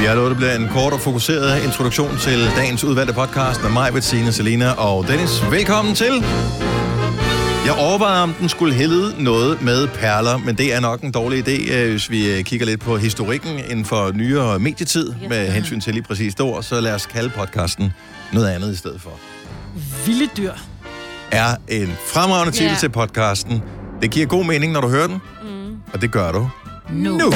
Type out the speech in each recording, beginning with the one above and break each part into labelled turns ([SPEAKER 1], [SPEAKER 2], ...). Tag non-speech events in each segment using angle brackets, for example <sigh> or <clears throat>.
[SPEAKER 1] Vi har lovet, at det bliver en kort og fokuseret introduktion til dagens udvalgte podcast med mig, Bettina, Selina og Dennis. Velkommen til! Jeg overvejer, om den skulle hedde noget med perler, men det er nok en dårlig idé, øh, hvis vi øh, kigger lidt på historikken inden for nyere medietid med hensyn til lige præcis det ord, så lad os kalde podcasten noget andet i stedet for.
[SPEAKER 2] Vilde dyr.
[SPEAKER 1] Er en fremragende titel
[SPEAKER 2] Ja.
[SPEAKER 1] til podcasten. Det giver god mening, når du hører den, mm. og det gør du
[SPEAKER 2] Nu.
[SPEAKER 1] nu.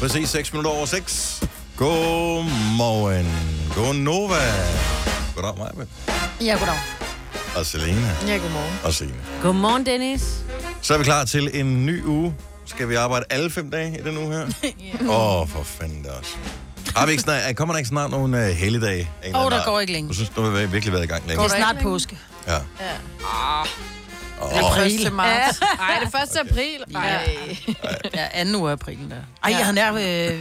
[SPEAKER 1] Præcis 6 minutter over 6. Godmorgen. Godnova. Goddag, Maja.
[SPEAKER 3] Ja, goddag.
[SPEAKER 1] Og Selena.
[SPEAKER 3] Ja, godmorgen.
[SPEAKER 1] Og Signe.
[SPEAKER 3] Godmorgen, Dennis.
[SPEAKER 1] Så er vi klar til en ny uge. Skal vi arbejde alle fem dage i den uge
[SPEAKER 2] <laughs>
[SPEAKER 1] her? <laughs> Åh, yeah. oh, for fanden det også. Har vi ikke snart, kommer der ikke snart nogle uh, helligdage? af en eller
[SPEAKER 2] Åh,
[SPEAKER 1] anden
[SPEAKER 2] der
[SPEAKER 1] art?
[SPEAKER 2] går ikke længe.
[SPEAKER 1] Du synes, du har virkelig været i gang længe.
[SPEAKER 2] Det er snart påske.
[SPEAKER 1] Ja.
[SPEAKER 2] Ja.
[SPEAKER 1] Oh.
[SPEAKER 2] April.
[SPEAKER 3] marts.
[SPEAKER 2] Ja.
[SPEAKER 3] Ej, det er 1. april.
[SPEAKER 2] Ja. ja, anden uge af aprilen der. Ej, jeg havde nær... Øh,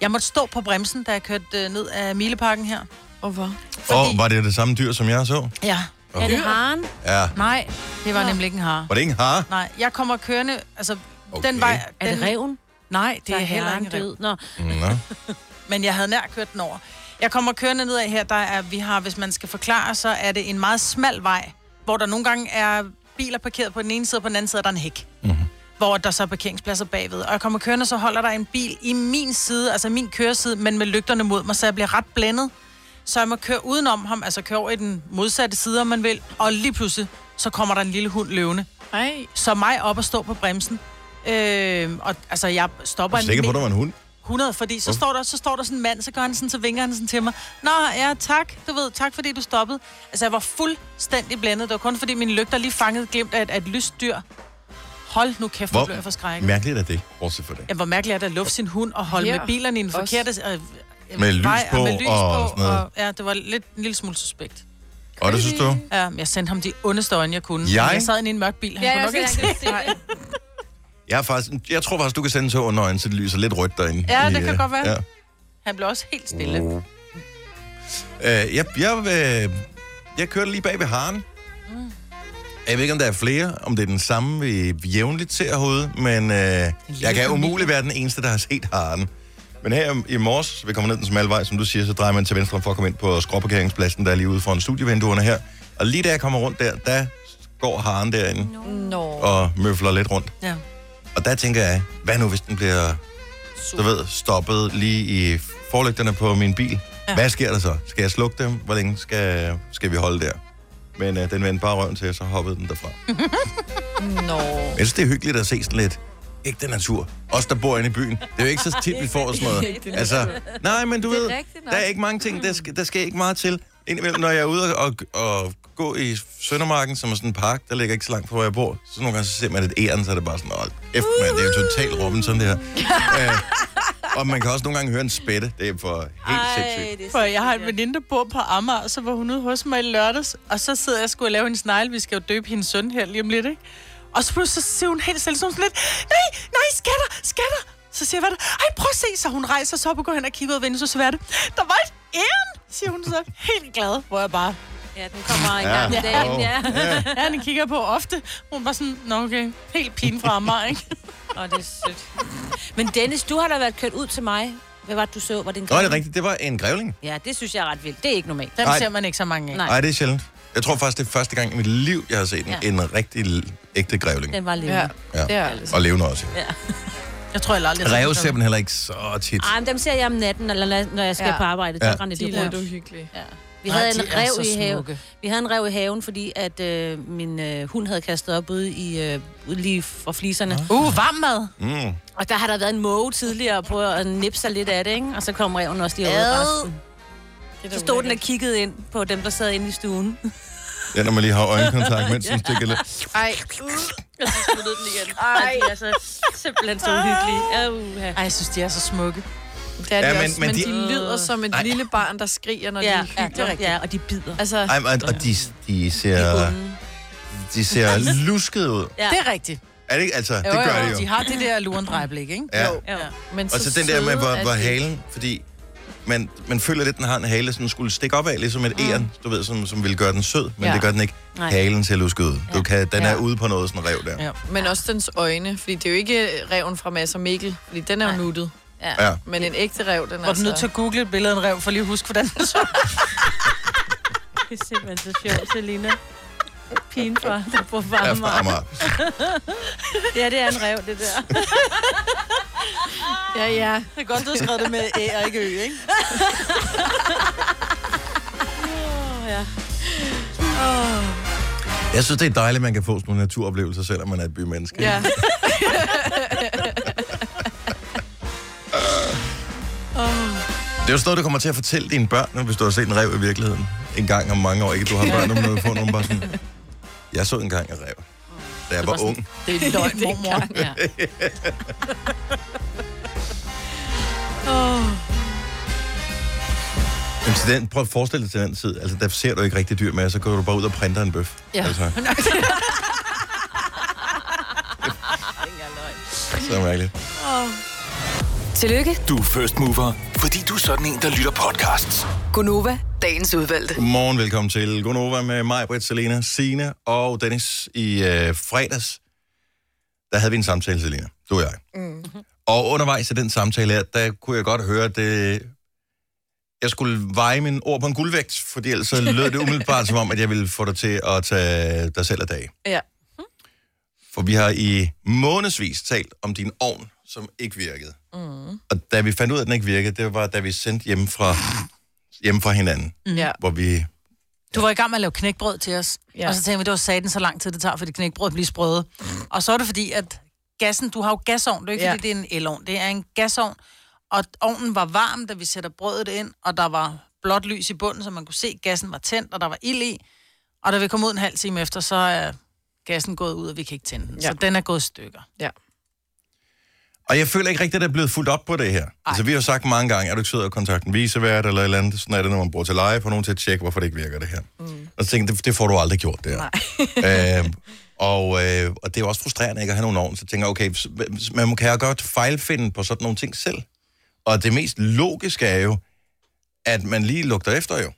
[SPEAKER 2] jeg måtte stå på bremsen, da jeg kørte øh, ned af Mileparken her. Hvorfor?
[SPEAKER 1] Fordi... Oh, var det det samme dyr, som jeg så?
[SPEAKER 2] Ja.
[SPEAKER 1] Okay. Er det
[SPEAKER 2] haren?
[SPEAKER 1] Ja.
[SPEAKER 2] Nej, det var nemlig ikke en hare.
[SPEAKER 1] Var det ikke en hare?
[SPEAKER 2] Nej, jeg kommer kørende, altså okay. den vej...
[SPEAKER 4] Er det ræven?
[SPEAKER 2] Nej, det
[SPEAKER 4] Så
[SPEAKER 2] er,
[SPEAKER 4] er
[SPEAKER 2] heller
[SPEAKER 4] haren
[SPEAKER 2] ikke en ræv.
[SPEAKER 4] død. Nå.
[SPEAKER 1] Nå.
[SPEAKER 2] Men jeg havde nær kørt den over. Jeg kommer kørende nedad her, der er, vi har, hvis man skal forklare, så er det en meget smal vej, hvor der nogle gange er biler parkeret på den ene side, og på den anden side er der en hæk.
[SPEAKER 1] Mhm.
[SPEAKER 2] Mm-hmm. Hvor der så er parkeringspladser bagved. Og jeg kommer kørende, så holder der en bil i min side, altså min køreside, men med lygterne mod mig, så jeg bliver ret blændet. Så jeg må køre udenom ham, altså køre over i den modsatte side, om man vil. Og lige pludselig, så kommer der en lille hund løvende. Ej. Så mig op og stå på bremsen. Øh, og altså, jeg stopper
[SPEAKER 1] Jeg er sikker på, at der var en hund.
[SPEAKER 2] 100, fordi så står, der, så står der sådan en mand, så gør han sådan, så vinker han sådan til mig. Nå, ja, tak, du ved, tak fordi du stoppede. Altså, jeg var fuldstændig blændet. Det var kun fordi mine lygter lige fangede glimt af et, af et lyst dyr. Hold nu kæft, hvor blev jeg forskrækket.
[SPEAKER 1] mærkeligt er det, bortset for det.
[SPEAKER 2] Ja, hvor mærkeligt er det at lufte sin hund og holde
[SPEAKER 5] Ja,
[SPEAKER 2] med bilerne i en
[SPEAKER 5] også.
[SPEAKER 2] forkerte... Øh, øh,
[SPEAKER 1] Med lys
[SPEAKER 2] vej,
[SPEAKER 1] på
[SPEAKER 2] med lys
[SPEAKER 1] og
[SPEAKER 2] på,
[SPEAKER 1] sådan noget.
[SPEAKER 2] Og, ja, det var lidt, en lille smule suspekt.
[SPEAKER 1] Og det synes du?
[SPEAKER 2] Ja, jeg sendte ham de ondeste øjne, jeg kunne.
[SPEAKER 1] Jeg?
[SPEAKER 2] Jeg sad inde i en mørk bil. Han
[SPEAKER 5] Ja,
[SPEAKER 2] kunne
[SPEAKER 5] jeg
[SPEAKER 2] nok ikke
[SPEAKER 5] også,
[SPEAKER 2] se.
[SPEAKER 5] jeg kan se det.
[SPEAKER 1] Jeg, er faktisk, jeg tror faktisk, du kan sende til under øjnene, så det lyser lidt rødt derinde.
[SPEAKER 2] <laughs> Ja,
[SPEAKER 1] I,
[SPEAKER 2] det kan
[SPEAKER 1] øh,
[SPEAKER 2] godt være.
[SPEAKER 1] Ja.
[SPEAKER 2] Han blev også helt stille.
[SPEAKER 1] Øh, jeg, jeg, øh, jeg kørte lige bag ved haren.
[SPEAKER 2] Mm.
[SPEAKER 1] Jeg ved ikke, om der er flere, om det er den samme, vi jævnligt ser herude, men øh, jeg kan umuligt være den eneste, der har set haren. Men her i morges, vi kommer ned den smalle vej, som du siger, så drejer man til venstre for at komme ind på skråparkeringspladsen, der er lige ude foran studievinduerne her. Og lige da jeg kommer rundt der, der går haren derinde
[SPEAKER 5] Nå.
[SPEAKER 1] og møfler lidt rundt.
[SPEAKER 2] Ja.
[SPEAKER 1] Og der tænker jeg, hvad nu hvis den bliver du ved, stoppet lige i forlygterne på min bil? Ja. Hvad sker der så? Skal jeg slukke dem? Hvor længe skal, skal vi holde der? Men øh, den vendte bare røven til, og så hoppede den derfra.
[SPEAKER 5] <laughs> Nå.
[SPEAKER 1] Jeg synes, det er hyggeligt at se sådan lidt ægte natur. Os, der bor inde i byen. Det er jo ikke så tit, vi får
[SPEAKER 5] <laughs>
[SPEAKER 1] sådan noget. Altså, nej, men du
[SPEAKER 5] Det er
[SPEAKER 1] ved,
[SPEAKER 5] rigtigt nok.
[SPEAKER 1] der er ikke mange ting, der skal, der skal ikke meget til. Indimellem, når jeg er ude og, og gå i Søndermarken, som er sådan en park, der ligger ikke så langt fra, hvor jeg bor, så nogle gange så ser man et æren, så er det bare sådan, åh, F, man, det er jo totalt Robinson, det
[SPEAKER 5] <laughs>
[SPEAKER 1] her. øh, og man kan også nogle gange høre en spætte. Det er for helt sindssygt.
[SPEAKER 2] For jeg har en veninde, der bor på Amager, og så var hun ude hos mig i lørdags, og så sidder jeg og skulle lave en snegle, vi skal jo døbe hendes søn her lige om lidt, ikke? Og så pludselig så siger hun helt selv sådan lidt, nej, nej, skatter, skatter! Så siger jeg, hvad er det? Ej, prøv at se, så hun rejser sig op og går hen og kigger ud af vinduet, så siger jeg, hvad er det? Der var et æren, siger hun så, helt glad, hvor jeg bare,
[SPEAKER 4] Ja, den kommer en gang om dagen,
[SPEAKER 1] åh,
[SPEAKER 4] ja.
[SPEAKER 1] ja.
[SPEAKER 2] ja, den kigger jeg på ofte. Hun var sådan, nå okay, helt pin fra Amager, ikke?
[SPEAKER 4] Åh, det er sødt. <laughs> Men Dennis, du har da været kørt ud til mig. Hvad var det, du så? Var det en
[SPEAKER 1] Nå, det er rigtigt. Det var en grævling.
[SPEAKER 4] Ja, det synes jeg er ret vildt. Det er ikke normalt.
[SPEAKER 2] Den
[SPEAKER 1] Ej.
[SPEAKER 2] ser man ikke så mange af.
[SPEAKER 4] Nej.
[SPEAKER 1] Nej, det er sjældent. Jeg tror faktisk, det er første gang i mit liv, jeg har set en,
[SPEAKER 4] Ja.
[SPEAKER 1] ja. en rigtig l- ægte grævling.
[SPEAKER 4] Den var
[SPEAKER 5] Ja,
[SPEAKER 4] levende.
[SPEAKER 1] Ja.
[SPEAKER 5] det er altså.
[SPEAKER 1] Og levende også.
[SPEAKER 2] Jeg tror, jeg aldrig har set
[SPEAKER 1] Ræve
[SPEAKER 2] dem.
[SPEAKER 1] ser man heller ikke så tit.
[SPEAKER 4] Ej, men dem ser jeg om natten, eller la- når jeg skal
[SPEAKER 5] Ja.
[SPEAKER 4] på arbejde.
[SPEAKER 1] Ja.
[SPEAKER 4] Ja. Rende,
[SPEAKER 5] De
[SPEAKER 4] de
[SPEAKER 5] er lidt
[SPEAKER 4] rundt.
[SPEAKER 5] uhyggelige.
[SPEAKER 4] ja. Vi
[SPEAKER 2] Nej,
[SPEAKER 4] havde
[SPEAKER 2] de
[SPEAKER 4] en
[SPEAKER 2] er
[SPEAKER 4] rev
[SPEAKER 2] så
[SPEAKER 4] i haven.
[SPEAKER 2] smukke.
[SPEAKER 4] Vi havde en rev i haven, fordi at øh, min øh, hund havde kastet op ude i øh, ude lige fra fliserne.
[SPEAKER 2] Uh, varm mad.
[SPEAKER 1] Mm.
[SPEAKER 4] Og der har der været en måge tidligere på at nippe sig lidt af det, ikke? Og så kom reven også lige over resten. Så stod den og kiggede ind på dem, der sad inde i
[SPEAKER 5] <laughs>
[SPEAKER 4] stuen.
[SPEAKER 1] Ja, når man lige har
[SPEAKER 4] <laughs>
[SPEAKER 1] øjenkontakt, mens den stikker lidt.
[SPEAKER 5] Ej, uh.
[SPEAKER 4] Og så sluttede den igen. Ej, de er så simpelthen så uhyggelige. Uh,
[SPEAKER 2] Ej, jeg synes, de er så smukke.
[SPEAKER 5] det er de
[SPEAKER 1] Ja, men-
[SPEAKER 5] men, også,
[SPEAKER 1] men
[SPEAKER 5] men, de,
[SPEAKER 1] de-
[SPEAKER 5] lyder som et lille barn, der skriger, når de
[SPEAKER 4] ja, ja,
[SPEAKER 5] hygger.
[SPEAKER 4] det er rigtigt. ja, og de bider.
[SPEAKER 5] Altså,
[SPEAKER 1] Ej, men- og de, de ser, de ser luskede ud.
[SPEAKER 4] Ja.
[SPEAKER 2] Det er rigtigt.
[SPEAKER 1] Er det ikke? Altså, det
[SPEAKER 5] Jo,
[SPEAKER 1] gør
[SPEAKER 5] jo,
[SPEAKER 1] de
[SPEAKER 2] De
[SPEAKER 1] jo.
[SPEAKER 2] har det der lurendrejeblik, ikke?
[SPEAKER 1] Ja.
[SPEAKER 5] Jo.
[SPEAKER 4] Ja.
[SPEAKER 5] men
[SPEAKER 1] Og så den der med,
[SPEAKER 5] søde
[SPEAKER 1] hvor,
[SPEAKER 5] er
[SPEAKER 1] hvor
[SPEAKER 5] de.
[SPEAKER 1] halen, fordi man, man føler lidt, den har en hale, som skulle stikke op af, ligesom et mm. æren, du ved, som, som ville gøre den sød, men ja.
[SPEAKER 5] Ja.
[SPEAKER 1] det gør den ikke.
[SPEAKER 4] Nej.
[SPEAKER 1] Halen ser lusket ud. Du kan, den
[SPEAKER 5] Ja.
[SPEAKER 1] er ude på noget, sådan en rev der.
[SPEAKER 2] Ja.
[SPEAKER 5] Men også dens øjne, fordi det er jo ikke reven fra Mads og Mikkel, fordi den er jo nuttet.
[SPEAKER 1] Ja.
[SPEAKER 5] Men en ægte rev, den er
[SPEAKER 2] Var du nødt til
[SPEAKER 5] så...
[SPEAKER 2] at google et billede af en rev, for lige at huske, hvordan den så?
[SPEAKER 4] Det er simpelthen så sjovt, Selina. Pigen for, der bor på
[SPEAKER 1] Ja, fra
[SPEAKER 4] Amager.
[SPEAKER 1] Amager.
[SPEAKER 4] Ja, det er en rev, det der.
[SPEAKER 5] <laughs> Ja, ja.
[SPEAKER 2] Det er godt, du har skrevet det med æ og ikke ø,
[SPEAKER 5] <laughs>
[SPEAKER 2] ikke?
[SPEAKER 4] <laughs>
[SPEAKER 1] Jeg synes, det er dejligt, at man kan få sådan nogle naturoplevelser, selvom man er et
[SPEAKER 5] <laughs>
[SPEAKER 1] bymenneske.
[SPEAKER 5] ja.
[SPEAKER 1] Det er jo sådan noget, du kommer til at fortælle dine børn, hvis du har set en rev i virkeligheden. En gang om mange år, ikke? Du har børn, når du får nogen bare sådan... Jeg så engang en rev, da jeg var
[SPEAKER 4] var sådan-
[SPEAKER 1] ung.
[SPEAKER 4] <laughs> Det er
[SPEAKER 1] <laughs>
[SPEAKER 4] løgn, mormor. Ja.
[SPEAKER 1] Men til den, prøv at forestille dig til den tid. Altså, der ser du ikke rigtig dyr med, så går du bare ud og printer en bøf.
[SPEAKER 3] Ja.
[SPEAKER 4] <laughs>
[SPEAKER 1] Altså. <laughs> så mærkeligt.
[SPEAKER 6] Tillykke,
[SPEAKER 7] Du er first mover, fordi du er sådan en, der lytter podcasts.
[SPEAKER 6] Gunova, dagens udvalgte.
[SPEAKER 1] Godmorgen, velkommen til Gonova med mig, Britt, Selena, Sine og Dennis. I øh, fredags, der havde vi en samtale, Selena, du og jeg. Mm. Og undervejs i den samtale her, der kunne jeg godt høre, at det, jeg skulle veje mine ord på en guldvægt, fordi ellers så lød det umiddelbart som om, at jeg ville få dig til at tage dig selv af dag.
[SPEAKER 5] ja.
[SPEAKER 1] For vi har i månedsvis talt om din ovn, som ikke virkede. Mm. Og da vi fandt ud af, at den ikke virkede, det var, da vi sendte hjemme fra, hjemme fra hinanden,
[SPEAKER 2] Mm.
[SPEAKER 5] ja.
[SPEAKER 1] hvor vi
[SPEAKER 2] Du var i gang med at lave knækbrød til os. Ja.
[SPEAKER 5] Ja.
[SPEAKER 2] Og så tænkte vi, det var satan så lang tid, det tager, fordi knækbrød bliver sprøde. Og så er det fordi, at gassen, du har jo gasovn, det er jo ikke ja.
[SPEAKER 5] Ja.
[SPEAKER 2] fordi, det er en elovn, det er en gasovn. Og ovnen var varm, da vi sætter brødet ind, og der var blåt lys i bunden, så man kunne se, at gassen var tændt, og der var ild i. Og da vi kom ud en halv time efter, så er gassen gået ud, og vi kan ikke tænde den. Ja.
[SPEAKER 5] Ja.
[SPEAKER 2] Så den er gået i stykker.
[SPEAKER 5] ja.
[SPEAKER 1] Og jeg føler ikke rigtigt, at der er blevet fuldt op på det her. Ej. Altså, vi har jo sagt mange gange, er du ikke sød at kontakte en visevært eller et eller andet? Sådan er det, når man bruger til leje på nogen til at tjekke, hvorfor det ikke virker det her. Mm. Og så tænkte jeg, det, det får du aldrig gjort, det her. Nej. <laughs> øhm, og, øh, og det er jo også frustrerende ikke at have nogen ovn. Så tænker jeg, okay, s- s- man kan jo godt fejlfinde på sådan nogle ting selv. Og det mest logiske er jo, at man lige lugter efter jo.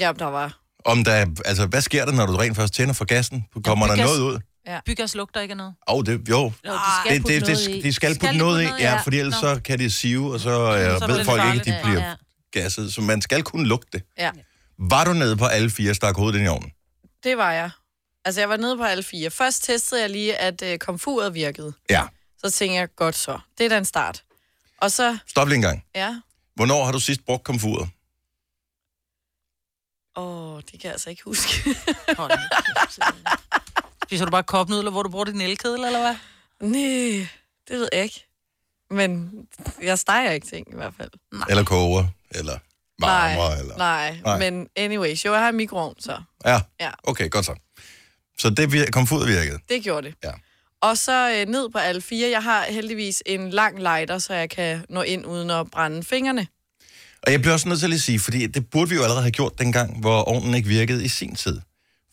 [SPEAKER 5] ja, der var...
[SPEAKER 1] Om der, altså, hvad sker der, når du rent først tænder for gassen? Kommer der
[SPEAKER 2] gas-
[SPEAKER 1] noget ud?
[SPEAKER 2] Byggas lugter ikke af noget.
[SPEAKER 1] Oh, det, jo,
[SPEAKER 4] Jo, de skal
[SPEAKER 1] det,
[SPEAKER 4] putte
[SPEAKER 1] det,
[SPEAKER 4] noget
[SPEAKER 1] det,
[SPEAKER 4] i.
[SPEAKER 1] de skal putte noget i, ja, fordi ellers så kan de sive, og så, øh,
[SPEAKER 2] så er
[SPEAKER 1] ved
[SPEAKER 2] det
[SPEAKER 1] folk ikke,
[SPEAKER 2] farligt,
[SPEAKER 1] at de
[SPEAKER 2] ja.
[SPEAKER 1] bliver
[SPEAKER 4] Ja.
[SPEAKER 1] gasset. Så man skal kunne lugte det.
[SPEAKER 5] Ja.
[SPEAKER 1] Var du nede på alle fire og stak hovedet ind i ovnen?
[SPEAKER 5] Det var jeg. Altså, jeg var nede på alle fire. Først testede jeg lige, at øh, komfuret virkede.
[SPEAKER 1] Ja.
[SPEAKER 5] Så tænkte jeg, godt så. Det er da en start. Og så,
[SPEAKER 1] Stop lige en gang.
[SPEAKER 5] ja.
[SPEAKER 1] Hvornår har du sidst brugt komfuret?
[SPEAKER 5] Åh, det kan jeg altså ikke huske. <laughs>
[SPEAKER 2] Spiser du bare kopnudler, hvor du bruger din elkedel, eller hvad?
[SPEAKER 5] Nej, det ved jeg ikke. Men jeg steger ikke ting i hvert fald.
[SPEAKER 1] Nej. Eller koger? Eller varmer?
[SPEAKER 5] nej,
[SPEAKER 1] eller...
[SPEAKER 5] nej.
[SPEAKER 1] Nej.
[SPEAKER 5] nej. Men anyways, jo, jeg har en mikroovn, så
[SPEAKER 1] Ja.
[SPEAKER 5] Ja.
[SPEAKER 1] Okay, godt så. Så det vir- komfuret virkede.
[SPEAKER 5] det gjorde det.
[SPEAKER 1] Ja.
[SPEAKER 5] Og så øh, ned på alle fire. Jeg har heldigvis en lang lighter, så jeg kan nå ind uden at brænde fingrene.
[SPEAKER 1] Og jeg bliver også nødt til at lige sige, fordi det burde vi jo allerede have gjort dengang, hvor ovnen ikke virkede i sin tid.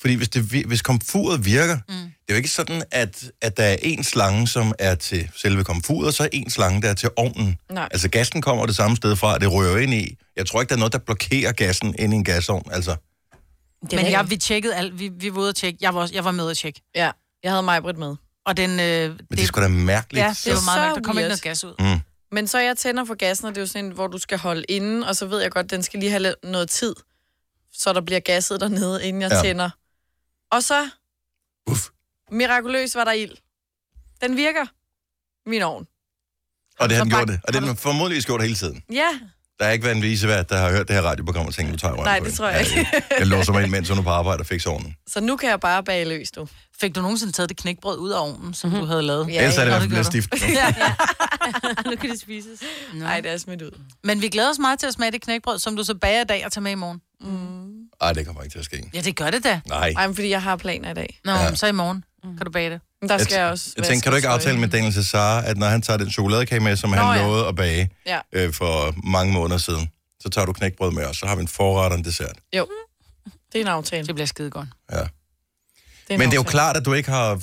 [SPEAKER 1] Fordi hvis, det, vir- hvis komfuret virker, mm. det er jo ikke sådan, at, at der er en slange, som er til selve komfuret, og så er en slange, der er til ovnen.
[SPEAKER 5] Nej.
[SPEAKER 1] Altså gassen kommer det samme sted fra, og det rører ind i. Jeg tror ikke, der er noget, der blokerer gassen ind i en gasovn. Altså,
[SPEAKER 2] Men jeg, vi tjekkede alt. Vi, vi var ude at tjekke. Jeg var, også, jeg var med at tjekke.
[SPEAKER 5] Ja, jeg havde mig med.
[SPEAKER 2] Og den... Øh,
[SPEAKER 4] <laughs>
[SPEAKER 1] men det, det er sgu da mærkeligt.
[SPEAKER 2] Ja, det var
[SPEAKER 5] Så
[SPEAKER 2] meget mærkeligt. Der kom ikke
[SPEAKER 5] weird.
[SPEAKER 2] noget gas ud.
[SPEAKER 1] Mm.
[SPEAKER 5] Men så jeg tænder for gassen, og det er jo sådan en, hvor du skal holde inden, og så ved jeg godt, den skal lige have lidt- noget tid, så der bliver gasset dernede, inden jeg
[SPEAKER 1] Ja.
[SPEAKER 5] ja. tænder. Og så,
[SPEAKER 1] Uff.
[SPEAKER 5] mirakuløst var der ild. Den virker, min ovn.
[SPEAKER 1] Og det har den
[SPEAKER 5] Så
[SPEAKER 1] gjort
[SPEAKER 5] bak-
[SPEAKER 1] det. Og det har den formodentlig gjort hele tiden.
[SPEAKER 5] Ja,
[SPEAKER 1] Der er ikke været en visevært, der har hørt det her radioprogram og tænkt, nu tager jeg røven
[SPEAKER 5] Nej,
[SPEAKER 1] på
[SPEAKER 5] det
[SPEAKER 1] hende.
[SPEAKER 5] tror jeg
[SPEAKER 1] Ja, Jeg, jeg låser mig ind, mens hun er på arbejde og fikser ovnen.
[SPEAKER 5] <laughs> så nu kan jeg bare bage løs Mhm. nu.
[SPEAKER 2] Fik du nogensinde taget det knækbrød ud af ovnen, som mm-hmm. du havde lavet?
[SPEAKER 1] Ja, Ellers er det
[SPEAKER 2] Nå,
[SPEAKER 1] i hvert fald
[SPEAKER 2] det
[SPEAKER 1] blevet
[SPEAKER 2] gør du.
[SPEAKER 1] stift. nu.
[SPEAKER 4] Nu kan det spises.
[SPEAKER 5] Nej, det er smidt ud.
[SPEAKER 2] Men vi glæder os meget til at smage det knækbrød, som du så bager i dag og tager med i morgen.
[SPEAKER 1] Ej, det kommer ikke til at ske.
[SPEAKER 2] Ja, det gør det da.
[SPEAKER 1] Nej.
[SPEAKER 5] Mm. Ej, men fordi jeg har planer i dag. Mm.
[SPEAKER 2] Nå, ja. så i morgen kan du bage det.
[SPEAKER 5] Men der skal jeg,
[SPEAKER 1] t-
[SPEAKER 5] også...
[SPEAKER 1] jeg
[SPEAKER 5] vaske
[SPEAKER 1] tænkte, kan du ikke
[SPEAKER 5] og
[SPEAKER 1] aftale med Daniel Cesar, at når han tager den chokoladekage med, som Nå, han
[SPEAKER 5] ja.
[SPEAKER 1] lovede at bage
[SPEAKER 5] Ja.
[SPEAKER 1] øh, for mange måneder siden, så tager du knækbrød med os, så har vi en forret og en dessert.
[SPEAKER 5] Jo, det er en aftale.
[SPEAKER 2] Det bliver skide godt.
[SPEAKER 1] Ja.
[SPEAKER 5] Det er en
[SPEAKER 1] Men det er jo
[SPEAKER 5] aftale.
[SPEAKER 1] klart, at du ikke har...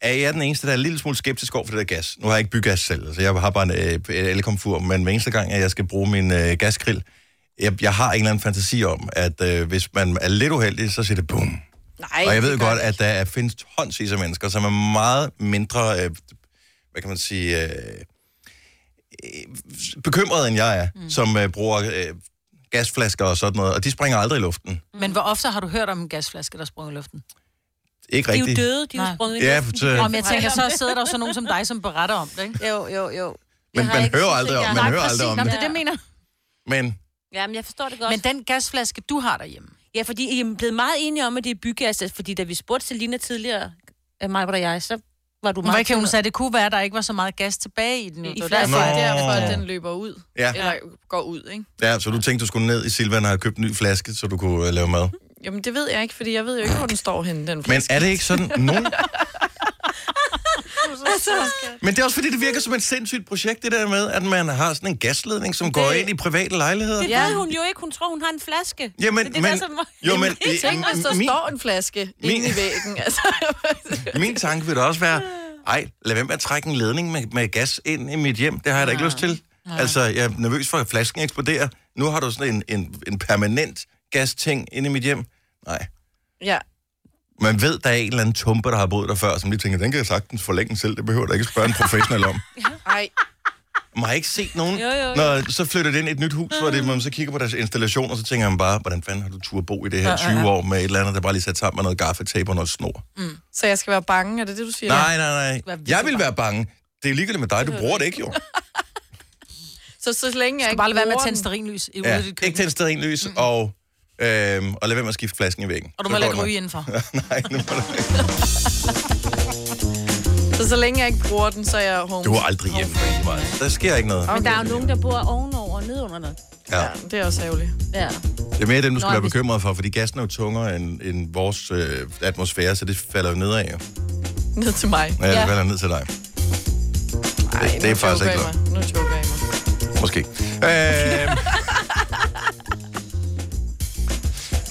[SPEAKER 1] er jeg den eneste, der er en lille smule skeptisk over for det der gas. Nu har jeg ikke bygas selv, så jeg har bare en øh, elkomfur, men hver eneste gang, at jeg skal bruge min øh, gasgrill, jeg, jeg har en eller anden fantasi om, at øh, hvis man er lidt uheldig, så siger det bum.
[SPEAKER 5] Nej,
[SPEAKER 1] Og jeg ved
[SPEAKER 5] det gør
[SPEAKER 1] godt,
[SPEAKER 5] det
[SPEAKER 1] at der er, findes tonsvis af mennesker, som er meget mindre, øh, hvad kan man sige, øh, øh, bekymrede end jeg er, mm. som øh, bruger øh, gasflasker og sådan noget, og de springer aldrig i luften.
[SPEAKER 2] Men hvor ofte har du hørt om en gasflaske, der sprang i luften?
[SPEAKER 1] Ikke
[SPEAKER 4] De er jo
[SPEAKER 1] rigtigt.
[SPEAKER 4] døde, de er jo
[SPEAKER 2] Nej.
[SPEAKER 4] sprunget
[SPEAKER 1] Ja,
[SPEAKER 4] i luften.
[SPEAKER 1] så,
[SPEAKER 2] Om jeg tænker, så sidder der jo så nogen som dig, som beretter om det, ikke?
[SPEAKER 4] Jo, jo, jo.
[SPEAKER 1] men
[SPEAKER 4] har
[SPEAKER 1] man
[SPEAKER 4] ikke
[SPEAKER 1] hører
[SPEAKER 4] set
[SPEAKER 1] aldrig
[SPEAKER 4] det.
[SPEAKER 1] om, man
[SPEAKER 4] Nej,
[SPEAKER 1] hører aldrig
[SPEAKER 2] Nå,
[SPEAKER 1] om
[SPEAKER 2] men det
[SPEAKER 1] det.
[SPEAKER 2] er det, jeg mener.
[SPEAKER 1] Men
[SPEAKER 4] <laughs> Jamen, jeg forstår det godt.
[SPEAKER 2] Men den gasflaske, du har derhjemme,
[SPEAKER 4] Ja, fordi I er blevet meget enige om, at det er bygas, altså, fordi da vi spurgte Selina tidligere, øh, mig og jeg, så var du
[SPEAKER 2] hun, var
[SPEAKER 4] meget...
[SPEAKER 2] ikke, hun sagde, at det kunne være, at der ikke var så meget gas tilbage i den.
[SPEAKER 5] I
[SPEAKER 2] Mm. Det var
[SPEAKER 5] flasker,
[SPEAKER 1] Nå.
[SPEAKER 5] det er derfor, at den løber ud.
[SPEAKER 1] Ja.
[SPEAKER 5] Eller går ud, ikke?
[SPEAKER 1] ja, så du tænkte, du skulle ned i Silvan og have købt en ny flaske, så du kunne øh, lave mad.
[SPEAKER 5] Jamen, det ved jeg ikke, fordi jeg ved jo ikke, hvor den står henne, den
[SPEAKER 1] Men
[SPEAKER 5] flaske.
[SPEAKER 1] er det ikke sådan
[SPEAKER 5] <laughs>
[SPEAKER 1] nogen... Men det er også fordi, det virker som et sindssygt projekt, det der med, at man har sådan en gasledning, som går ind i private lejligheder.
[SPEAKER 4] Det ved hun jo ikke. Hun tror, hun har en flaske.
[SPEAKER 1] Jamen,
[SPEAKER 4] det, er det
[SPEAKER 1] men-
[SPEAKER 4] der, som...
[SPEAKER 1] Jo, men
[SPEAKER 5] Men, Tænk, hvis der
[SPEAKER 1] min,
[SPEAKER 5] står en flaske
[SPEAKER 1] min-
[SPEAKER 5] inde i væggen.
[SPEAKER 1] <laughs>
[SPEAKER 5] Altså,
[SPEAKER 1] min tanke vil da også være, ej, lad være med at trække en ledning med, med gas ind i mit hjem. Det har jeg da ikke lyst til. Altså, jeg er nervøs for, at flasken eksploderer. Nu har du sådan en, en, en permanent gasting inde i mit hjem. Nej.
[SPEAKER 5] ja.
[SPEAKER 1] Man ved, der er en eller anden tumper, der har boet der før, som lige tænker, den kan jeg sagtens forlænge selv. Det behøver der ikke spørge en professionel
[SPEAKER 4] <laughs>
[SPEAKER 1] om.
[SPEAKER 5] Ej,
[SPEAKER 1] Man har ikke set nogen.
[SPEAKER 4] Jo, jo, jo.
[SPEAKER 1] Når så flytter det ind i et nyt hus, hvor det, man så kigger på deres installation, og så tænker man bare, hvordan fanden har du tur bo i det her 20 år med et eller andet, der bare lige sat sammen med noget gaffatape og noget snor.
[SPEAKER 5] Mm. så jeg skal være bange, er det det, du siger?
[SPEAKER 1] Nej, nej, nej. Jeg vil være bange. Det er ligegyldigt med dig, du bruger det ikke jo.
[SPEAKER 5] Så, så længe jeg
[SPEAKER 2] Skal
[SPEAKER 5] ikke
[SPEAKER 2] bare lade være med at
[SPEAKER 5] bruger
[SPEAKER 2] tænde
[SPEAKER 5] den-
[SPEAKER 2] sterinlys i ude
[SPEAKER 1] Ja,
[SPEAKER 2] i dit
[SPEAKER 1] ikke
[SPEAKER 2] køkken.
[SPEAKER 1] tænd stadig lys, og, øhm, og lad være med at skifte flasken i væggen.
[SPEAKER 2] Og du
[SPEAKER 1] Så
[SPEAKER 2] må heller ikke
[SPEAKER 1] går
[SPEAKER 2] ryge
[SPEAKER 1] den
[SPEAKER 2] indenfor.
[SPEAKER 1] nok. <laughs> Nej, nu må du ikke.
[SPEAKER 5] Så så længe jeg ikke bruger den, så er jeg
[SPEAKER 2] Oh.
[SPEAKER 5] home.
[SPEAKER 1] Du er aldrig hjemme. Maja. Der sker ikke noget.
[SPEAKER 4] Men der er jo nogen, der bor ovenover og nedenunder noget.
[SPEAKER 1] Ja.
[SPEAKER 5] Ja, det er også ærgerligt.
[SPEAKER 4] Ja.
[SPEAKER 1] Det er mere dem, du skal
[SPEAKER 4] Nå,
[SPEAKER 1] være
[SPEAKER 4] hvis-
[SPEAKER 1] bekymret for, fordi gassen er jo tungere end, end vores øh, atmosfære, så det falder jo nedad. Jo.
[SPEAKER 5] Ned til mig.
[SPEAKER 1] Ja, det
[SPEAKER 4] Ja.
[SPEAKER 1] falder ned til dig.
[SPEAKER 5] Ej,
[SPEAKER 1] det er
[SPEAKER 5] nu
[SPEAKER 1] faktisk
[SPEAKER 5] joker
[SPEAKER 1] ikke
[SPEAKER 5] I mig. Nu joker jeg mig.
[SPEAKER 1] Måske. Øh...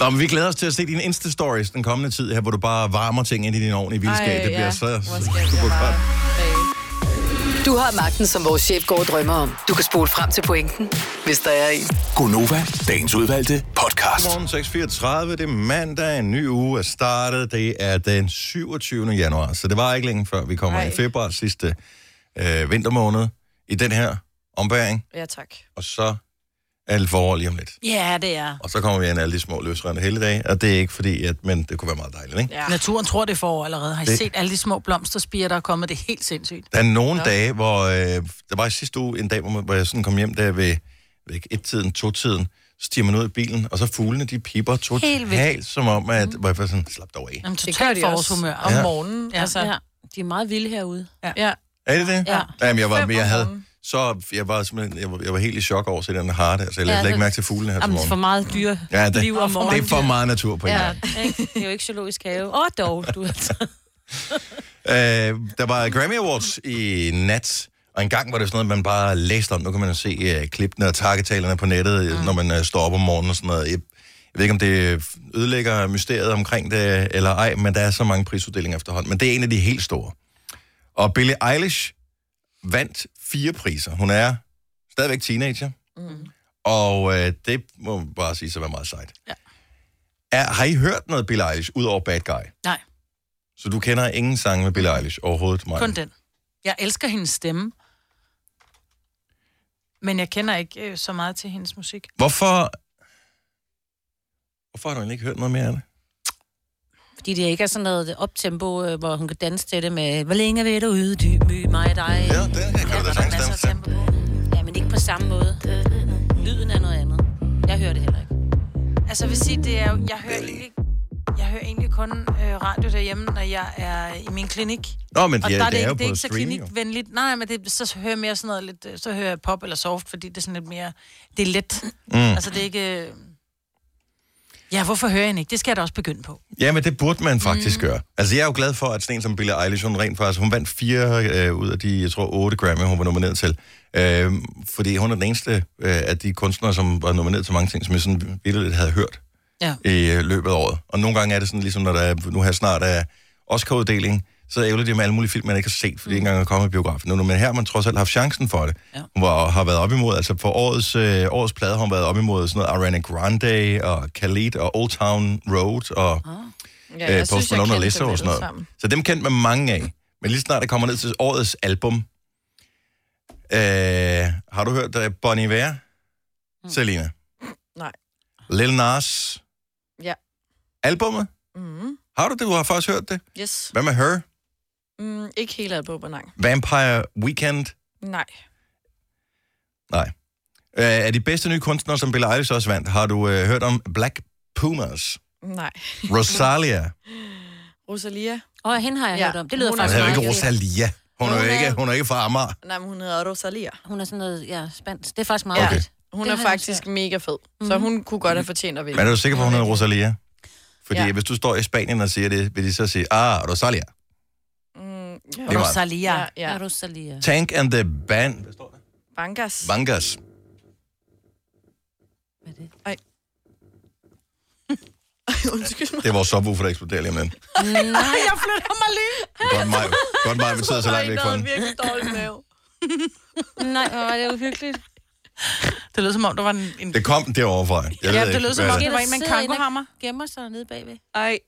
[SPEAKER 5] <laughs>
[SPEAKER 1] Nå, men vi glæder os til at se dine Insta-stories den kommende tid her, hvor du bare varmer ting ind i din ovn i vildskab. det bliver
[SPEAKER 5] ja.
[SPEAKER 1] så
[SPEAKER 5] Hvor skal
[SPEAKER 1] <laughs>
[SPEAKER 5] jeg
[SPEAKER 1] super
[SPEAKER 5] bare...
[SPEAKER 1] godt.
[SPEAKER 6] Du har magten, som vores chef går og drømmer om. Du kan spole frem til pointen, hvis der er en.
[SPEAKER 7] Gonova, dagens udvalgte podcast.
[SPEAKER 1] Morgen 6.34, det er mandag, en ny uge er startet. Det er den 27. januar, så det var ikke længe før vi kommer i februar sidste øh, vintermåned i den her ombæring.
[SPEAKER 5] Ja, tak.
[SPEAKER 1] Og så er det forår lige om lidt.
[SPEAKER 2] Ja, det er.
[SPEAKER 1] Og så kommer vi ind af alle de små løsrende helligdage, og det er ikke fordi, at, men det kunne være meget dejligt, ikke?
[SPEAKER 5] Ja.
[SPEAKER 2] Naturen tror, det er forår allerede. Har I
[SPEAKER 1] Det-
[SPEAKER 2] set alle de små blomsterspirer, der er kommet? Det er helt sindssygt.
[SPEAKER 1] Der er nogle ja. dage, hvor... Øh, der var i sidste uge en dag, hvor, man, hvor jeg sådan kom hjem der ved, ved et-tiden, to-tiden. Så stiger man ud i bilen, og så fuglene, de piper
[SPEAKER 2] Helt vildt.
[SPEAKER 1] totalt, som om, at... Hvor jeg bare sådan, slap dog af.
[SPEAKER 2] Jamen,
[SPEAKER 5] Det gør
[SPEAKER 2] totalt
[SPEAKER 5] de også
[SPEAKER 2] forårshumør.
[SPEAKER 5] om
[SPEAKER 1] Ja.
[SPEAKER 5] morgenen.
[SPEAKER 2] Ja.
[SPEAKER 5] Altså,
[SPEAKER 4] ja. De er meget vilde herude.
[SPEAKER 5] ja.
[SPEAKER 1] Er det det?
[SPEAKER 4] Ja.
[SPEAKER 1] Jamen, jeg var,
[SPEAKER 5] Fem
[SPEAKER 1] men jeg
[SPEAKER 5] om
[SPEAKER 1] havde,
[SPEAKER 5] morgenen.
[SPEAKER 1] så jeg var, simpelthen, jeg var, jeg var helt i chok over at se den harde, altså jeg lagde
[SPEAKER 4] Ja,
[SPEAKER 1] slet ikke
[SPEAKER 4] det-
[SPEAKER 1] mærke til fuglene her til
[SPEAKER 4] Jamen, for
[SPEAKER 1] morgen.
[SPEAKER 4] meget dyre
[SPEAKER 1] Ja, det,
[SPEAKER 4] liv om morgenen.
[SPEAKER 1] det er for meget natur på en
[SPEAKER 4] Ja,
[SPEAKER 1] gang.
[SPEAKER 4] ikke? det er jo ikke zoologisk have. Åh, dog, du
[SPEAKER 1] <laughs>
[SPEAKER 4] altså.
[SPEAKER 1] Øh, der var Grammy Awards i nat, og en gang var det sådan noget, man bare læste om. Nu kan man jo se uh, klippene og takketalerne på nettet, mm. når man uh, står op om morgenen og sådan noget. Jeg, jeg ved ikke, om det ødelægger mysteriet omkring det eller ej, men der er så mange prisuddelinger efterhånden. Men det er en af de helt store. Og Billie Eilish vandt fire priser. Hun er stadigvæk teenager, mm. og øh, det må man bare sige, så var meget sejt.
[SPEAKER 2] Ja.
[SPEAKER 1] Er, har I hørt noget Billie Eilish, udover Bad Guy?
[SPEAKER 2] Nej,
[SPEAKER 1] Så du kender ingen sange med Billie Eilish overhovedet, Maja?
[SPEAKER 2] kun den. Jeg elsker hendes stemme. Men jeg kender ikke øh, så meget til hendes musik.
[SPEAKER 1] Hvorfor... Hvorfor har du egentlig ikke hørt noget mere af det?
[SPEAKER 4] Fordi det ikke er sådan noget optempo, øh, hvor hun kan danse til det med, hvor længe vil du ydmyge mig og dig?
[SPEAKER 1] Ja, den her kan du da
[SPEAKER 2] Der er
[SPEAKER 1] sagtens
[SPEAKER 2] masser af
[SPEAKER 1] danse til.
[SPEAKER 2] tempo på.
[SPEAKER 4] Ja, men ikke på samme måde. Lyden er noget andet. Jeg hører det heller
[SPEAKER 5] <laughs>
[SPEAKER 4] ikke.
[SPEAKER 2] Altså, jeg vil sige, det er jo, jeg hører egentlig, jeg hører egentlig kun øh, radio derhjemme, når jeg er i min klinik.
[SPEAKER 1] Nå, men
[SPEAKER 2] Og
[SPEAKER 1] de,
[SPEAKER 2] der er
[SPEAKER 1] det,
[SPEAKER 2] det, ikke,
[SPEAKER 1] er jo
[SPEAKER 2] det er
[SPEAKER 1] på
[SPEAKER 2] ikke så
[SPEAKER 1] streaming. jo.
[SPEAKER 2] klinikvenligt. Nej, men det, så hører jeg mere sådan noget lidt, øh, så hører jeg pop eller soft, fordi det er sådan lidt mere, det er let. Mm. Altså det er ikke... øh, Ja, hvorfor hører jeg hende ikke? Det skal jeg da også begynde på.
[SPEAKER 1] Ja, men det burde man faktisk mm. gøre. Altså, jeg er jo glad for, at sådan en som Billie Eilish, hun rent faktisk, hun vandt fire øh, ud af de, jeg tror, otte Grammy, hun var nomineret til. Øh, fordi hun er den eneste øh, af de kunstnere, som var nomineret til mange ting, som jeg sådan lidt havde hørt
[SPEAKER 2] Ja.
[SPEAKER 1] i øh, løbet af året. Og nogle gange er det sådan, ligesom når der er, nu her snart er Oscar-uddeling, så ævler de med alle mulige film, man ikke har set, fordi de ikke engang er kommet i biografen. Nu, men her har man trods alt haft chancen for det. Mm. Ja. Hun var, har været op imod, altså for årets, øh, årets plade har hun været op imod sådan noget Ariana Grande og Khalid og Old Town Road og
[SPEAKER 5] Ja,
[SPEAKER 1] ja, øh, Post Malone og
[SPEAKER 5] kendte
[SPEAKER 1] Lizzo
[SPEAKER 5] dem
[SPEAKER 1] og sådan noget.
[SPEAKER 5] alle sammen.
[SPEAKER 1] Så dem kendte man mange af. Men lige snart det kommer ned til årets album. Øh, har du hørt uh, Bon Iver? Mm. Selina?
[SPEAKER 5] Nej.
[SPEAKER 1] Lil Nas?
[SPEAKER 5] Ja.
[SPEAKER 1] Albummet?
[SPEAKER 5] Mm.
[SPEAKER 1] Har du det? Du har faktisk hørt det.
[SPEAKER 5] Yes.
[SPEAKER 1] Hvad med Her?
[SPEAKER 5] Mm, ikke helt albumet, nej.
[SPEAKER 1] Vampire Weekend?
[SPEAKER 5] Nej.
[SPEAKER 1] Nej. Øh, af de bedste nye kunstnere, som Billie Eilish også vandt, har du øh, hørt om Black Pumas?
[SPEAKER 5] Nej.
[SPEAKER 1] Rosalia?
[SPEAKER 5] <laughs> Rosalia?
[SPEAKER 4] Og hende har jeg
[SPEAKER 5] Ja.
[SPEAKER 4] ja. hørt om. Det lyder
[SPEAKER 5] Hun er
[SPEAKER 1] Altså,
[SPEAKER 4] faktisk
[SPEAKER 1] det er jo
[SPEAKER 4] meget
[SPEAKER 1] ikke Rosalia. Hun er jo
[SPEAKER 4] Hun er-
[SPEAKER 1] ikke, hun er ikke fra Amager.
[SPEAKER 5] Nej, men hun hedder Rosalia.
[SPEAKER 4] Hun er sådan noget, ja, spansk. Det er faktisk meget
[SPEAKER 1] Okay.
[SPEAKER 4] okay. fedt.
[SPEAKER 5] Hun
[SPEAKER 4] Det
[SPEAKER 5] det er
[SPEAKER 4] har jeg Mhm.
[SPEAKER 5] faktisk mega fed. Så hun kunne godt have fortjent at vinde.
[SPEAKER 1] Men er du sikker på, at hun hedder Rosalia? Fordi ja.
[SPEAKER 5] Ja.
[SPEAKER 1] hvis du står i Spanien og siger det, vil de så sige, ah, Rosalia.
[SPEAKER 5] Mm,
[SPEAKER 1] Det
[SPEAKER 5] ja.
[SPEAKER 1] var-
[SPEAKER 2] Rosalia.
[SPEAKER 5] Ja,
[SPEAKER 4] Ja.
[SPEAKER 5] ja.
[SPEAKER 4] Rosalia.
[SPEAKER 1] Tank and the Band. Hvad står der?
[SPEAKER 5] Bangas.
[SPEAKER 1] Bangas.
[SPEAKER 4] Hvad er det? <laughs>
[SPEAKER 5] Undskyld mig.
[SPEAKER 1] Det er vores subwoofer, der eksploderer lige om lidt.
[SPEAKER 5] <laughs>
[SPEAKER 2] Ej, jeg flytter mig lige.
[SPEAKER 1] Godt mig. Godt mig, vi sidder så langt væk fra den.
[SPEAKER 5] virkelig dårlig mave.
[SPEAKER 4] Nej, hvor var det uhyggeligt.
[SPEAKER 2] Det lød som om, der var en... en...
[SPEAKER 1] Det kom derovre fra. Jeg
[SPEAKER 2] ja,
[SPEAKER 1] ved
[SPEAKER 2] det lød
[SPEAKER 1] ikke,
[SPEAKER 2] som
[SPEAKER 1] hvad
[SPEAKER 2] om,
[SPEAKER 1] det
[SPEAKER 2] det var en med en
[SPEAKER 4] Sidder inde og-
[SPEAKER 2] kangohammer.
[SPEAKER 4] Gemmer sig nede bagved.
[SPEAKER 5] Ej.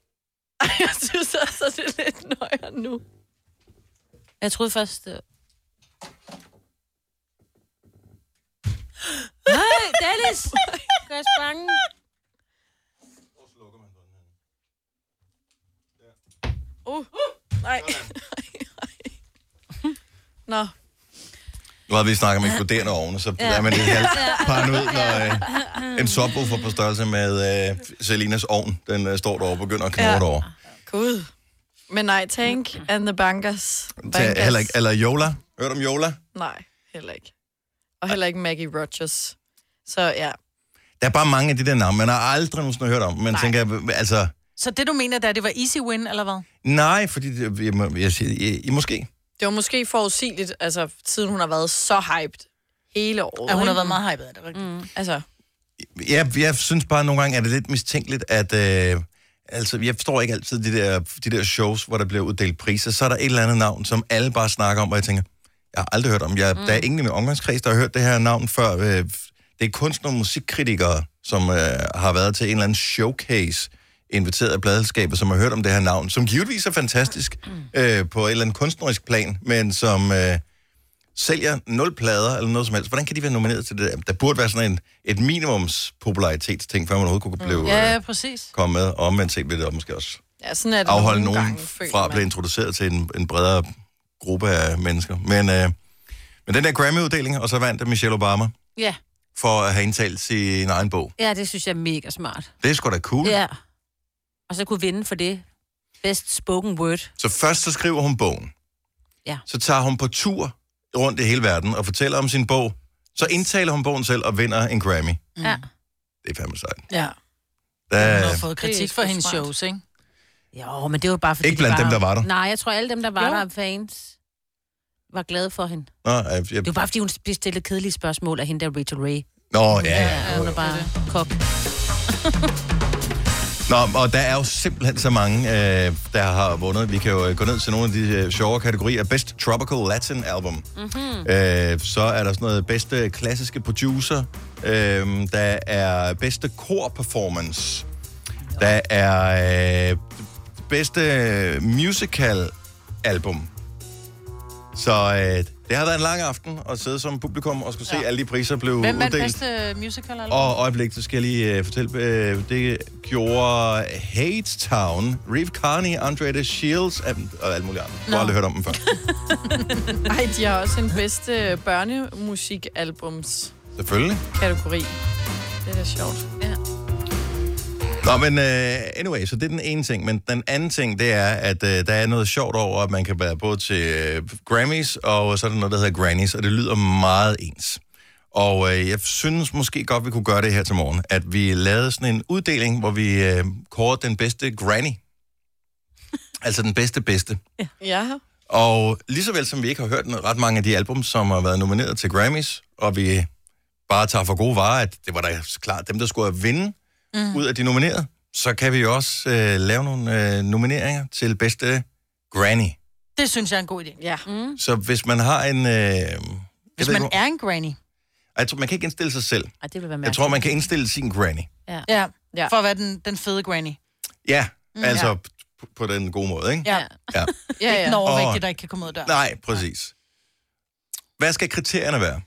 [SPEAKER 5] Ej, jeg synes også, at det er lidt nøjere nu.
[SPEAKER 4] Jeg troede først...
[SPEAKER 5] <gasps>
[SPEAKER 4] øh, Nej, Dennis! Gør os bange.
[SPEAKER 5] Uh, nej. <laughs> Nå,
[SPEAKER 1] Nu har vi snakket om eksploderende ovne, så er man lidt
[SPEAKER 4] <laughs>
[SPEAKER 1] halvt paranoid, når øh, en subwoofer på størrelse med øh, Selinas ovn, den øh, står derovre og begynder at knurre
[SPEAKER 5] Ja.
[SPEAKER 1] ja. derovre.
[SPEAKER 5] gud. Men nej, Tank and the Bangas. Bangas.
[SPEAKER 1] Tag, heller ikke, eller Yola. Hørte om Yola?
[SPEAKER 5] Nej, heller ikke. Og heller ikke Maggie Rogers. Så ja,
[SPEAKER 1] Der er bare mange af de der navne, man har aldrig nogensinde hørt om. Man Nej. tænker, altså,
[SPEAKER 2] Så det, du mener, det er, det var easy win, eller hvad?
[SPEAKER 1] Nej, fordi det, jeg, må- jeg siger, I, I måske.
[SPEAKER 5] det var måske forudsigeligt, altså siden hun har været så hyped hele året.
[SPEAKER 2] At hun har
[SPEAKER 5] ikke?
[SPEAKER 2] været meget hyped af det, rigtigt? Mm.
[SPEAKER 5] Altså,
[SPEAKER 1] Jeg, jeg synes bare, at nogle gange er det lidt mistænkeligt, at... Øh, altså, jeg forstår ikke altid de der, de der shows, hvor der bliver uddelt priser. Så er der et eller andet navn, som alle bare snakker om, og jeg tænker, jeg har aldrig hørt om. Jeg, mm. Der er ingen i min omgangskreds, der har hørt det her navn før. Øh, Det er kunstnere og musikkritikere, som øh, har været til en eller anden showcase, inviteret af pladselskabet, som har hørt om det her navn, som givetvis er fantastisk øh, på et eller andet kunstnerisk plan, men som... Øh, sælger nul plader eller noget som helst, hvordan kan de være nomineret til det? der? Der burde være sådan en, et minimums popularitetsting, før man overhovedet
[SPEAKER 5] Mm.
[SPEAKER 1] kunne blive
[SPEAKER 2] Ja,
[SPEAKER 1] ja.
[SPEAKER 2] ja,
[SPEAKER 1] øh,
[SPEAKER 2] præcis.
[SPEAKER 1] komme med, og omvendt set vil det måske også
[SPEAKER 5] ja, sådan er det
[SPEAKER 1] afholde
[SPEAKER 5] nogle
[SPEAKER 1] nogen
[SPEAKER 5] gange, føler
[SPEAKER 1] fra at
[SPEAKER 5] man.
[SPEAKER 1] blive introduceret til en, en bredere gruppe af mennesker. Men, øh, men den der Grammy-uddeling, og så vandt Michelle Obama
[SPEAKER 4] Ja.
[SPEAKER 1] for at have indtalt sin egen bog.
[SPEAKER 4] ja, det synes jeg er mega smart.
[SPEAKER 1] Det er sgu da cool.
[SPEAKER 4] Ja. Og så kunne vinde for det. Best spoken word.
[SPEAKER 1] Så først så skriver hun bogen.
[SPEAKER 4] Ja.
[SPEAKER 1] Så tager hun på tur rundt i hele verden og fortæller om sin bog. Så indtaler hun bogen selv og vinder en Grammy.
[SPEAKER 4] Mm. Ja.
[SPEAKER 1] Det er fandme sejt.
[SPEAKER 2] Ja. Hun
[SPEAKER 1] Der,
[SPEAKER 2] har fået
[SPEAKER 5] Det er
[SPEAKER 2] kritik
[SPEAKER 5] sgu
[SPEAKER 2] for hendes
[SPEAKER 5] smart.
[SPEAKER 2] shows, ikke?
[SPEAKER 4] Jo, men det var bare fordi...
[SPEAKER 1] Ikke blandt
[SPEAKER 4] de
[SPEAKER 1] dem,
[SPEAKER 4] var...
[SPEAKER 1] der var der?
[SPEAKER 4] Nej, jeg tror alle dem, der var
[SPEAKER 2] Jo.
[SPEAKER 4] jo. der fans, var glade for hende.
[SPEAKER 1] Nå, jeg, jeg,
[SPEAKER 4] Det var bare, fordi hun blev stillet kedelige spørgsmål af hende der Rachel Ray.
[SPEAKER 1] nå ja,
[SPEAKER 4] Ja,
[SPEAKER 1] ja.
[SPEAKER 4] hun er bare kok.
[SPEAKER 1] Nå, og der er jo simpelthen så mange, øh, der har vundet. Vi kan jo øh, gå ned til nogle af de øh, sjove kategorier. Best Tropical Latin Album. Mm-hmm.
[SPEAKER 2] Mhm.
[SPEAKER 1] Øh, så er der sådan noget bedste klassiske producer. Øh, der er bedste kor performance. Der er øh, bedste musical album. Så øh, det har været en lang aften at sidde som publikum og skulle se ja. alle de priser blev
[SPEAKER 2] Hvem vandt
[SPEAKER 1] uddelt.
[SPEAKER 2] bedste musical? Eller?
[SPEAKER 1] Og øjeblik, så skal jeg lige øh, fortælle, øh, det gjorde Hate Town, Reeve Carney, Andre the Shields and, og alle mulige andre. Du har aldrig hørt om dem før.
[SPEAKER 5] Ej, de har også en bedste børnemusikalbums
[SPEAKER 1] Selvfølgelig.
[SPEAKER 5] kategori. Det er da sjovt.
[SPEAKER 1] Nå, men uh, anyway, så det er den ene ting. Men den anden ting, det er, at uh, der er noget sjovt over, at man kan være både til uh, Grammys, og så er der noget, der hedder Grannies, og det lyder meget ens. Og uh, jeg synes måske godt, vi kunne gøre det her til morgen, at vi lavede sådan en uddeling, hvor vi uh, kårede den bedste granny. altså den bedste bedste.
[SPEAKER 5] Ja,
[SPEAKER 1] Og lige så vel som vi ikke har hørt noget- ret mange af de album, som har været nomineret til Grammys, og vi bare tager for gode varer, at det var da klart dem, der skulle have vinde mm. ud af de nominerede, så kan vi jo også øh, lave nogle øh, nomineringer til bedste granny.
[SPEAKER 2] Det synes jeg er en god idé.
[SPEAKER 5] Ja.
[SPEAKER 2] Mm.
[SPEAKER 1] Så hvis man har en... Øh, jeg
[SPEAKER 2] Hvis
[SPEAKER 1] ved
[SPEAKER 2] man
[SPEAKER 1] ikke,
[SPEAKER 2] er en granny.
[SPEAKER 1] hvor- jeg tror, man kan ikke indstille sig selv.
[SPEAKER 4] Ej, det vil være
[SPEAKER 1] Jeg
[SPEAKER 4] mærkeligt.
[SPEAKER 1] tror, man kan indstille sin granny.
[SPEAKER 4] Ja.
[SPEAKER 2] Ja.
[SPEAKER 5] Ja.
[SPEAKER 2] ja. For at være den, den fede granny.
[SPEAKER 1] Ja,
[SPEAKER 2] Mm,
[SPEAKER 1] altså
[SPEAKER 2] ja.
[SPEAKER 1] p- på den gode måde, ikke?
[SPEAKER 2] Ja. <laughs>
[SPEAKER 1] Ja.
[SPEAKER 5] Ja, ja.
[SPEAKER 2] Den overvægtige,
[SPEAKER 1] Og-
[SPEAKER 2] der ikke kan komme ud af døren.
[SPEAKER 1] Nej, præcis. Hvad skal kriterierne være?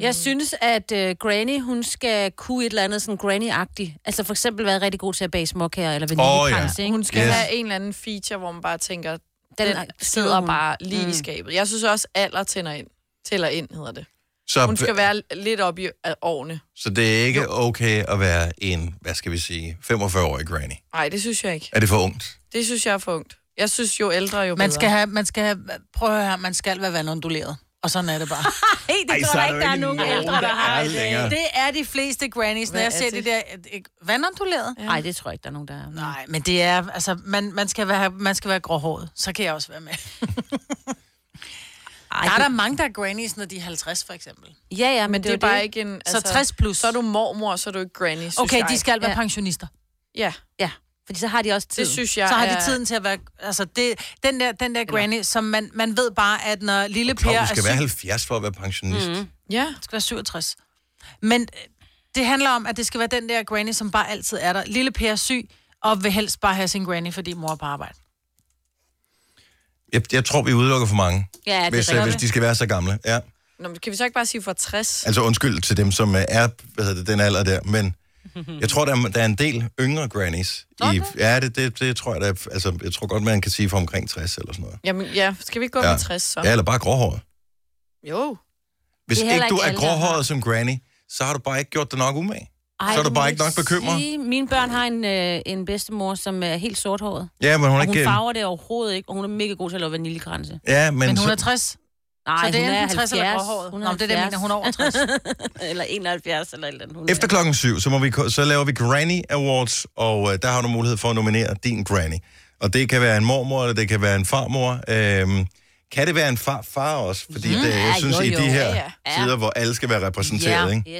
[SPEAKER 4] Jeg synes, at øh, Granny, hun skal kunne et eller andet sådan granny-agtigt. Altså for eksempel være rigtig god til at bage småkager eller vaniljekrans, oh, ja. ikke?
[SPEAKER 5] Hun skal
[SPEAKER 1] Yes.
[SPEAKER 5] yes. have en eller anden feature, hvor man bare tænker,
[SPEAKER 4] Den
[SPEAKER 5] den,
[SPEAKER 4] er-
[SPEAKER 5] den
[SPEAKER 4] sidder
[SPEAKER 5] sidder
[SPEAKER 4] hun.
[SPEAKER 5] bare lige mm. i skabet. Jeg synes også, alder tænder ind. Tæller ind, hedder det.
[SPEAKER 1] Så,
[SPEAKER 5] Hun skal være lidt op i øh, årene.
[SPEAKER 1] så det er ikke okay at være en, hvad skal vi sige, 45-årig granny.
[SPEAKER 5] Nej, det synes jeg ikke.
[SPEAKER 1] Er det for ungt?
[SPEAKER 5] Det synes jeg er for ungt. Jeg synes, jo ældre, jo bedre.
[SPEAKER 2] Man skal have, man skal have, prøv at høre her, man skal være vandunduleret. Og sådan er det bare.
[SPEAKER 4] Hey, det
[SPEAKER 1] så er der jo ikke nogen, der er længere.
[SPEAKER 2] det er de fleste grannies, når
[SPEAKER 5] Hvad
[SPEAKER 2] jeg
[SPEAKER 5] er
[SPEAKER 2] ser
[SPEAKER 5] det?
[SPEAKER 2] det der øh, vandunduleret.
[SPEAKER 4] Nej, det tror jeg ikke, der er nogen, der er.
[SPEAKER 2] Nej, men det er, altså, man, man, skal være, man skal være gråhåret. Så kan jeg også være med. Ej, der er der mange, der er grannies, når de er 50, for eksempel.
[SPEAKER 4] Ja, ja, men,
[SPEAKER 5] Men det, er
[SPEAKER 4] jo
[SPEAKER 5] bare ikke en...
[SPEAKER 2] Altså, så 60 plus.
[SPEAKER 5] Så er du mormor, så er du ikke granny, synes
[SPEAKER 2] okay,
[SPEAKER 5] jeg.
[SPEAKER 2] de skal være
[SPEAKER 4] Ja.
[SPEAKER 2] pensionister.
[SPEAKER 5] Ja,
[SPEAKER 4] Ja, fordi så har de også tid.
[SPEAKER 5] det synes jeg
[SPEAKER 2] så har
[SPEAKER 5] er-
[SPEAKER 2] de tiden til at være... Altså, det, den der, den der granny, som man, man ved bare, at når lille Per
[SPEAKER 1] Nå,
[SPEAKER 2] er
[SPEAKER 1] du skal
[SPEAKER 2] syg,
[SPEAKER 1] være 70 for at være pensionist. Mm.
[SPEAKER 5] Ja,
[SPEAKER 2] skal være 67. Men øh, det handler om, at det skal være den der granny, som bare altid er der. Lille Per er syg, og vil helst bare have sin granny, fordi mor er på arbejde.
[SPEAKER 1] Jeg, jeg tror, vi udelukker for mange,
[SPEAKER 4] Ja, det er
[SPEAKER 1] hvis, øh,
[SPEAKER 4] rigtigt.
[SPEAKER 1] hvis de skal være så gamle. Ja.
[SPEAKER 5] Nå, men kan vi så ikke bare sige for 60?
[SPEAKER 1] Altså undskyld til dem, som øh, er hvad hedder det, den alder der,
[SPEAKER 4] <laughs>
[SPEAKER 1] men jeg tror, der er, der er en del yngre grannies. I, ja, det, det, det tror jeg, der er, altså, jeg tror godt, man kan sige for omkring 60 eller sådan noget.
[SPEAKER 5] Jamen, ja, skal vi ikke gå
[SPEAKER 1] Ja.
[SPEAKER 5] med 60 så?
[SPEAKER 1] Ja, eller bare gråhåret.
[SPEAKER 5] Jo.
[SPEAKER 1] Hvis
[SPEAKER 4] Det er
[SPEAKER 1] ikke
[SPEAKER 4] heller
[SPEAKER 1] du
[SPEAKER 4] ikke
[SPEAKER 1] er
[SPEAKER 4] alle, der har.
[SPEAKER 1] gråhåret som granny, så har du bare ikke gjort dig nok umage. så er du
[SPEAKER 4] må
[SPEAKER 1] bare
[SPEAKER 4] jeg
[SPEAKER 1] ikke nok bekymret.
[SPEAKER 4] sige, Mine børn har en, øh, en bedstemor, som er helt sorthåret.
[SPEAKER 1] Ja, men hun er
[SPEAKER 4] Og hun
[SPEAKER 1] ikke... øh,
[SPEAKER 4] farver det overhovedet ikke, og hun er mega god til at lave vaniljekranse.
[SPEAKER 1] Ja, men,
[SPEAKER 2] Men hun er
[SPEAKER 1] så,
[SPEAKER 2] 60,
[SPEAKER 4] Nej,
[SPEAKER 2] så det
[SPEAKER 4] hun
[SPEAKER 2] er
[SPEAKER 4] er
[SPEAKER 2] enten 60 eller
[SPEAKER 4] 70.
[SPEAKER 2] gråhåret.
[SPEAKER 4] Hun
[SPEAKER 2] Nå,
[SPEAKER 4] er
[SPEAKER 2] men det er det, jeg mener,
[SPEAKER 4] 70.
[SPEAKER 2] hun er over 60.
[SPEAKER 4] <laughs> eller 71 eller et eller andet. Hun
[SPEAKER 1] efter klokken syv, så, må vi, ko- så laver vi Granny Awards, og øh, der har du mulighed for at nominere din granny. Og det kan være en mormor, eller det kan være en farmor. Øhm, kan det være en far, far også? Fordi mm, det, jeg
[SPEAKER 4] ja,
[SPEAKER 1] synes,
[SPEAKER 4] jo,
[SPEAKER 1] i
[SPEAKER 4] jo.
[SPEAKER 1] de her
[SPEAKER 5] Ja,
[SPEAKER 4] ja.
[SPEAKER 1] tider, hvor alle skal være repræsenteret, ikke?
[SPEAKER 4] Ja,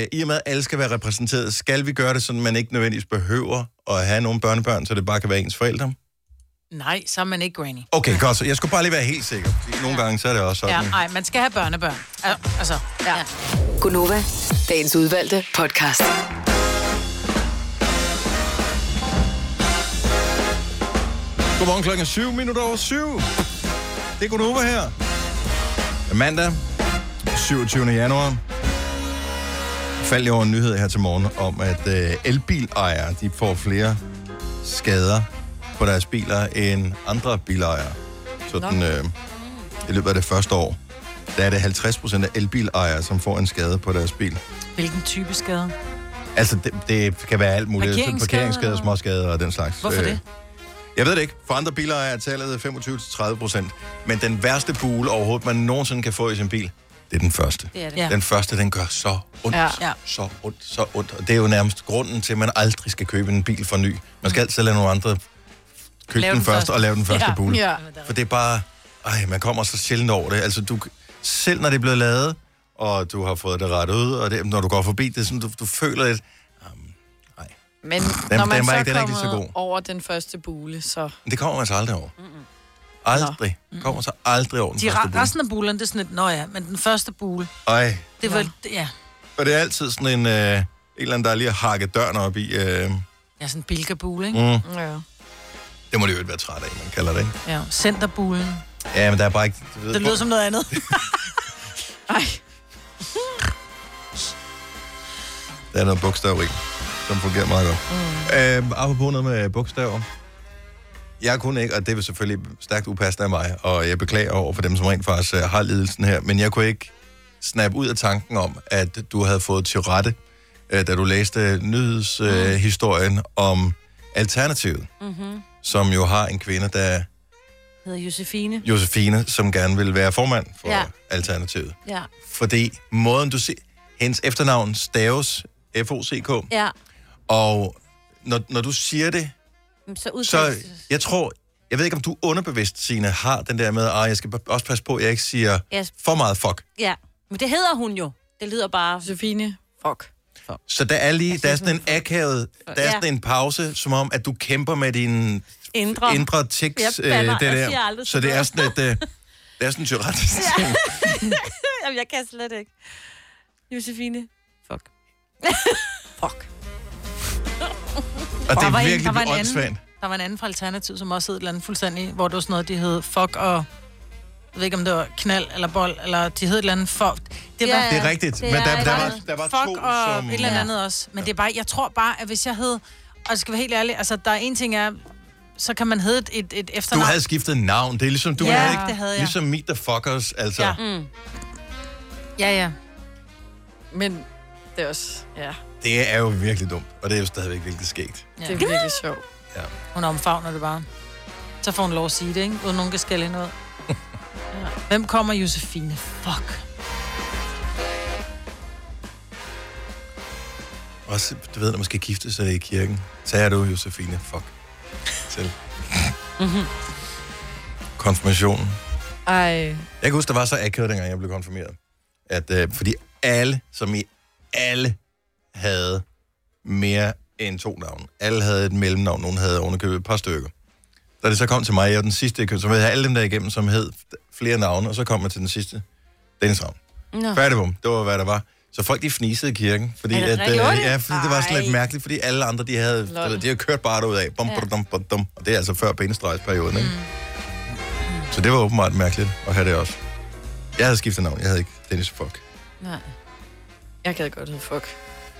[SPEAKER 4] yes.
[SPEAKER 1] Uh, I og med, at alle skal være repræsenteret, skal vi gøre det sådan, man ikke nødvendigvis behøver at have nogle børnebørn, så det bare kan være ens forældre?
[SPEAKER 2] Nej, så er man ikke granny.
[SPEAKER 1] Okay, godt. Så jeg skulle bare lige være helt sikker. Fordi nogle gange, så er det også
[SPEAKER 2] Ja,
[SPEAKER 1] sådan.
[SPEAKER 2] nej, man skal have børnebørn. Al- Altså, ja. ja.
[SPEAKER 6] Gunova, dagens udvalgte podcast.
[SPEAKER 1] Godmorgen klokken 7 minutter over 7. Det er Gunova her. Mandag, 27. januar. Faldt jeg over en nyhed her til morgen om, at øh, elbilejere de får flere skader på deres biler end andre bilejere. Sådan øh, i løbet af det første år, der er det 50 procent af elbilejere, som får en skade på deres bil.
[SPEAKER 2] Hvilken type skade?
[SPEAKER 1] Altså, det, det kan være alt muligt.
[SPEAKER 2] Parkeringsskader,
[SPEAKER 1] Parkeringsskader,
[SPEAKER 2] eller?
[SPEAKER 1] småskader og den slags.
[SPEAKER 2] Hvorfor
[SPEAKER 1] Øh,
[SPEAKER 2] det?
[SPEAKER 1] Jeg ved det ikke. For andre biler er tallet 25-30 procent. Men den værste bule overhovedet, man nogensinde kan få i sin bil, det er den første.
[SPEAKER 4] Det er det.
[SPEAKER 2] Ja.
[SPEAKER 1] Den første, den gør så ondt,
[SPEAKER 5] Ja.
[SPEAKER 1] ja. så ondt, så ondt. Og det er jo nærmest grunden til, at man aldrig skal købe en bil for ny. Man skal altid lade nogle andre købe
[SPEAKER 2] Lave
[SPEAKER 1] den,
[SPEAKER 2] den
[SPEAKER 1] først
[SPEAKER 2] første.
[SPEAKER 1] og lave den første
[SPEAKER 2] Ja.
[SPEAKER 1] bule.
[SPEAKER 5] Ja.
[SPEAKER 1] For det er bare... Ej, man kommer så sjældent over det. Altså, du, selv når det er blevet lavet, og du har fået det rettet ud, og det, når du går forbi det, er sådan, du, du føler lidt...
[SPEAKER 5] Men
[SPEAKER 1] Den-
[SPEAKER 5] når man
[SPEAKER 1] den var
[SPEAKER 5] så
[SPEAKER 1] ikke- den er
[SPEAKER 5] er
[SPEAKER 1] ikke lige så
[SPEAKER 5] kommet
[SPEAKER 1] god.
[SPEAKER 5] over den første bule, så...
[SPEAKER 1] Men Det kommer man så aldrig over. Aldrig. Kommer så aldrig over den
[SPEAKER 2] De
[SPEAKER 1] første
[SPEAKER 2] re-
[SPEAKER 1] bule.
[SPEAKER 2] resten af bulerne, det er sådan et, nå ja, men den første bule,
[SPEAKER 1] Ej,
[SPEAKER 2] det var, ja,
[SPEAKER 1] Og det er altid sådan en, øh, en eller anden, der lige har hakket døren op i. Øh,
[SPEAKER 2] ja sådan en bilkabule, ikke?
[SPEAKER 1] mm,
[SPEAKER 5] Ja.
[SPEAKER 1] det må det jo ikke være træt af, man kalder det, ikke?
[SPEAKER 2] Ja, centerbulen.
[SPEAKER 1] Ja, men der er bare ikke... Du ved,
[SPEAKER 2] Det lyder som noget <laughs>
[SPEAKER 1] <laughs>
[SPEAKER 2] andet.
[SPEAKER 5] Ej,
[SPEAKER 1] Der er noget bogstav i, som fungerer meget godt. Mm. Øh, apropos noget med bogstaver. Jeg kunne ikke, og det er selvfølgelig stærkt upassende af mig, og jeg beklager over for dem, som rent faktisk øh, har lidelsen her, men jeg kunne ikke snappe ud af tanken om, at du havde fået til rette, øh, da du læste nyhedshistorien øh, historien om Alternativet, mm-hmm. som jo har en kvinde, der
[SPEAKER 4] Mhm. Hedder Josefine.
[SPEAKER 1] Josefine, som gerne vil være formand for ja.
[SPEAKER 4] Ja.
[SPEAKER 1] Alternativet.
[SPEAKER 4] Ja.
[SPEAKER 1] Fordi måden, du siger... Hendes efternavn staves F-O-C-K,
[SPEAKER 4] Ja.
[SPEAKER 1] og når, når du siger det,
[SPEAKER 4] Så
[SPEAKER 1] så
[SPEAKER 4] udtales...
[SPEAKER 1] jeg tror... Jeg ved ikke, om du underbevidst, Signe, har den der med, at jeg skal også passe på, at jeg ikke siger
[SPEAKER 4] Yes.
[SPEAKER 1] for meget fuck.
[SPEAKER 4] Ja. Men det hedder hun jo. Det lyder bare...
[SPEAKER 5] Josefine, fuck.
[SPEAKER 1] Så der er lige, der er sådan en akavet, der er
[SPEAKER 4] Ja.
[SPEAKER 1] sådan en pause, som om, at du kæmper med din
[SPEAKER 4] Indre.
[SPEAKER 1] indre tics,
[SPEAKER 4] Jeg
[SPEAKER 1] øh,
[SPEAKER 4] baller,
[SPEAKER 1] det
[SPEAKER 4] jeg
[SPEAKER 1] der.
[SPEAKER 4] siger aldrig
[SPEAKER 1] Så det er sådan et, øh, det er sådan en <laughs> Tourette.
[SPEAKER 4] Jamen, jeg kan slet ikke. Josefine. Fuck.
[SPEAKER 1] Og det
[SPEAKER 2] Der var
[SPEAKER 1] er
[SPEAKER 2] en-
[SPEAKER 1] virkelig
[SPEAKER 2] der var en anden.
[SPEAKER 1] åndssvagt.
[SPEAKER 2] Der var en anden fra Alternativ, som også hed et eller andet fuldstændig, hvor det var sådan noget, de hed fuck og... Jeg ved ikke, om det var knald eller bold, eller de hed et eller andet fuck. Det var
[SPEAKER 1] Det er rigtigt, men
[SPEAKER 4] er
[SPEAKER 1] der,
[SPEAKER 4] et
[SPEAKER 1] der, var,
[SPEAKER 4] andet.
[SPEAKER 1] der var to,
[SPEAKER 2] fuck og
[SPEAKER 1] som...
[SPEAKER 2] et eller andet også. Men det er bare, jeg tror bare, at hvis jeg hed... Og jeg skal være helt ærlig, altså der er en ting er, så kan man hedde et, et, et
[SPEAKER 1] Du
[SPEAKER 2] efternavn.
[SPEAKER 1] havde skiftet navn. Det er ligesom, du
[SPEAKER 2] Ja,
[SPEAKER 1] havde ikke...
[SPEAKER 2] det havde jeg.
[SPEAKER 1] Ligesom Meet the Fuckers, altså.
[SPEAKER 2] Ja. Ja, ja.
[SPEAKER 5] Men det er også... Ja,
[SPEAKER 1] Det er jo virkelig dumt, og det er jo stadigvæk virkelig skægt.
[SPEAKER 5] det er virkelig sjovt.
[SPEAKER 2] Hun omfavner det bare. Så får hun lov at sige det, ikke? Uden nogen kan skælde hende ud. Hvem kommer Josefine? Fuck.
[SPEAKER 1] Også, du ved, når man skal gifte sig i kirken, så er du Josefine. Fuck. Til.
[SPEAKER 2] Mhm.
[SPEAKER 1] Konfirmationen.
[SPEAKER 5] Ej,
[SPEAKER 1] Jeg kan huske, der var så akavet, dengang jeg blev konfirmeret. At, øh, fordi alle, som i alle, havde mere end to navne. Alle havde et mellemnavn, nogen havde ovenikøbet et par stykker. Da det så kom til mig, jeg var den sidste, jeg købte, så havde jeg alle dem der igennem, som hed flere navne, og så kom jeg til den sidste, Dennis Ravn.
[SPEAKER 4] Nå.
[SPEAKER 1] Færdigbom, det var, hvad der var. Så folk, de fnisede i kirken, fordi,
[SPEAKER 4] Er det
[SPEAKER 1] at, øh,
[SPEAKER 4] rigtigt? Gjorde de?
[SPEAKER 1] ja, fordi det var slet
[SPEAKER 4] Ej.
[SPEAKER 1] mærkeligt, fordi alle andre, de havde, du ved, de havde kørt bare derud af. Bum, ja. bum, bum, bum, og det er altså før benestregsperioden, ikke?
[SPEAKER 4] Mm.
[SPEAKER 1] Så det var åbenbart mærkeligt at have det også. Jeg havde skiftet navn, jeg havde ikke Dennis Fuck.
[SPEAKER 4] Nej.
[SPEAKER 5] jeg gad godt hedde fuck.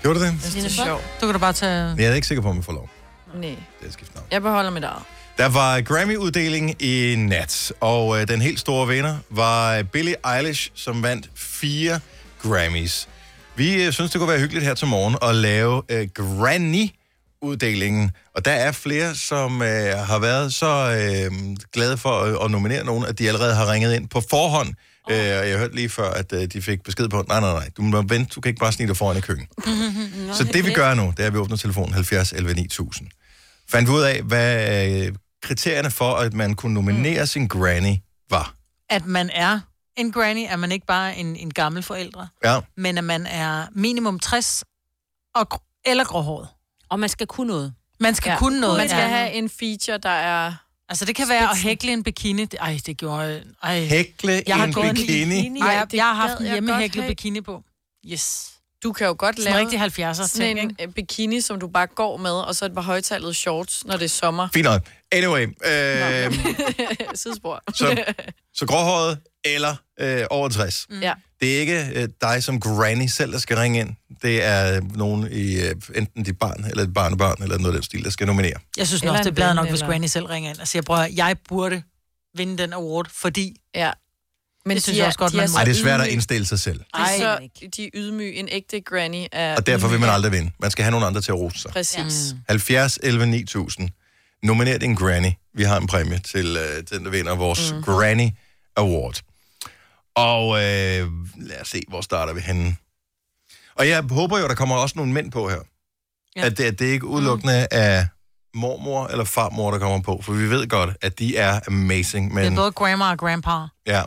[SPEAKER 1] Gjorde du det?
[SPEAKER 5] Det er sjovt.
[SPEAKER 2] Du kan da bare tage...
[SPEAKER 1] Men jeg er ikke sikker på, om jeg får lov.
[SPEAKER 5] Nej,
[SPEAKER 1] Det er skiftet navn.
[SPEAKER 5] jeg beholder mit eget.
[SPEAKER 1] Der var Grammy-uddeling i nat, og øh, den helt store vinder var Billie Eilish, som vandt fire Grammys. Vi øh, synes, det kunne være hyggeligt her til morgen at lave øh, Granny-uddelingen, og der er flere, som øh, har været så øh, glade for at, at nominere nogen, at de allerede har ringet ind på forhånd. Øh, og jeg hørte lige før, at øh, de fik besked på, nej, nej, nej, du må vente, du kan ikke bare snige dig foran i køkkenet. <laughs> Så det vi gør nu, det er, at vi åbner telefonen 70 11 9000. Fandt vi ud af, hvad øh, kriterierne for, at man kunne nominere mm. sin granny var.
[SPEAKER 2] at man er en granny, at man ikke bare er en, en gammel forældre,
[SPEAKER 1] Ja,
[SPEAKER 2] men at man er minimum 60 og, gr- eller gråhåret.
[SPEAKER 4] Og man skal kunne noget.
[SPEAKER 2] Man skal ja. kunne noget.
[SPEAKER 5] Man skal
[SPEAKER 2] ja.
[SPEAKER 5] have en feature, der er...
[SPEAKER 2] Altså det kan være at hækle en bikini. Det- Ej, det gjorde... Ej.
[SPEAKER 1] hækle jeg
[SPEAKER 2] har
[SPEAKER 1] en
[SPEAKER 2] gået en
[SPEAKER 1] bikini.
[SPEAKER 2] Ej, jeg,
[SPEAKER 5] det
[SPEAKER 2] jeg har
[SPEAKER 5] gad
[SPEAKER 2] haft en
[SPEAKER 5] jeg
[SPEAKER 2] hjemmehæklet
[SPEAKER 5] godt have.
[SPEAKER 2] bikini på. Yes.
[SPEAKER 5] Du kan jo godt
[SPEAKER 2] Sådan
[SPEAKER 5] lave
[SPEAKER 2] en rigtig 70'er ting,
[SPEAKER 5] sådan
[SPEAKER 2] ikke?
[SPEAKER 5] en øh, bikini, som du bare går med, og så et par højtallede shorts, når det er sommer.
[SPEAKER 1] Fint nok. Anyway, øh,
[SPEAKER 5] <laughs> Sidespor. <laughs>
[SPEAKER 1] så, så gråhåret eller øh, over 60. Mm.
[SPEAKER 5] Ja.
[SPEAKER 1] Det er ikke øh, dig som granny selv, der skal ringe ind. Det er nogen i øh, enten dit barn, eller et barnebarn, eller noget af den stil, der skal nominere.
[SPEAKER 2] Jeg synes
[SPEAKER 4] Eller
[SPEAKER 2] nok, det er
[SPEAKER 4] en
[SPEAKER 2] bladet
[SPEAKER 4] ven,
[SPEAKER 2] nok, hvis
[SPEAKER 4] eller-
[SPEAKER 2] Granny selv ringer ind og siger, bror, jeg burde vinde den award, fordi...
[SPEAKER 5] ja. Men
[SPEAKER 2] Det synes
[SPEAKER 5] de
[SPEAKER 2] jeg
[SPEAKER 5] er-
[SPEAKER 2] også godt,
[SPEAKER 5] de
[SPEAKER 2] man må.
[SPEAKER 5] så
[SPEAKER 1] Ej, det er svært at
[SPEAKER 5] ydmyge.
[SPEAKER 1] indstille sig selv.
[SPEAKER 5] De er
[SPEAKER 4] Ej,
[SPEAKER 5] så, de er ydmyge. En ægte granny er
[SPEAKER 1] Og derfor vil man
[SPEAKER 5] ydmyg.
[SPEAKER 1] aldrig vinde. Man skal have nogen andre til at rose sig.
[SPEAKER 2] Mm.
[SPEAKER 5] Præcis.
[SPEAKER 1] 70 11 9000. Nominer din granny. Vi har en præmie til øh, den, der vinder vores
[SPEAKER 2] Mhm.
[SPEAKER 1] mm. Granny Award. Og øh, lad os se, hvor starter vi henne. Og jeg håber jo, der kommer også nogle mænd på her.
[SPEAKER 2] Ja.
[SPEAKER 1] Ja.
[SPEAKER 2] Mhm.
[SPEAKER 1] At det, at det ikke udelukkende mm. er mormor eller farmor, der kommer på. For vi ved godt, at de er amazing.
[SPEAKER 2] Det er
[SPEAKER 1] Men
[SPEAKER 2] både grandma og grandpa.
[SPEAKER 1] ja,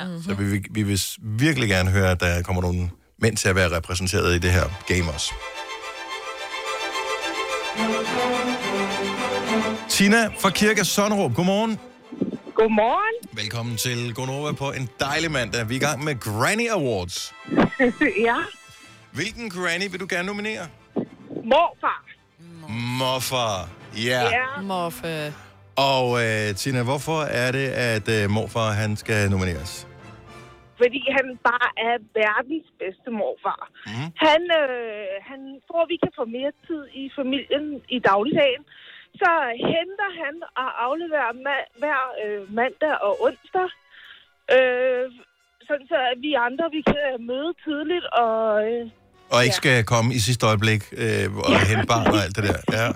[SPEAKER 2] Ja.
[SPEAKER 5] Mhm.
[SPEAKER 1] så vi, vil- vi vil s- virkelig gerne høre, at der kommer nogle mænd til at være repræsenteret i det her game også. Tina fra Kirke Sønderup, godmorgen.
[SPEAKER 8] Godmorgen.
[SPEAKER 1] Velkommen til Gonova på en dejlig mandag. Vi er i gang med Granny Awards.
[SPEAKER 8] <laughs> ja,
[SPEAKER 1] Hvilken granny vil du gerne nominere?
[SPEAKER 8] morfar.
[SPEAKER 1] Morfar. Ja. Yeah.
[SPEAKER 8] Ja.
[SPEAKER 5] Morfe.
[SPEAKER 1] Og øh, Tina, hvorfor er det, at øh, morfar han skal nomineres?
[SPEAKER 8] Fordi han bare er verdens bedste morfar.
[SPEAKER 1] Mhm.
[SPEAKER 8] Mm. Han, øh, han tror, vi kan få mere tid i familien i dagligdagen. Så henter han og afleverer ma- hver øh, mandag og onsdag. Øh, sådan så at vi andre vi kan møde tidligt og... Øh,
[SPEAKER 1] Og ikke
[SPEAKER 8] Ja.
[SPEAKER 1] skal komme i sidste øjeblik øh, og
[SPEAKER 8] Ja.
[SPEAKER 1] hente barn og alt det der. Ja.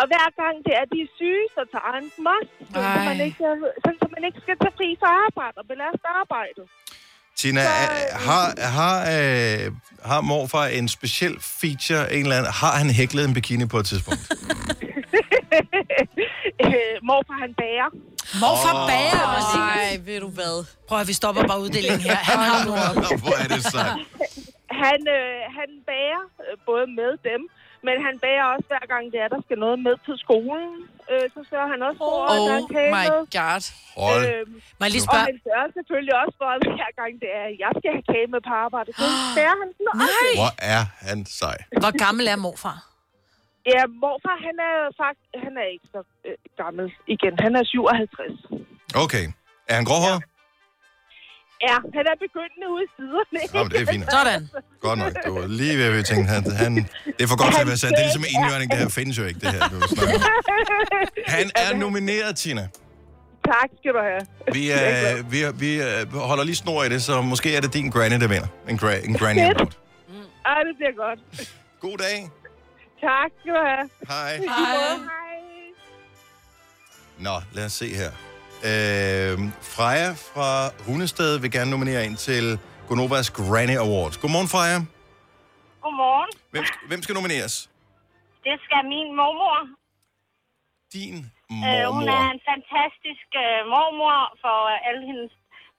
[SPEAKER 8] og hver gang det er, de er syge, så tager han dem også, sådan, så
[SPEAKER 5] Ej.
[SPEAKER 8] man ikke, øh, sådan, så man ikke skal tage fri fra arbejde og belaste arbejdet.
[SPEAKER 1] Tina, øh, har, har, øh, har morfar en speciel feature, en eller anden, har han hæklet en bikini på et tidspunkt?
[SPEAKER 8] øh, morfar, han bager.
[SPEAKER 2] Morfar bager også.
[SPEAKER 5] Nej, ved du hvad?
[SPEAKER 2] Prøv at vi stopper bare uddelingen her. Han har nu
[SPEAKER 1] Hvor er det sejt.
[SPEAKER 8] <laughs> Han, øh, han bærer øh, både med dem, men han bærer også hver gang, det er, der skal noget med til skolen. Øh, så sørger han også for, oh, at der
[SPEAKER 5] Oh
[SPEAKER 8] er kage
[SPEAKER 5] my
[SPEAKER 8] med.
[SPEAKER 5] god.
[SPEAKER 1] Hold.
[SPEAKER 8] Øhm,
[SPEAKER 2] Må jeg lige
[SPEAKER 8] og
[SPEAKER 2] spørge,
[SPEAKER 8] han sørger selvfølgelig også for, at hver gang det er, jeg skal have kage med på arbejde.
[SPEAKER 2] <gasps>
[SPEAKER 8] Så bærer han den også.
[SPEAKER 1] Hvor er han sej.
[SPEAKER 2] hvor gammel er morfar?
[SPEAKER 8] Ja, morfar, han er faktisk... Han er ikke så øh, gammel igen. Han er 57.
[SPEAKER 1] Okay. Er han gråhåret?
[SPEAKER 8] Ja, han er begyndende ude i siderne.
[SPEAKER 1] Ja. men det er fint.
[SPEAKER 2] Sådan.
[SPEAKER 1] Godt nok. Det var lige ved, at vi tænkte, han, han, det er for godt til at være sandt. Det er ligesom indjørning. Det her findes jo ikke, det her. Du snakker om. han er nomineret, Tina.
[SPEAKER 8] <laughs> tak skal du have.
[SPEAKER 1] Vi,
[SPEAKER 8] Jeg er glad.
[SPEAKER 1] øh, vi, vi øh, holder lige snor i det, så måske er det din granny, der vinder. En, gra- en granny award.
[SPEAKER 8] Mm. Ej, det bliver godt.
[SPEAKER 1] God dag.
[SPEAKER 8] Tak skal du have.
[SPEAKER 1] Hej.
[SPEAKER 8] Hej. Hej.
[SPEAKER 1] Nå, lad os se her. Øh, Freja fra Hundested vil gerne nominere en til Gonovas Granny Awards. Godmorgen, Freja.
[SPEAKER 8] Godmorgen.
[SPEAKER 1] Hvem, hvem skal nomineres?
[SPEAKER 8] Det skal min mormor.
[SPEAKER 1] Din
[SPEAKER 8] Øh, hun er
[SPEAKER 1] mormor.
[SPEAKER 8] en fantastisk øh, mormor for øh, alle hendes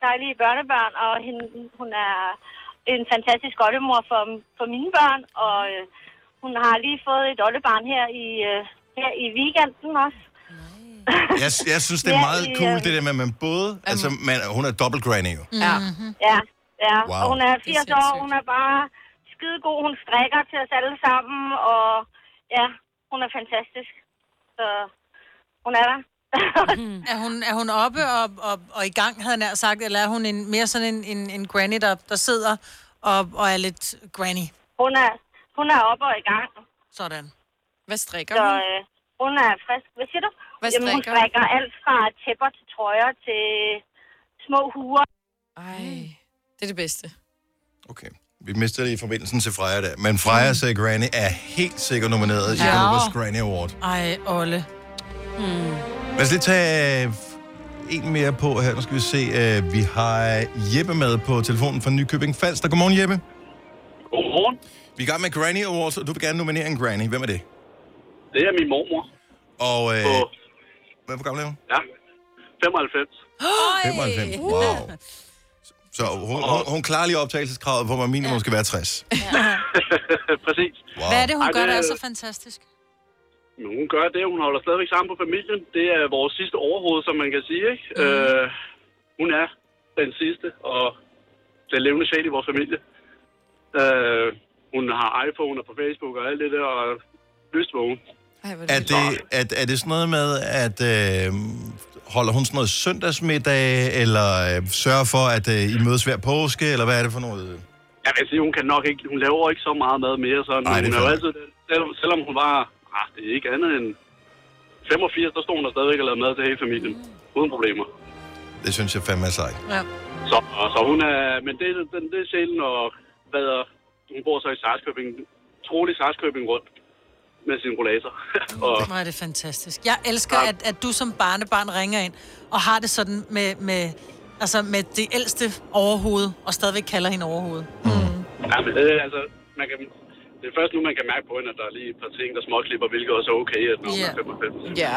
[SPEAKER 8] dejlige børnebørn, og hende, hun er en fantastisk oldemor for, for mine børn, og øh, hun har lige fået et oldebarn her i, øh, her i weekenden også.
[SPEAKER 1] Jeg, jeg synes, det er
[SPEAKER 8] Ja,
[SPEAKER 1] meget
[SPEAKER 8] i,
[SPEAKER 1] cool,
[SPEAKER 8] øh,
[SPEAKER 1] det der med, at man både... Altså, man, hun er dobbelt granny jo.
[SPEAKER 5] Ja.
[SPEAKER 8] Mm-hmm. Ja, ja.
[SPEAKER 1] Wow.
[SPEAKER 8] og hun er
[SPEAKER 5] Det er
[SPEAKER 8] 80 år,
[SPEAKER 5] sindssygt.
[SPEAKER 8] hun er bare skidegod, hun strikker til os alle sammen, og ja, hun er fantastisk. Så hun er der.
[SPEAKER 5] Mhm.
[SPEAKER 2] Er hun, er hun oppe og, og, og i gang, havde jeg nær sagt, eller er hun en, mere sådan en, en, en granny, der, der sidder og, og er lidt granny?
[SPEAKER 8] hun, er, hun er oppe og i gang.
[SPEAKER 2] Sådan.
[SPEAKER 5] Hvad strikker
[SPEAKER 8] Så
[SPEAKER 5] hun?
[SPEAKER 8] øh, hun er frisk. Hvad siger du?
[SPEAKER 5] Hvad
[SPEAKER 8] Jamen, hun
[SPEAKER 5] strikker hun?
[SPEAKER 8] strikker alt fra tæpper til trøjer til små huer.
[SPEAKER 5] Ej, det er det bedste.
[SPEAKER 1] Okay. Vi mistede lige forbindelsen til Freja der. Men Freja sagde, Granny er helt sikkert nomineret i
[SPEAKER 2] Ja.
[SPEAKER 1] Europas Granny Award.
[SPEAKER 2] Ej, Olle.
[SPEAKER 5] Mhm.
[SPEAKER 1] Lad os lige tage øh, en mere på her. Nu skal vi se. øh, Vi har Jeppe med på telefonen fra Nykøbing Falster. Godmorgen, Jeppe.
[SPEAKER 9] Godmorgen.
[SPEAKER 1] Vi er i gang med Granny Awards, og du vil gerne nominere en Granny. Hvem er det?
[SPEAKER 9] Det er min mormor
[SPEAKER 1] Og øh,
[SPEAKER 9] på
[SPEAKER 1] hvad hvor gammel er hun?
[SPEAKER 9] ja, 95.
[SPEAKER 1] 95. Wow. Så hun, hun, hun klarer lige optagelseskravet, hvor man minimum skal være 60.
[SPEAKER 9] Præcis.
[SPEAKER 1] Wow.
[SPEAKER 2] Hvad er det, hun
[SPEAKER 9] Ej,
[SPEAKER 2] gør, der
[SPEAKER 9] det-
[SPEAKER 2] er så fantastisk?
[SPEAKER 9] Men hun gør det, hun holder stadigvæk sammen på familien. Det er vores sidste overhoved, som man kan sige. Ikke? Mm. Øh, hun er den sidste og den levende sjæl i vores familie. Øh, hun har iPhone og på Facebook og alt det der, og lystvågen.
[SPEAKER 5] Ej, hvor er
[SPEAKER 1] Er
[SPEAKER 5] det...
[SPEAKER 1] det, er, er det sådan noget med, at øh, holder hun sådan noget søndagsmiddag, eller øh, sørger for, at øh, I mødes hver påske, eller hvad er det for noget?
[SPEAKER 9] Jeg vil sige, hun kan nok ikke, hun laver ikke så meget mad mere, så
[SPEAKER 1] Nej, det er
[SPEAKER 9] hun er jo
[SPEAKER 1] fair.
[SPEAKER 9] altid, den- selvom, selvom hun var, ah, det er ikke andet end 85, der stod hun der stadigvæk og lavede mad til hele familien. Uden problemer.
[SPEAKER 1] Det synes jeg fandme er sejt.
[SPEAKER 9] Så, og så hun er, men det, er- den, det er sjældent, og hvad er, hun bor så i Sarskøbing, trolig Sarskøbing rundt med sin rollator. <laughs> og
[SPEAKER 2] Hvor er det fantastisk. Jeg elsker, at, at du som barnebarn ringer ind og har det sådan med, med, altså med det ældste overhoved, og stadigvæk kalder hende overhoved.
[SPEAKER 9] ja, men det, er altså, man kan, det er først nu, man kan mærke på hende, at der er lige et par ting, der småklipper, hvilket også er okay, at når hun er 95.
[SPEAKER 2] Ja.
[SPEAKER 5] Ja.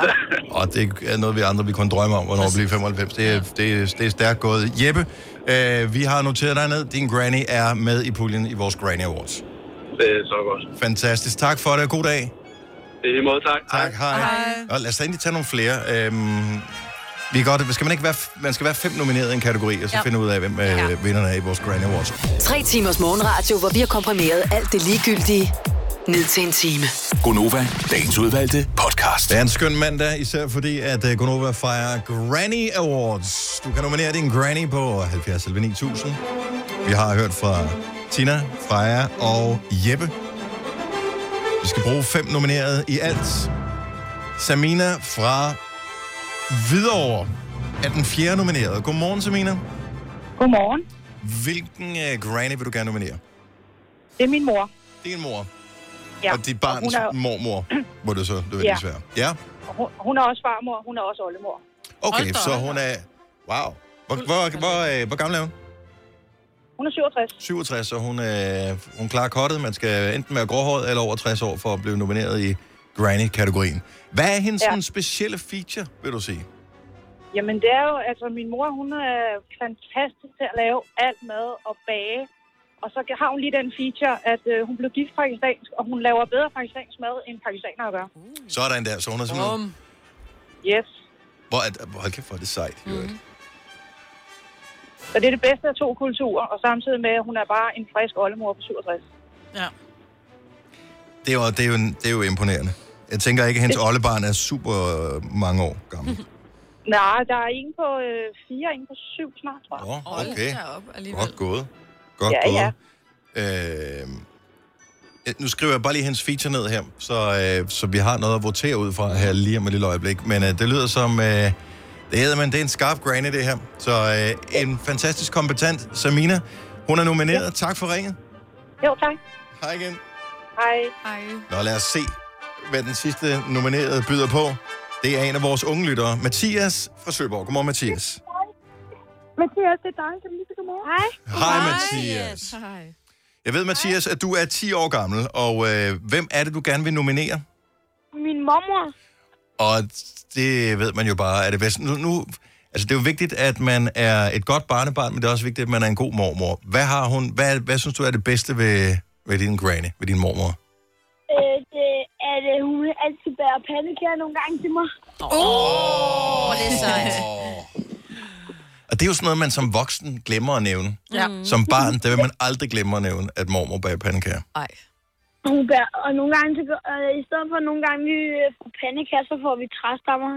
[SPEAKER 1] Og det er noget, vi andre vi kun drømmer om, hvornår vi bliver 95. Det er, det, er, det er stærkt gået. Jeppe, øh, vi har noteret dig ned. Din granny er med i puljen i vores Granny Awards.
[SPEAKER 9] <laughs> Det er så godt.
[SPEAKER 1] Fantastisk. Tak for det, og god dag.
[SPEAKER 9] Det er i måde, tak.
[SPEAKER 1] Tak, hej. hej. Og lad os da endelig tage nogle flere. Øhm, vi er godt, skal man, ikke være, f- man skal være fem nomineret i en kategori, og så ja. finde ud af, hvem øh, vinderne er i vores Granny Awards.
[SPEAKER 6] Tre timers morgenradio, hvor vi har komprimeret alt det ligegyldige ned til en time.
[SPEAKER 7] Gonova, dagens udvalgte podcast.
[SPEAKER 1] Det er en skøn mandag, især fordi, at øh, Gonova fejrer Granny Awards. Du kan nominere din granny på 70 11 9000. Vi har hørt fra Tina, Freja og Jeppe. Vi skal bruge fem nominerede i alt. Samina fra Hvidovre er den fjerde nominerede. Godmorgen, Samina.
[SPEAKER 8] Godmorgen.
[SPEAKER 1] Hvilken øh, granny vil du gerne nominere?
[SPEAKER 8] Det er min mor.
[SPEAKER 1] Din mor
[SPEAKER 8] Ja.
[SPEAKER 1] og dit barns
[SPEAKER 8] hun er-
[SPEAKER 1] mormor, må det så
[SPEAKER 8] Ja.
[SPEAKER 1] nødvendigvis være. Ja.
[SPEAKER 8] Og Hun, hun er også farmor, hun er også oldemor.
[SPEAKER 1] Okay,
[SPEAKER 2] Hold da
[SPEAKER 1] så
[SPEAKER 2] op.
[SPEAKER 1] hun er... Wow. Hvor, hvor, hvor, øh, hvor gammel er hun?
[SPEAKER 8] Hun er 67.
[SPEAKER 1] 67, så hun, øh, hun klarer kottet. Man skal enten være gråhåret eller over 60 år for at blive nomineret i Granny-kategorien. Hvad er hendes
[SPEAKER 8] Ja.
[SPEAKER 1] ja. specielle feature, vil du sige?
[SPEAKER 8] Jamen det er jo, altså min mor, hun er fantastisk til at lave alt mad og bage Og så har hun lige den feature, at øh, hun blev gift pakistansk, og hun laver bedre pakistansk mad, end pakistanere gør.
[SPEAKER 1] Sådan der, så hun er sådan noget.
[SPEAKER 8] Yes.
[SPEAKER 1] Hvor, er- hold kæft, hvor er det sejt. Mm.
[SPEAKER 10] Mm-hmm.
[SPEAKER 8] Så det er det bedste af to kulturer, og samtidig med, at hun er bare en frisk oldemor på 67.
[SPEAKER 2] Ja.
[SPEAKER 1] Det er, jo, det, er jo, det er jo imponerende. Jeg tænker ikke, at hendes oldebarn er super øh, mange år gammel.
[SPEAKER 8] Nej, der er en på øh, fire, en på syv snart, tror jeg.
[SPEAKER 1] Åh, oh, okay.
[SPEAKER 5] Op,
[SPEAKER 1] Godt gået. Godt
[SPEAKER 8] Ja, ja.
[SPEAKER 1] gået. Ja. Øh, nu skriver jeg bare lige hendes feature ned her, så, øh, så vi har noget at votere ud fra her lige om et lille øjeblik. Men øh, det lyder som... Øh, det hedder man, det er en skarp granny, det her. Så øh, en fantastisk kompetent Samina. Hun er nomineret. Tak for ringet.
[SPEAKER 8] Jo, tak.
[SPEAKER 1] Hej igen.
[SPEAKER 8] Hej.
[SPEAKER 1] Nå, lad os se, hvad den sidste nominerede byder på. Det er en af vores unge lyttere, Mathias fra Søborg. Godmorgen, Mathias.
[SPEAKER 8] Mathias, det er dig, som lige godmorgen. Hej.
[SPEAKER 1] Hej, Mathias.
[SPEAKER 5] Hej.
[SPEAKER 1] Jeg ved, Mathias, at du er 10 år gammel, og øh, hvem er det, du gerne vil nominere?
[SPEAKER 8] Min mormor.
[SPEAKER 1] Og det ved man jo bare, er det bedst. Nu, nu, altså, det er jo vigtigt, at man er et godt barnebarn, men det er også vigtigt, at man er en god mormor. Hvad har hun, hvad, hvad synes du er det bedste ved, ved din granny, ved din mormor?
[SPEAKER 8] Øh, det er, at hun altid bærer pandekager nogle gange til mig.
[SPEAKER 1] Og det er jo sådan noget, man som voksen glemmer at nævne.
[SPEAKER 2] Ja.
[SPEAKER 1] Som barn, der vil man aldrig glemme at nævne, at mormor bager pandekager.
[SPEAKER 5] Ej.
[SPEAKER 8] Hun bærer, og nogle gange, så, gør- øh, i stedet for nogle gange, vi øh, får pandekager, så får vi træstammer.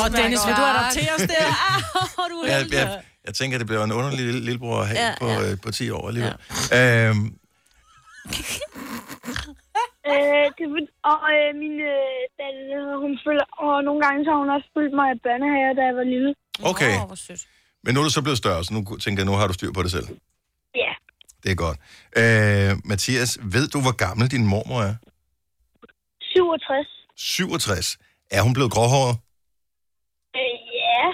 [SPEAKER 2] Og Dennis, vil du adoptere os
[SPEAKER 8] <laughs>
[SPEAKER 2] der?
[SPEAKER 1] jeg, jeg, jeg tænker, det bliver en underlig lille, lillebror at have ja, på, ja. Øh, på 10 år alligevel. Ja. Øhm,
[SPEAKER 8] Øh, det, er for- og øh, min øh, datter, hun følger, og nogle gange, så har hun også fulgt mig i børnehave, da jeg var lille.
[SPEAKER 1] okay,
[SPEAKER 4] hvor sødt.
[SPEAKER 1] men nu er du så blevet større, så nu tænker jeg, nu har du styr på det selv.
[SPEAKER 8] Ja.
[SPEAKER 1] Det er godt. Øh, Mathias, ved du, hvor gammel din mormor er?
[SPEAKER 8] 67.
[SPEAKER 1] 67. Er hun blevet gråhåret?
[SPEAKER 8] Øh, ja,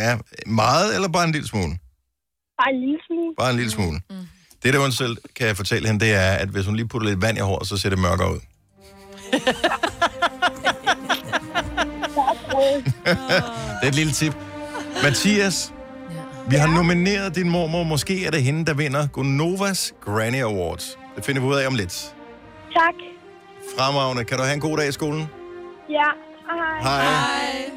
[SPEAKER 1] Ja, meget eller bare en lille smule?
[SPEAKER 8] bare en lille smule.
[SPEAKER 1] Bare en lille smule. Mm. Det, der hun selv kan fortælle hende, det er, at hvis hun lige putter lidt vand i håret, så ser det mørkere ud. <laughs> det er et lille tip. Mathias, vi har nomineret din mormor. Måske er det hende, der vinder Gonovas Granny Awards. Det finder vi ud af om lidt.
[SPEAKER 8] Tak.
[SPEAKER 1] Fremragende. Kan du have en god dag i skolen?
[SPEAKER 8] Ja, hej.
[SPEAKER 1] Hej. Hej.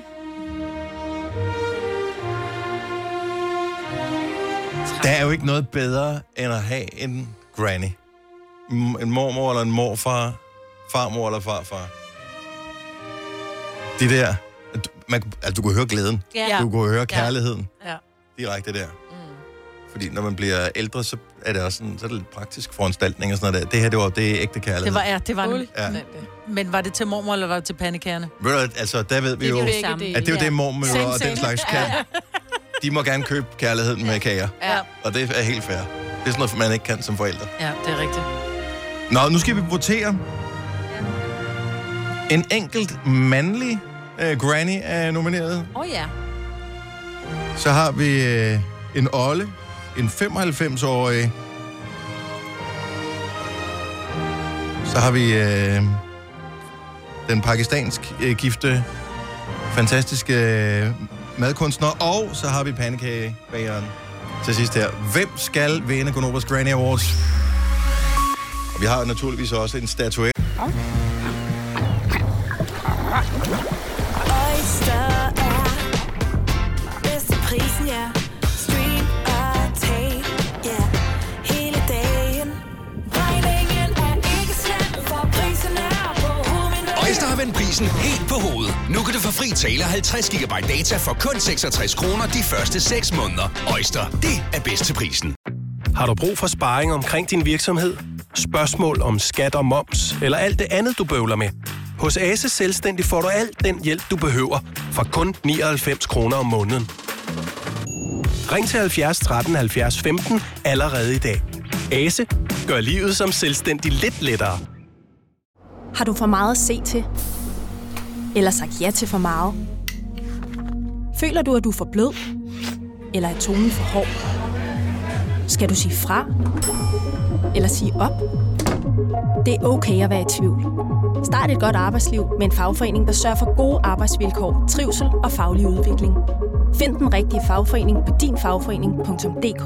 [SPEAKER 1] Der er jo ikke noget bedre end at have en granny. M- En mormor eller en morfar. Farmor eller farfar. De der. at du- Man, altså, du kunne høre glæden.
[SPEAKER 4] Ja. Mm.
[SPEAKER 1] Du kunne høre kærligheden.
[SPEAKER 2] Ja.
[SPEAKER 1] Direkte der. Fordi når man bliver ældre, så er det også sådan, så er det lidt praktisk foranstaltning og sådan noget der. Det her, det var det er ægte kærlighed.
[SPEAKER 2] Det var, ja, det var en,
[SPEAKER 1] Ja.
[SPEAKER 2] Men var det til mormor, eller var det til pandekagerne?
[SPEAKER 1] Ved du, hvad, altså, der ved vi jo,
[SPEAKER 3] Begge dele.
[SPEAKER 1] at det er jo det, mormøder og
[SPEAKER 2] Same, same.
[SPEAKER 1] den slags kan. De må gerne købe kærligheden med kager.
[SPEAKER 2] Ja.
[SPEAKER 1] Og det er helt fair. Det er sådan noget, man ikke kan som forældre.
[SPEAKER 2] Ja, det er rigtigt.
[SPEAKER 1] Nå, nu skal vi votere. En enkelt mandlig øh, granny er nomineret.
[SPEAKER 3] Åh oh, ja.
[SPEAKER 1] Så har vi øh, en Olle, en 95-årig. Så har vi øh, den pakistansk øh, gifte, fantastiske øh, madkunstner. Og så har vi pandekagebageren til sidst her. Hvem skal vinde Gonobas Granny Awards? Og vi har naturligvis også en statuette.
[SPEAKER 11] Oyster er bedst til prisen, ja. Stream og tag, ja. Hele dagen. Regningen er ikke slem, for prisen er på hovedet.
[SPEAKER 7] Øjster har vendt prisen helt på hovedet. Nu kan du få fri tale 50 GB data for kun 66 kroner de første 6 måneder. Øjster, det er bedst til prisen.
[SPEAKER 12] Har du brug for sparring omkring din virksomhed? Spørgsmål om skat og moms, eller alt det andet, du bøvler med? Hos Ase Selvstændig får du alt den hjælp, du behøver, for kun 99 kroner om måneden. Ring til 70 13 70 15 allerede i dag. Ase gør livet som selvstændig lidt lettere.
[SPEAKER 11] Har du for meget at se til? Eller sagt ja til for meget? Føler du, at du er for blød? Eller er tonen for hård? Skal du sige fra? Eller sige op? Det er okay at være i tvivl. Start et godt arbejdsliv med en fagforening, der sørger for gode arbejdsvilkår, trivsel og faglig udvikling. Find den rigtige fagforening på dinfagforening.dk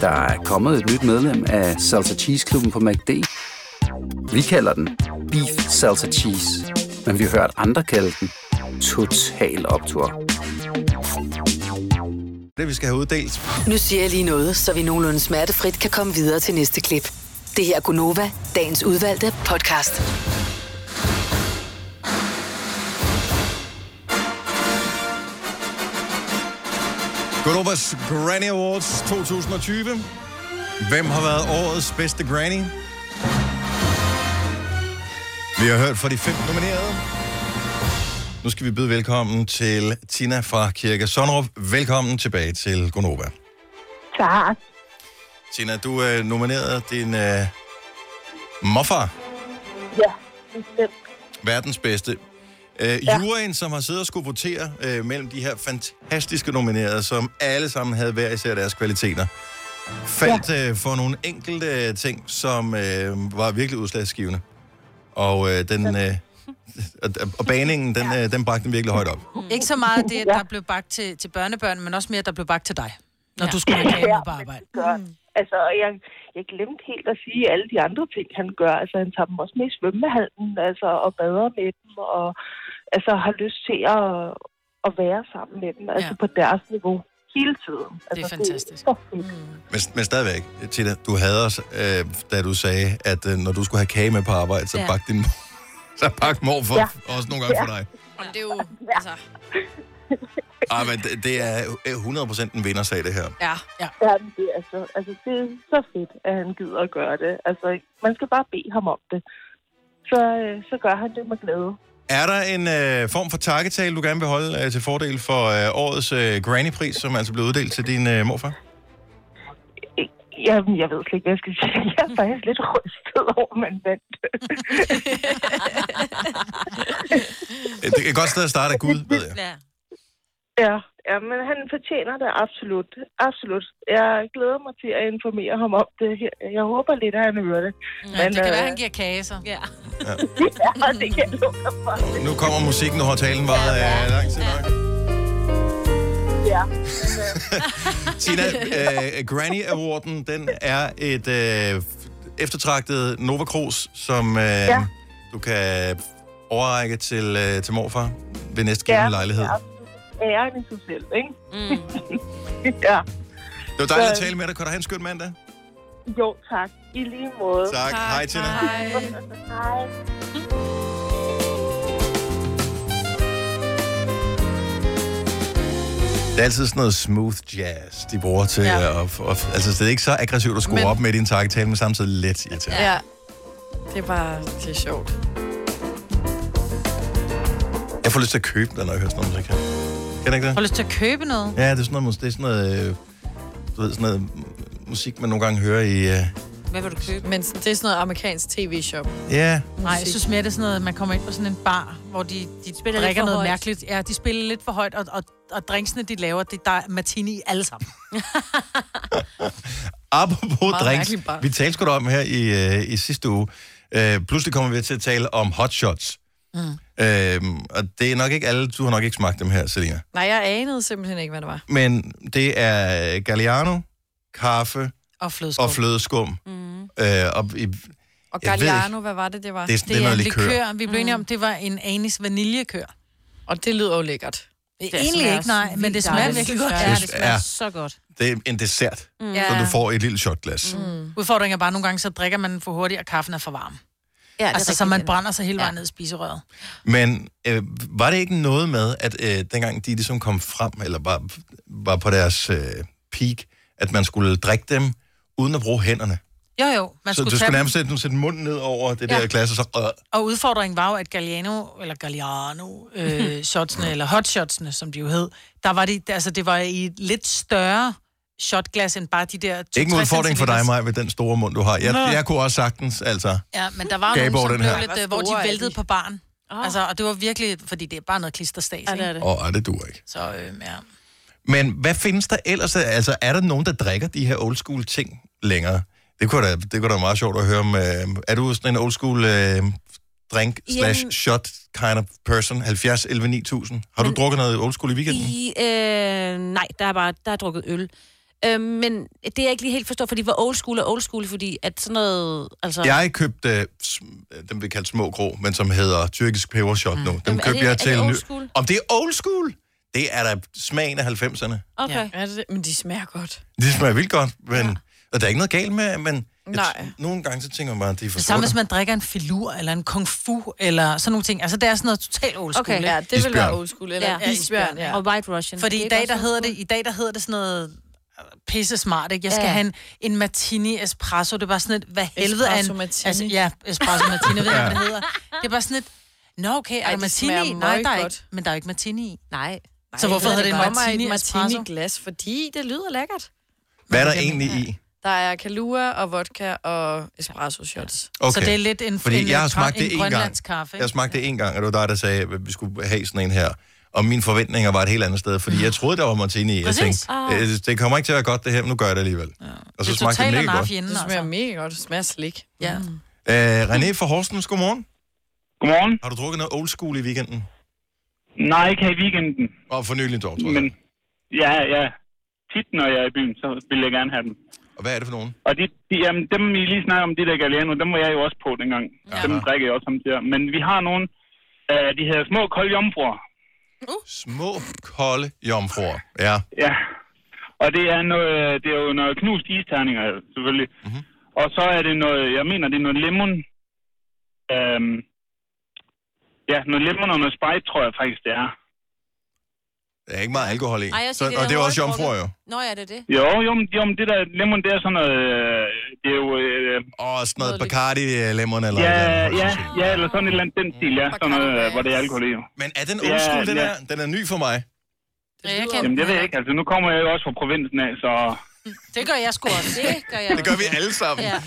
[SPEAKER 13] Der er kommet et nyt medlem af Salsa Cheese Klubben på MACD. Vi kalder den Beef Salsa Cheese, men vi har hørt andre kalde den Total Optor.
[SPEAKER 1] Det vi skal have uddelt.
[SPEAKER 6] Nu siger jeg lige noget, så vi nogenlunde smertefrit kan komme videre til næste klip. Det her er Gunova, dagens udvalgte podcast.
[SPEAKER 1] Gonovas Granny Awards 2020. Hvem har været årets bedste granny? Vi har hørt fra de fem nominerede. Nu skal vi byde velkommen til Tina fra Kirke Sonnerup. Velkommen tilbage til Gonova.
[SPEAKER 10] Tak.
[SPEAKER 1] Tina, du er nomineret din øh, morfar,
[SPEAKER 10] Ja, bestemt.
[SPEAKER 1] verdens bedste. Øh,
[SPEAKER 10] Ja.
[SPEAKER 1] juryen, som har siddet og skulle votere øh, mellem de her fantastiske nominerede, som alle sammen havde hver især deres kvaliteter, faldt øh, for nogle enkelte øh, ting, som øh, var virkelig udslagsgivende. Og, øh, den, øh, og, og baningen, den, øh, den bragte den virkelig højt op.
[SPEAKER 2] Ikke så meget det, at der blev bagt til, til børnebørn, men også mere, at der blev bagt til dig, når ja. du skulle reklame på arbejde.
[SPEAKER 10] Gør. Altså, og jeg, jeg glemte helt at sige alle de andre ting, han gør. Altså, han tager dem også med i svømmehallen, altså, og bader med dem, og altså, har lyst til at, at være sammen med dem, altså på deres niveau hele tiden. Altså, det er fantastisk. Det,
[SPEAKER 1] Men, men stadigvæk, Tina, du havde os, øh, da du sagde, at øh, når du skulle have kage med på arbejde, så
[SPEAKER 5] Ja.
[SPEAKER 1] ja. bagte din mor, <laughs> så bagte mor for, ja. også nogle gange ja. for dig.
[SPEAKER 5] Jamen, det er jo, altså,
[SPEAKER 1] Ej, Ah, men det, det er øh, 100% en vindersag, det her.
[SPEAKER 5] ja.
[SPEAKER 10] ja. ja men det, er altså, altså, det er så fedt, at han gider at gøre det. Altså, man skal bare bede ham om det. Så, øh, så gør han det med glæde.
[SPEAKER 1] Er der en øh, form for takketale, du gerne vil holde øh, til fordel for øh, årets øh, Granny-pris, som altså blev uddelt til din øh, morfar?
[SPEAKER 10] Jamen, jeg ved slet ikke, hvad jeg skal sige. <laughs> Jeg er faktisk lidt rystet over, at man vandt.
[SPEAKER 1] Øh, Det er et godt sted at starte af Gud, ved jeg.
[SPEAKER 2] Ja.
[SPEAKER 10] Ja, ja, men han fortjener det absolut. Absolut. Jeg glæder mig til at informere ham om det her. Jeg håber lidt, at han hører det. Ja, øh,
[SPEAKER 2] Men, det kan være, han giver kage, så. Ja.
[SPEAKER 10] <laughs> ja, det kan jeg lukke dig for.
[SPEAKER 1] Nu kommer musikken, nu har talen varet øh, lang tid nok. <laughs>
[SPEAKER 10] Ja.
[SPEAKER 1] Tina, øh, Granny Awarden, den er et øh, eftertragtet Nova Cruz, som øh, ja. du kan overrække til, øh, til morfar ved næste gældende lejlighed.
[SPEAKER 10] Ja, absolut. æren i sig selv, ikke?
[SPEAKER 14] <laughs>
[SPEAKER 10] Mm. ja.
[SPEAKER 1] Det var dejligt at tale med dig. Kan du have en skøn mandag?
[SPEAKER 10] Jo, tak. I lige måde.
[SPEAKER 1] Tak. Tak. Hej, Tina.
[SPEAKER 10] Hej. Hej.
[SPEAKER 1] Det er altid sådan noget smooth jazz, de bruger til. Ja. Og, og, altså, det er ikke så aggressivt at skrue
[SPEAKER 5] Men-
[SPEAKER 1] op med din takketale, men samtidig let irriterende.
[SPEAKER 5] ja. Det er bare, det er sjovt.
[SPEAKER 1] Jeg får lyst til at købe den, når jeg hører sådan noget musik her. Kan jeg ikke
[SPEAKER 2] Har
[SPEAKER 1] det?
[SPEAKER 2] du lyst til at købe noget?
[SPEAKER 1] Ja, det er sådan noget, mus- det er sådan noget, øh, du ved, sådan noget musik, man nogle gange hører i... Øh,
[SPEAKER 2] Hvad vil du købe?
[SPEAKER 5] Men det er sådan noget amerikansk tv-shop.
[SPEAKER 1] ja,
[SPEAKER 2] Nej, jeg synes mere, det er sådan noget, at man kommer ind på sådan en bar, hvor de, de spiller
[SPEAKER 5] lidt
[SPEAKER 2] drikker
[SPEAKER 5] for
[SPEAKER 2] noget
[SPEAKER 5] højt.
[SPEAKER 2] mærkeligt. Ja, de spiller lidt for højt, og, og, og drinksene, de laver, det, der er martini i alle sammen.
[SPEAKER 1] apropos
[SPEAKER 2] Meget
[SPEAKER 1] drinks.
[SPEAKER 2] mærkeligt bare.
[SPEAKER 1] Vi talte sgu da om her i, øh, i sidste uge. Øh, pludselig kommer vi til at tale om hotshots.
[SPEAKER 5] Mm.
[SPEAKER 1] Øhm, og det er nok ikke alle, du har nok ikke smagt dem her, Selina.
[SPEAKER 5] Nej, jeg anede simpelthen ikke, hvad det var.
[SPEAKER 1] Men det er Galliano, kaffe
[SPEAKER 2] Og flødeskum. Mhm.
[SPEAKER 1] og flødeskum.
[SPEAKER 5] Mm.
[SPEAKER 1] Øh, og
[SPEAKER 5] Og
[SPEAKER 1] i, Jeg ved
[SPEAKER 5] Galliano, hvad var det, det var?
[SPEAKER 1] Det er sådan- Det det er er noget
[SPEAKER 2] en likør.
[SPEAKER 1] likør.
[SPEAKER 2] Vi blev enige om, det var en anis vaniljekør.
[SPEAKER 5] Og det lyder jo lækkert.
[SPEAKER 2] Det er egentlig ikke, nej, men det smager virkelig godt.
[SPEAKER 1] Ja, det smager Ja.
[SPEAKER 2] så godt.
[SPEAKER 1] det er en dessert,
[SPEAKER 2] Mm.
[SPEAKER 1] mm.
[SPEAKER 2] Ja.
[SPEAKER 1] så du får i et lille shotglas. Mm.
[SPEAKER 2] Mm. Udfordringen er bare, at nogle gange så drikker man for hurtigt, og kaffen er for varm. Ja,
[SPEAKER 4] er
[SPEAKER 2] altså, så
[SPEAKER 4] rigtigt,
[SPEAKER 2] man
[SPEAKER 4] den-
[SPEAKER 2] brænder sig hele vejen ned i spiserøret.
[SPEAKER 1] Men øh, var det ikke noget med, at øh, dengang de ligesom kom frem, eller var, var på deres øh, peak, at man skulle drikke dem uden at bruge hænderne?
[SPEAKER 2] Jo, jo. Man
[SPEAKER 1] så
[SPEAKER 2] skulle
[SPEAKER 1] du
[SPEAKER 2] tage
[SPEAKER 1] skulle
[SPEAKER 2] dem.
[SPEAKER 1] nærmest sætte, sætte munden ned over det
[SPEAKER 2] Ja.
[SPEAKER 1] ja. der glas, og så... Øh,
[SPEAKER 2] Og udfordringen var jo, at Galliano, eller Galliano,
[SPEAKER 1] <laughs>
[SPEAKER 2] øh, shotsene, eller hotshotsene, som de jo hed, der var de, altså, det var i et lidt større shotglas, end bare de der...
[SPEAKER 1] ikke en
[SPEAKER 2] 60
[SPEAKER 1] udfordring for dig,
[SPEAKER 2] centiliters.
[SPEAKER 1] mig, med den store mund, du har. Jeg,
[SPEAKER 2] Nå.
[SPEAKER 1] jeg kunne også sagtens, altså...
[SPEAKER 2] Ja, men der var jo
[SPEAKER 1] Gabe
[SPEAKER 2] nogen,
[SPEAKER 1] over
[SPEAKER 2] som
[SPEAKER 1] den
[SPEAKER 2] blev
[SPEAKER 1] her.
[SPEAKER 2] lidt,
[SPEAKER 1] Hvor
[SPEAKER 2] øh, hvor de
[SPEAKER 4] store er
[SPEAKER 2] væltede på barn. Altså, og det var virkelig, fordi det er bare noget klisterstas, ja, det er det.
[SPEAKER 1] Åh, oh, det duer ikke.
[SPEAKER 2] Så, øh, ja.
[SPEAKER 1] Men hvad findes der ellers? Altså, er der nogen, der drikker de her old school ting længere? Det kunne da, det kunne da være meget sjovt at høre om. Øh, er du sådan en old school øh, drink slash
[SPEAKER 4] Jamen-
[SPEAKER 1] shot kind of person? 70, 11, 9000? Har du drukket noget old school i weekenden?
[SPEAKER 4] I, øh, nej, der er bare der er drukket øl. Øh, men det er jeg ikke lige helt forstår, fordi hvor old school er old school, fordi at sådan noget... Altså,
[SPEAKER 1] Jeg købte øh, sm- dem, vi kalder små grå, men som hedder tyrkisk pebershot nu. Dem
[SPEAKER 4] Mm. Jamen, er
[SPEAKER 1] købte
[SPEAKER 4] det- er
[SPEAKER 1] jeg
[SPEAKER 4] det
[SPEAKER 1] til...
[SPEAKER 4] old
[SPEAKER 1] ny-
[SPEAKER 4] school?
[SPEAKER 1] Om det er old school? Det er da smagen af 90'erne.
[SPEAKER 4] Okay.
[SPEAKER 5] Ja. Er det, det? men de smager godt.
[SPEAKER 1] Det smager vildt godt, men... Ja. Og der er ikke noget galt med, men... jeg
[SPEAKER 2] Nej.
[SPEAKER 1] t- Nogle gange så tænker man bare, at de er for
[SPEAKER 2] Det samme,
[SPEAKER 1] sorte.
[SPEAKER 2] hvis man drikker en filur, eller en kung fu, eller sådan nogle ting. Altså, det er sådan noget totalt old school,
[SPEAKER 4] Okay.
[SPEAKER 2] ikke?
[SPEAKER 4] Ja, det vil være Isbjørn. old school, eller
[SPEAKER 2] Ja,
[SPEAKER 4] isbjørn, ja. Og White Russian.
[SPEAKER 2] Fordi
[SPEAKER 4] Det er
[SPEAKER 2] i dag,
[SPEAKER 4] ikke
[SPEAKER 2] der
[SPEAKER 4] også
[SPEAKER 2] hedder det, i dag, der hedder det sådan noget øh, pisse smart, ikke? Jeg skal
[SPEAKER 4] Ja.
[SPEAKER 2] ja. have en, en martini espresso. Det er bare sådan et, hvad helvede er en...
[SPEAKER 5] Espresso martini.
[SPEAKER 2] Altså, ja, espresso martini, ved jeg
[SPEAKER 5] Ja.
[SPEAKER 2] ikke, hvad det hedder. Det er bare sådan et... Nå, okay, er
[SPEAKER 5] Ej,
[SPEAKER 2] der
[SPEAKER 5] de
[SPEAKER 2] martini?
[SPEAKER 5] smager
[SPEAKER 2] i? Nej, der er
[SPEAKER 5] møggodt.
[SPEAKER 2] ikke, men der er jo ikke martini i.
[SPEAKER 4] Nej.
[SPEAKER 2] Så hvorfor hedder det en martini,
[SPEAKER 5] martini
[SPEAKER 2] espresso?
[SPEAKER 5] glas? Fordi det lyder lækkert.
[SPEAKER 1] Hvad er der egentlig i?
[SPEAKER 5] Der er kalua og vodka og espresso shots.
[SPEAKER 1] Okay.
[SPEAKER 2] det er lidt en-
[SPEAKER 1] Fordi
[SPEAKER 2] en,
[SPEAKER 1] jeg har
[SPEAKER 2] øh,
[SPEAKER 1] smagt
[SPEAKER 2] grøn-
[SPEAKER 1] det
[SPEAKER 2] en
[SPEAKER 1] én gang.
[SPEAKER 2] grønlandskaffe, ikke?
[SPEAKER 1] Jeg smagte det én gang, og det var dig, der sagde, at vi skulle have sådan en her. Og mine forventninger var et helt andet sted, fordi jeg troede, der var martini i. Jeg
[SPEAKER 5] Præcis.
[SPEAKER 1] tænkte,
[SPEAKER 5] Ah.
[SPEAKER 1] øh, det kommer ikke til at være godt, det her, men nu gør jeg det alligevel. Og så smagte det mega godt.
[SPEAKER 5] Det smager altså. mega godt. Det smager slik. Mm. Ja.
[SPEAKER 1] Øh, René fra Horsens, godmorgen.
[SPEAKER 15] Godmorgen.
[SPEAKER 1] Har du drukket noget old school i weekenden?
[SPEAKER 15] Nej, ikke her i weekenden.
[SPEAKER 1] Og for nylig dog, tror jeg.
[SPEAKER 15] Men ja, ja. Tit, når jeg er i byen, så vil jeg gerne have dem.
[SPEAKER 1] Og hvad er det for nogen?
[SPEAKER 15] Og de, de, jamen, dem, I lige snakker om, de der Galliano, dem var jeg jo også på dengang. Ja. Dem drikker jeg også som der. Men vi har nogle, øh, de hedder små kolde jomfruer.
[SPEAKER 1] Små kolde jomfruer, ja.
[SPEAKER 15] Ja. Og det er, noget, det er jo noget knust isterninger, selvfølgelig.
[SPEAKER 1] Mhm.
[SPEAKER 15] Mm-hmm. Og så er det noget, jeg mener, det er noget lemon. Øhm, ja, noget lemon og noget sprite, tror jeg faktisk, det er.
[SPEAKER 1] Der er ikke meget alkohol i.
[SPEAKER 15] Ej, jeg siger,
[SPEAKER 1] så,
[SPEAKER 15] det er
[SPEAKER 1] og det er
[SPEAKER 15] noget
[SPEAKER 1] også
[SPEAKER 15] hårdt
[SPEAKER 1] jomfruer, jo.
[SPEAKER 4] Nå, ja, det er det.
[SPEAKER 15] Jo, jo, men, jo, men det der lemon, det er sådan noget... øh, Det er jo... Øh,
[SPEAKER 1] og sådan noget Bacardi øh, lemon eller
[SPEAKER 15] ja,
[SPEAKER 1] et eller andet.
[SPEAKER 15] ja, ja, eller sådan et eller andet den stil, ja. Sådan noget, øh, hvor det er alkohol i. jo.
[SPEAKER 1] Men er den old school, den er? Den er ny for mig.
[SPEAKER 2] Jeg
[SPEAKER 15] Jamen, det ved jeg ikke. Altså, nu kommer jeg jo også fra provinsen af, så...
[SPEAKER 2] Det gør jeg sgu også. Det gør, jeg
[SPEAKER 1] Det gør vi alle sammen.
[SPEAKER 2] Ja.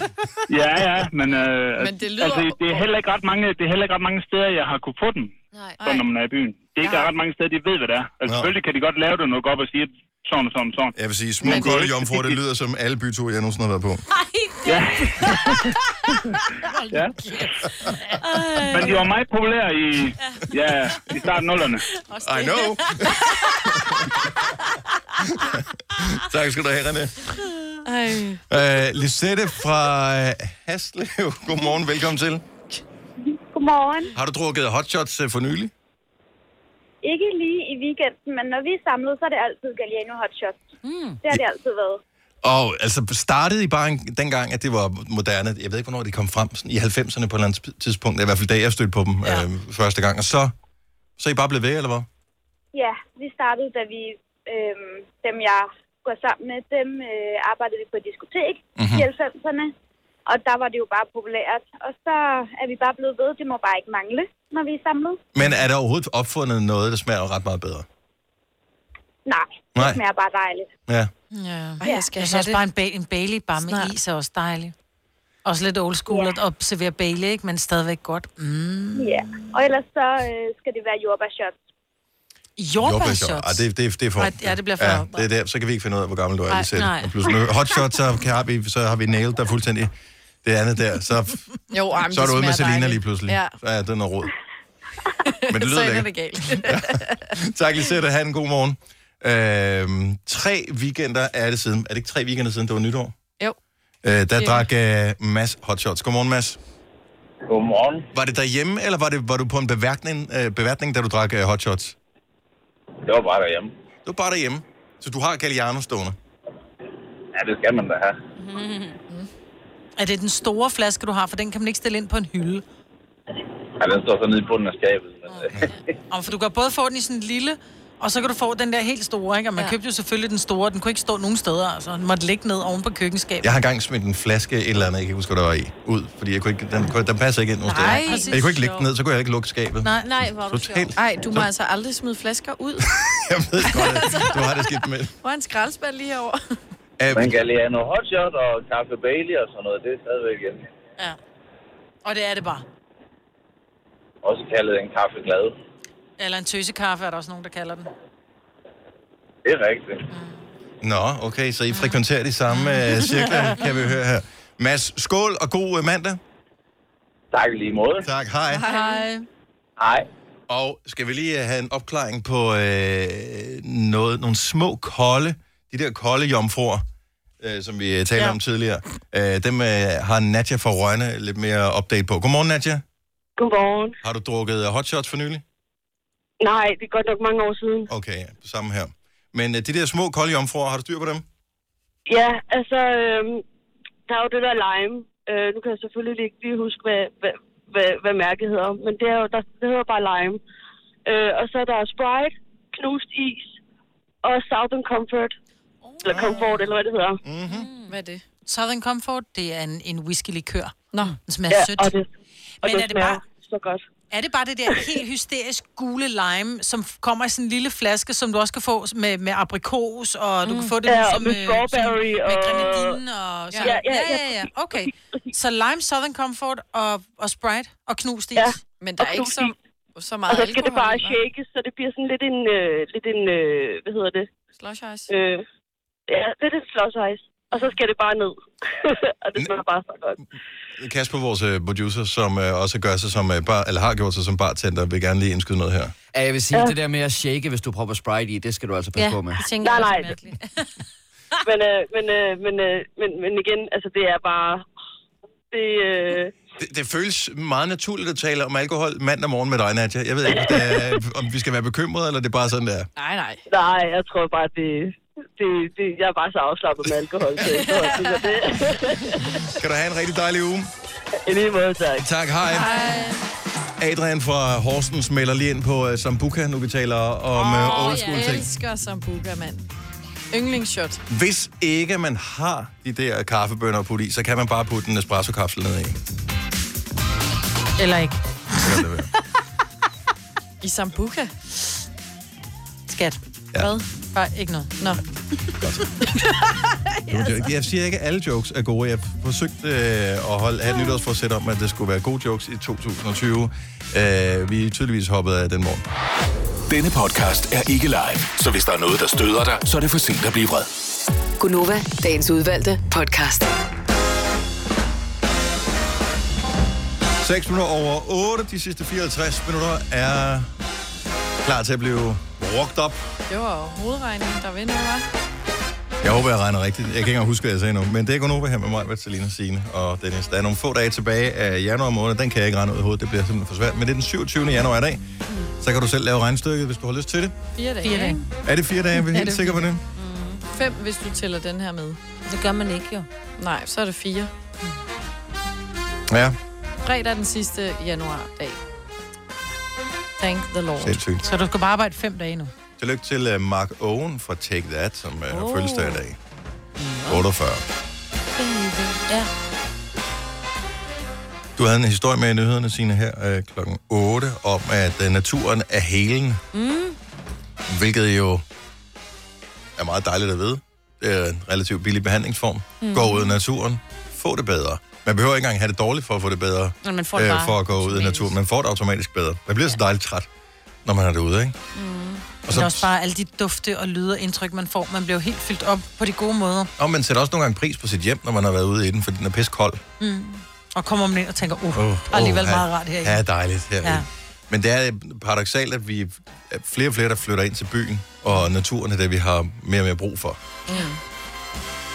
[SPEAKER 15] Ja, ja, men... Øh,
[SPEAKER 2] Men det lyder-
[SPEAKER 15] Altså, det er heller ikke ret mange, det er heller ikke ret mange steder, jeg har kunne få dem, sådan, når man er i byen. Det er ikke ret mange steder, de ved, hvad det er. Altså, selvfølgelig kan de godt lave det noget op og sige, at sådan, sådan, sådan.
[SPEAKER 1] Jeg vil sige, små kolde jomfruer, det lyder som alle byture, jeg nogensinde har været på.
[SPEAKER 15] Ja. ja. <laughs> Men de var meget populære i, ja, i starten af 0'erne.
[SPEAKER 1] I know. tak skal du have, René.
[SPEAKER 5] Ej.
[SPEAKER 1] Uh, Lisette fra øh, Haslev. <laughs> Godmorgen, velkommen til.
[SPEAKER 16] Godmorgen.
[SPEAKER 1] Har du drukket hotshots øh, for nylig?
[SPEAKER 16] Ikke lige i weekenden, men når vi er samlet, så er det altid Galliano Hot Shots. Mm. Det har det altid været.
[SPEAKER 1] Og altså startede I bare en- dengang, at det var moderne. Jeg ved ikke, hvornår det kom frem. Sådan I 90'erne på et eller andet sp- tidspunkt. Det er i hvert fald da, jeg stødte på dem ja. øh, første gang. Og så, så er I bare blevet ved, eller hvad?
[SPEAKER 16] Ja, vi startede, da vi, øh, dem jeg går sammen med, dem øh, arbejdede vi på et diskotek
[SPEAKER 15] Mhm.
[SPEAKER 16] mm-hmm. i 90'erne. Og der var det jo bare populært. Og så er vi bare blevet ved. Det må bare ikke mangle, når vi er samlet.
[SPEAKER 1] Men er der overhovedet opfundet noget, der smager ret meget bedre?
[SPEAKER 16] Nej, Nej.
[SPEAKER 1] Nej.
[SPEAKER 16] det smager bare dejligt.
[SPEAKER 1] Ja.
[SPEAKER 2] Ja.
[SPEAKER 5] Ej, jeg skal
[SPEAKER 2] jeg
[SPEAKER 5] have
[SPEAKER 2] synes også
[SPEAKER 5] det.
[SPEAKER 2] bare en, ba- en Bailey bare med
[SPEAKER 5] Snart.
[SPEAKER 2] is er også dejlig. Også lidt old school at observere Bailey, ikke? men stadigvæk godt. Mm.
[SPEAKER 16] Ja, og ellers så øh, skal det være jordbærshots.
[SPEAKER 2] Jordbærshots?
[SPEAKER 1] Ej, Ah, det, det, det er for...
[SPEAKER 2] Ej, ja, det bliver for-
[SPEAKER 1] ja, det er der, så kan vi ikke finde ud af, hvor gammel du er,
[SPEAKER 2] Ej,
[SPEAKER 1] Lisette.
[SPEAKER 2] nej.
[SPEAKER 1] Og plus nu hotshots, så, kan, har vi, så har vi nailed dig fuldstændig. Det andet der, så,
[SPEAKER 5] Jo, ej, men
[SPEAKER 1] så er
[SPEAKER 5] det
[SPEAKER 1] du ude
[SPEAKER 5] smager
[SPEAKER 1] med Selina
[SPEAKER 5] dejligt.
[SPEAKER 1] lige pludselig.
[SPEAKER 5] Ja.
[SPEAKER 1] Så er det
[SPEAKER 5] <laughs>
[SPEAKER 1] noget råd. Men det
[SPEAKER 5] så
[SPEAKER 1] lyder
[SPEAKER 5] ender
[SPEAKER 1] lækkert.
[SPEAKER 5] det galt.
[SPEAKER 1] <laughs> Tak, Lisette. Ha' en god morgen. Øhm, tre weekender er det siden. Er det ikke tre weekender siden, det var nytår?
[SPEAKER 5] Jo.
[SPEAKER 1] Øh, der
[SPEAKER 5] Det er
[SPEAKER 1] drak øh, Mads hotshots. Godmorgen, Mads.
[SPEAKER 17] Godmorgen.
[SPEAKER 1] Var det derhjemme, eller var, det, var du på en beværtning, øh, beværtning da du drak øh, hotshots?
[SPEAKER 17] Det var bare derhjemme.
[SPEAKER 1] Det var bare derhjemme. Så du har Galliano stående?
[SPEAKER 17] Ja, det skal man da have.
[SPEAKER 2] Er det den store flaske, du har? For den kan man ikke stille ind på en hylde.
[SPEAKER 17] Ja, den står så nede i bunden af skabet. Men, øh,
[SPEAKER 2] Og for du kan både få den i sådan en lille, og så kan du få den der helt store, ikke? Og man ja. købte jo selvfølgelig den store. Den kunne ikke stå nogen steder, altså. Den måtte ligge ned oven på køkkenskabet.
[SPEAKER 1] Jeg har engang smidt en flaske et eller andet, jeg kan ikke huske, hvad der var i, ud, fordi jeg kunne ikke, den, kunne- den passer ikke ind nogen
[SPEAKER 5] Nej,
[SPEAKER 1] steder.
[SPEAKER 5] præcis.
[SPEAKER 1] Jeg kunne ikke lægge den ned, så kunne jeg ikke lukke skabet.
[SPEAKER 5] Nej, nej, hvor
[SPEAKER 1] er du Totalt. sjov.
[SPEAKER 5] Ej, du må
[SPEAKER 1] Så-
[SPEAKER 5] altså aldrig smide flasker
[SPEAKER 1] <laughs>
[SPEAKER 5] ud.
[SPEAKER 1] Jeg ved godt, at du har det skidt med.
[SPEAKER 5] Hvor er en skraldespand lige herovre?
[SPEAKER 17] men Galliano Hotshot og Kaffe Bailey og sådan noget, det er stadigvæk en,
[SPEAKER 2] Og det er det bare.
[SPEAKER 17] også kaldet en kaffeglade.
[SPEAKER 2] Eller en tøsekaffe er der også nogen, der kalder den.
[SPEAKER 17] Det er rigtigt.
[SPEAKER 1] Nå, okay, så I frekventerer de samme uh, cirkler, kan vi høre her. Mads, skål og god øh, mandag.
[SPEAKER 17] Tak lige måde.
[SPEAKER 1] Tak, hej.
[SPEAKER 2] Hej.
[SPEAKER 17] Hej.
[SPEAKER 1] Og skal vi lige øh, have en opklaring på øh, noget, nogle små kolde, de de der kolde jomfruer, øh, som vi øh, talte ja. om tidligere, øh, dem øh, har Nadja fra Rønne lidt mere update på. Godmorgen, Nadja.
[SPEAKER 14] Godmorgen.
[SPEAKER 1] Har du drukket øh, hotshots for nylig?
[SPEAKER 14] Nej, det er godt nok mange år siden.
[SPEAKER 1] Okay, samme her. Men øh, de der små kolde jomfruer, har du styr på dem?
[SPEAKER 14] Ja, altså, øhm, der er jo det der lime. Øh, nu kan jeg selvfølgelig ikke lige huske, hvad, hvad, hvad, hvad mærket hedder, men det, er jo, der, det hedder bare lime. Øh, og så er der Sprite, knust is og Southern Comfort. Oh. Eller
[SPEAKER 1] Ah.
[SPEAKER 14] Comfort, eller hvad det hedder.
[SPEAKER 1] Mhm.
[SPEAKER 2] Mm-hmm.
[SPEAKER 4] Hmm.
[SPEAKER 2] Hvad er det? Southern Comfort, det er en, en whisky-likør.
[SPEAKER 14] Nå.
[SPEAKER 2] Den smager
[SPEAKER 14] Ja,
[SPEAKER 2] sødt.
[SPEAKER 14] og det- og
[SPEAKER 2] Men
[SPEAKER 14] det
[SPEAKER 2] er det
[SPEAKER 14] smager
[SPEAKER 2] bare...
[SPEAKER 14] så godt.
[SPEAKER 2] Er det bare det
[SPEAKER 14] <laughs>
[SPEAKER 2] der helt hysterisk gule lime, som f- kommer i sådan en lille flaske, som du også kan få med, med aprikos, og du kan få det
[SPEAKER 14] Mm. Ja,
[SPEAKER 2] nu
[SPEAKER 14] og
[SPEAKER 2] som,
[SPEAKER 14] med
[SPEAKER 2] øh,
[SPEAKER 14] strawberry
[SPEAKER 2] som, med
[SPEAKER 14] og-
[SPEAKER 2] grenadinen og sådan.
[SPEAKER 14] Ja, ja, ja,
[SPEAKER 2] Okay, så lime, Southern Comfort og, og Sprite og knust is. Ja,
[SPEAKER 5] men der
[SPEAKER 14] og er ikke knust så-
[SPEAKER 5] så
[SPEAKER 14] og så skal det bare shakes, så det bliver sådan lidt en, øh, lidt en øh, hvad hedder det?
[SPEAKER 5] Slush ice.
[SPEAKER 14] Øh, ja, lidt en slush ice. Og så skal det bare ned. <laughs> og det smager bare så godt.
[SPEAKER 1] Kasper, vores øh, producer, som øh, også gør sig som, øh, bar, eller har gjort sig som bartender, vil gerne lige indskyde noget her.
[SPEAKER 18] Ja, jeg vil sige,
[SPEAKER 14] Ja.
[SPEAKER 18] ja. det der med at shake, hvis du propper Sprite i, det skal du altså passe på med.
[SPEAKER 14] nej, nej. <laughs> men, øh, men, øh, men, øh, men, men igen, altså det er bare... Det, øh,
[SPEAKER 1] Det, det føles meget naturligt at tale om alkohol mandag morgen med dig, Nadja. Jeg ved ikke, om det
[SPEAKER 14] <laughs>
[SPEAKER 1] er, om vi skal være bekymrede, eller det er bare sådan, der.
[SPEAKER 14] nej, nej. Nej, jeg tror bare, det, det, det, jeg er bare så afslappet med alkohol. Så jeg tror, det er det.
[SPEAKER 1] Kan du have en rigtig dejlig uge?
[SPEAKER 14] I lige måde, tak.
[SPEAKER 1] Tak, hej. Adrian fra Horsens melder lige ind på uh, Sambuca, nu vi taler om oh, old school
[SPEAKER 5] jeg
[SPEAKER 1] ting.
[SPEAKER 5] elsker sambuca, mand. Yndlingsshot.
[SPEAKER 1] Hvis ikke man har de der kaffebønner at putte i, så kan man bare putte en espresso-kapsel ned i.
[SPEAKER 2] Eller ikke.
[SPEAKER 5] <laughs> I sambuca?
[SPEAKER 2] Skat.
[SPEAKER 1] Ja.
[SPEAKER 5] Hvad?
[SPEAKER 2] Bare ikke noget. Nå.
[SPEAKER 5] <laughs>
[SPEAKER 1] Det var en joke. Jeg siger ikke, at alle jokes er gode. Jeg forsøgte øh, at holde af et nytårsforsæt om, at det skulle være gode jokes i 2020. Øh, vi er tydeligvis hoppet af den morgen.
[SPEAKER 7] Denne podcast er ikke live, så hvis der er noget, der støder dig, så er det for sent at blive vred.
[SPEAKER 6] Gunova, dagens udvalgte podcast.
[SPEAKER 1] 6 minutter over 8. De sidste 54 minutter er klar til at blive rocked op.
[SPEAKER 5] Det var jo hovedregningen, der vinder, hva'?
[SPEAKER 1] Jeg håber, jeg regner rigtigt. Jeg kan ikke engang huske, hvad jeg sagde nu. Men det er kun over her med mig, med Selina Signe og Dennis. Der er nogle få dage tilbage af januar måned. Den kan jeg ikke regne ud i hovedet. Det bliver simpelthen for svært. Men det er den 27. januar i dag. Så kan du selv lave regnstykket, hvis du har lyst til det.
[SPEAKER 5] Fire dage. Fire dage.
[SPEAKER 1] Er det fire dage? Er vi
[SPEAKER 5] Ja,
[SPEAKER 1] helt
[SPEAKER 5] det er
[SPEAKER 1] sikre på det?
[SPEAKER 5] Fem, hvis du tæller den her med.
[SPEAKER 4] Det gør man ikke, jo.
[SPEAKER 5] Nej, så er det fire.
[SPEAKER 1] Ja.
[SPEAKER 5] Fredag er den sidste januar dag. Thank the Lord.
[SPEAKER 1] Sindssygt.
[SPEAKER 2] Så du skal bare arbejde fem dage nu.
[SPEAKER 1] Tillykke til øh, Mark Owen fra Take That, som øh, har
[SPEAKER 2] Oh.
[SPEAKER 1] fødselsdag i dag. 48.
[SPEAKER 4] Ja.
[SPEAKER 1] Du havde en historie med i nyhederne, Signe, her øh, klokken 8, om at øh, naturen er helen,
[SPEAKER 4] Mm.
[SPEAKER 1] hvilket jo er meget dejligt at vide. Det er en relativt billig behandlingsform. Mm. Gå ud i naturen, få det bedre. Man behøver ikke engang have det dårligt for at få det bedre, øh,
[SPEAKER 4] Nå, man får det bare
[SPEAKER 1] for at gå ud i naturen. Man får det automatisk bedre. Man bliver så dejligt træt, når man er derude, ikke?
[SPEAKER 2] Og så... Men også bare alle de dufte og lyde og indtryk, man får. Man bliver jo helt fyldt op på de gode måder.
[SPEAKER 1] Og man sætter også nogle gange pris på sit hjem, når man har været ude i den, fordi den er pisse kold.
[SPEAKER 2] Mm. Og kommer man ind og tænker, uh,
[SPEAKER 1] Åh,
[SPEAKER 2] oh, alligevel
[SPEAKER 1] åh,
[SPEAKER 2] meget rart herinde.
[SPEAKER 1] Ja, dejligt her. Ja.
[SPEAKER 2] Ja.
[SPEAKER 1] Men det er paradoxalt, at vi er flere og flere, der flytter ind til byen, og naturen er det, vi har mere og mere brug for.
[SPEAKER 2] Mm.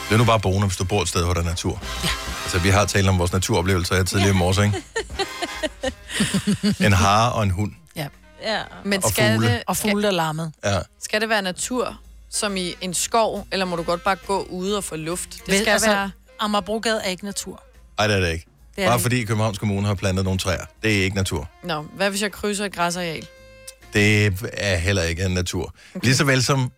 [SPEAKER 1] Det er nu bare boende, hvis du bor et sted, hvor der er natur. Ja. Altså, vi har talt om vores naturoplevelser her tidligere i morges, <laughs> ikke? en hare og en hund.
[SPEAKER 2] Ja.
[SPEAKER 5] ja. Men
[SPEAKER 1] Og
[SPEAKER 5] skal
[SPEAKER 1] fugle.
[SPEAKER 5] det,
[SPEAKER 2] Og fugle, der larmede.
[SPEAKER 1] Ja.
[SPEAKER 5] skal det være natur, som i en skov, eller må du godt bare gå ude og få luft? Det
[SPEAKER 2] Vel,
[SPEAKER 5] skal
[SPEAKER 2] altså,
[SPEAKER 5] være...
[SPEAKER 2] Amagerbrogade er ikke natur.
[SPEAKER 1] Ej, det er det ikke.
[SPEAKER 5] Det
[SPEAKER 1] Det
[SPEAKER 5] er
[SPEAKER 1] er bare
[SPEAKER 5] det
[SPEAKER 1] fordi Københavns Kommune har plantet nogle træer. Det er ikke natur.
[SPEAKER 5] Nå, hvad hvis jeg krydser et græsareal?
[SPEAKER 1] Det er heller ikke en natur. Okay. Lige så vel som,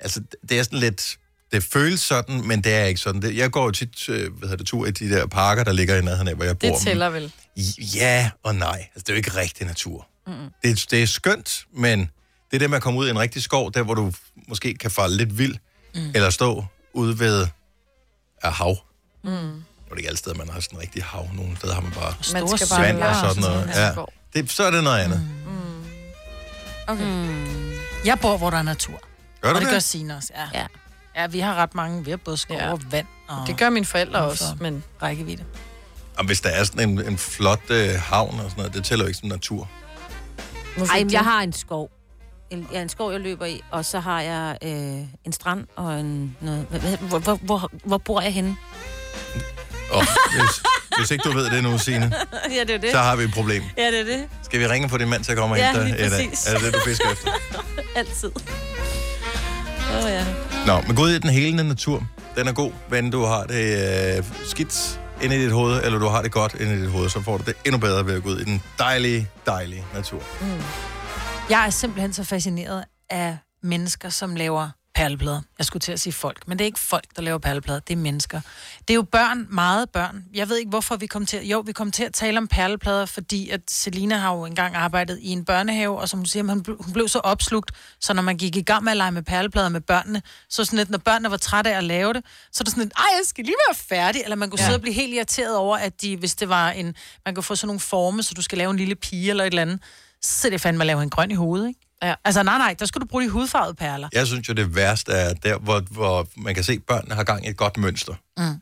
[SPEAKER 1] altså det er sådan lidt, det føles sådan, men det er ikke sådan. Det, jeg går jo tit, øh, hvad hedder det, tur i de der parker, der ligger i nærheden af, hvor jeg bor.
[SPEAKER 5] Det tæller vel.
[SPEAKER 1] Men- Ja og nej. Altså det er jo ikke rigtig natur. Det, det er skønt, men det er det med at komme ud i en rigtig skov, der hvor du måske kan falde lidt vild, mm. eller stå ude ved af hav.
[SPEAKER 5] Mm.
[SPEAKER 1] Det er ikke alle steder, man har sådan en rigtig hav. Nogle steder har man bare
[SPEAKER 5] Man skal bare
[SPEAKER 1] svand og
[SPEAKER 5] være
[SPEAKER 1] sådan noget.
[SPEAKER 5] sådan en
[SPEAKER 1] Ja.
[SPEAKER 5] skov.
[SPEAKER 1] Det, så er det noget andet.
[SPEAKER 5] Okay.
[SPEAKER 2] Mm. Jeg bor, hvor der er natur.
[SPEAKER 1] Gør du
[SPEAKER 2] og det,
[SPEAKER 1] det?
[SPEAKER 2] gør Signe også, ja. ja. Ja, vi har ret mange. Vi har både skov ja. og vand. Og
[SPEAKER 5] Det gør mine forældre
[SPEAKER 2] Hvorfor?
[SPEAKER 5] også, men...
[SPEAKER 2] Rækkevidde.
[SPEAKER 1] Og hvis der er sådan en, en flot øh, havn og sådan noget, det tæller jo ikke som natur.
[SPEAKER 5] Hvorfor
[SPEAKER 3] Ej,
[SPEAKER 5] ikke
[SPEAKER 3] men
[SPEAKER 5] det?
[SPEAKER 3] jeg har en skov.
[SPEAKER 4] en, ja, en skov, jeg løber i, og så har jeg øh, en strand og en... Noget, hvor, hvor, hvor, hvor, hvor bor jeg henne?
[SPEAKER 1] Oh, hvis, hvis ikke du ved det nu, Signe,
[SPEAKER 4] ja, <laughs> det er det.
[SPEAKER 1] så har vi et problem.
[SPEAKER 4] Ja, det er det.
[SPEAKER 1] Skal vi ringe på din mand til at komme og
[SPEAKER 4] Ja,
[SPEAKER 1] hente dig?
[SPEAKER 4] lige
[SPEAKER 1] Eller
[SPEAKER 4] præcis.
[SPEAKER 1] Er det det, du fisker efter?
[SPEAKER 4] Altid. Åh, oh, ja.
[SPEAKER 1] Nå, men gå ud i den helende natur. Den er god, men du har det øh, skidt inde i dit hoved, eller du har det godt inde i dit hoved, så får du det endnu bedre ved at gå ud i den dejlige, dejlige natur.
[SPEAKER 2] Mm. Jeg er simpelthen så fascineret af mennesker, som laver perleplader. Jeg skulle til at sige folk, men det er ikke folk, der laver perleplader, det er mennesker. Det er jo børn, meget børn. Jeg ved ikke, hvorfor vi kom til at... Jo, vi kom til at tale om perleplader, fordi at Selina har jo engang arbejdet i en børnehave, og som du siger, hun blev, hun blev så opslugt, så når man gik i gang med at lege med perleplader med børnene, så sådan lidt, når børnene var trætte af at lave det, så er det sådan lidt, ej, jeg skal lige være færdig, eller man kunne ja. sidde og blive helt irriteret over, at de, hvis det var en... Man kunne få sådan nogle forme, så du skal lave en lille pige eller et eller andet, så er det fandme at lave en grøn i hovedet, ikke? Ja. Altså, nej, nej, der skal du bruge de hudfarvede perler.
[SPEAKER 1] Jeg synes jo, det værste er der, hvor, hvor man kan se, at børnene har gang i et godt mønster.
[SPEAKER 2] Mm.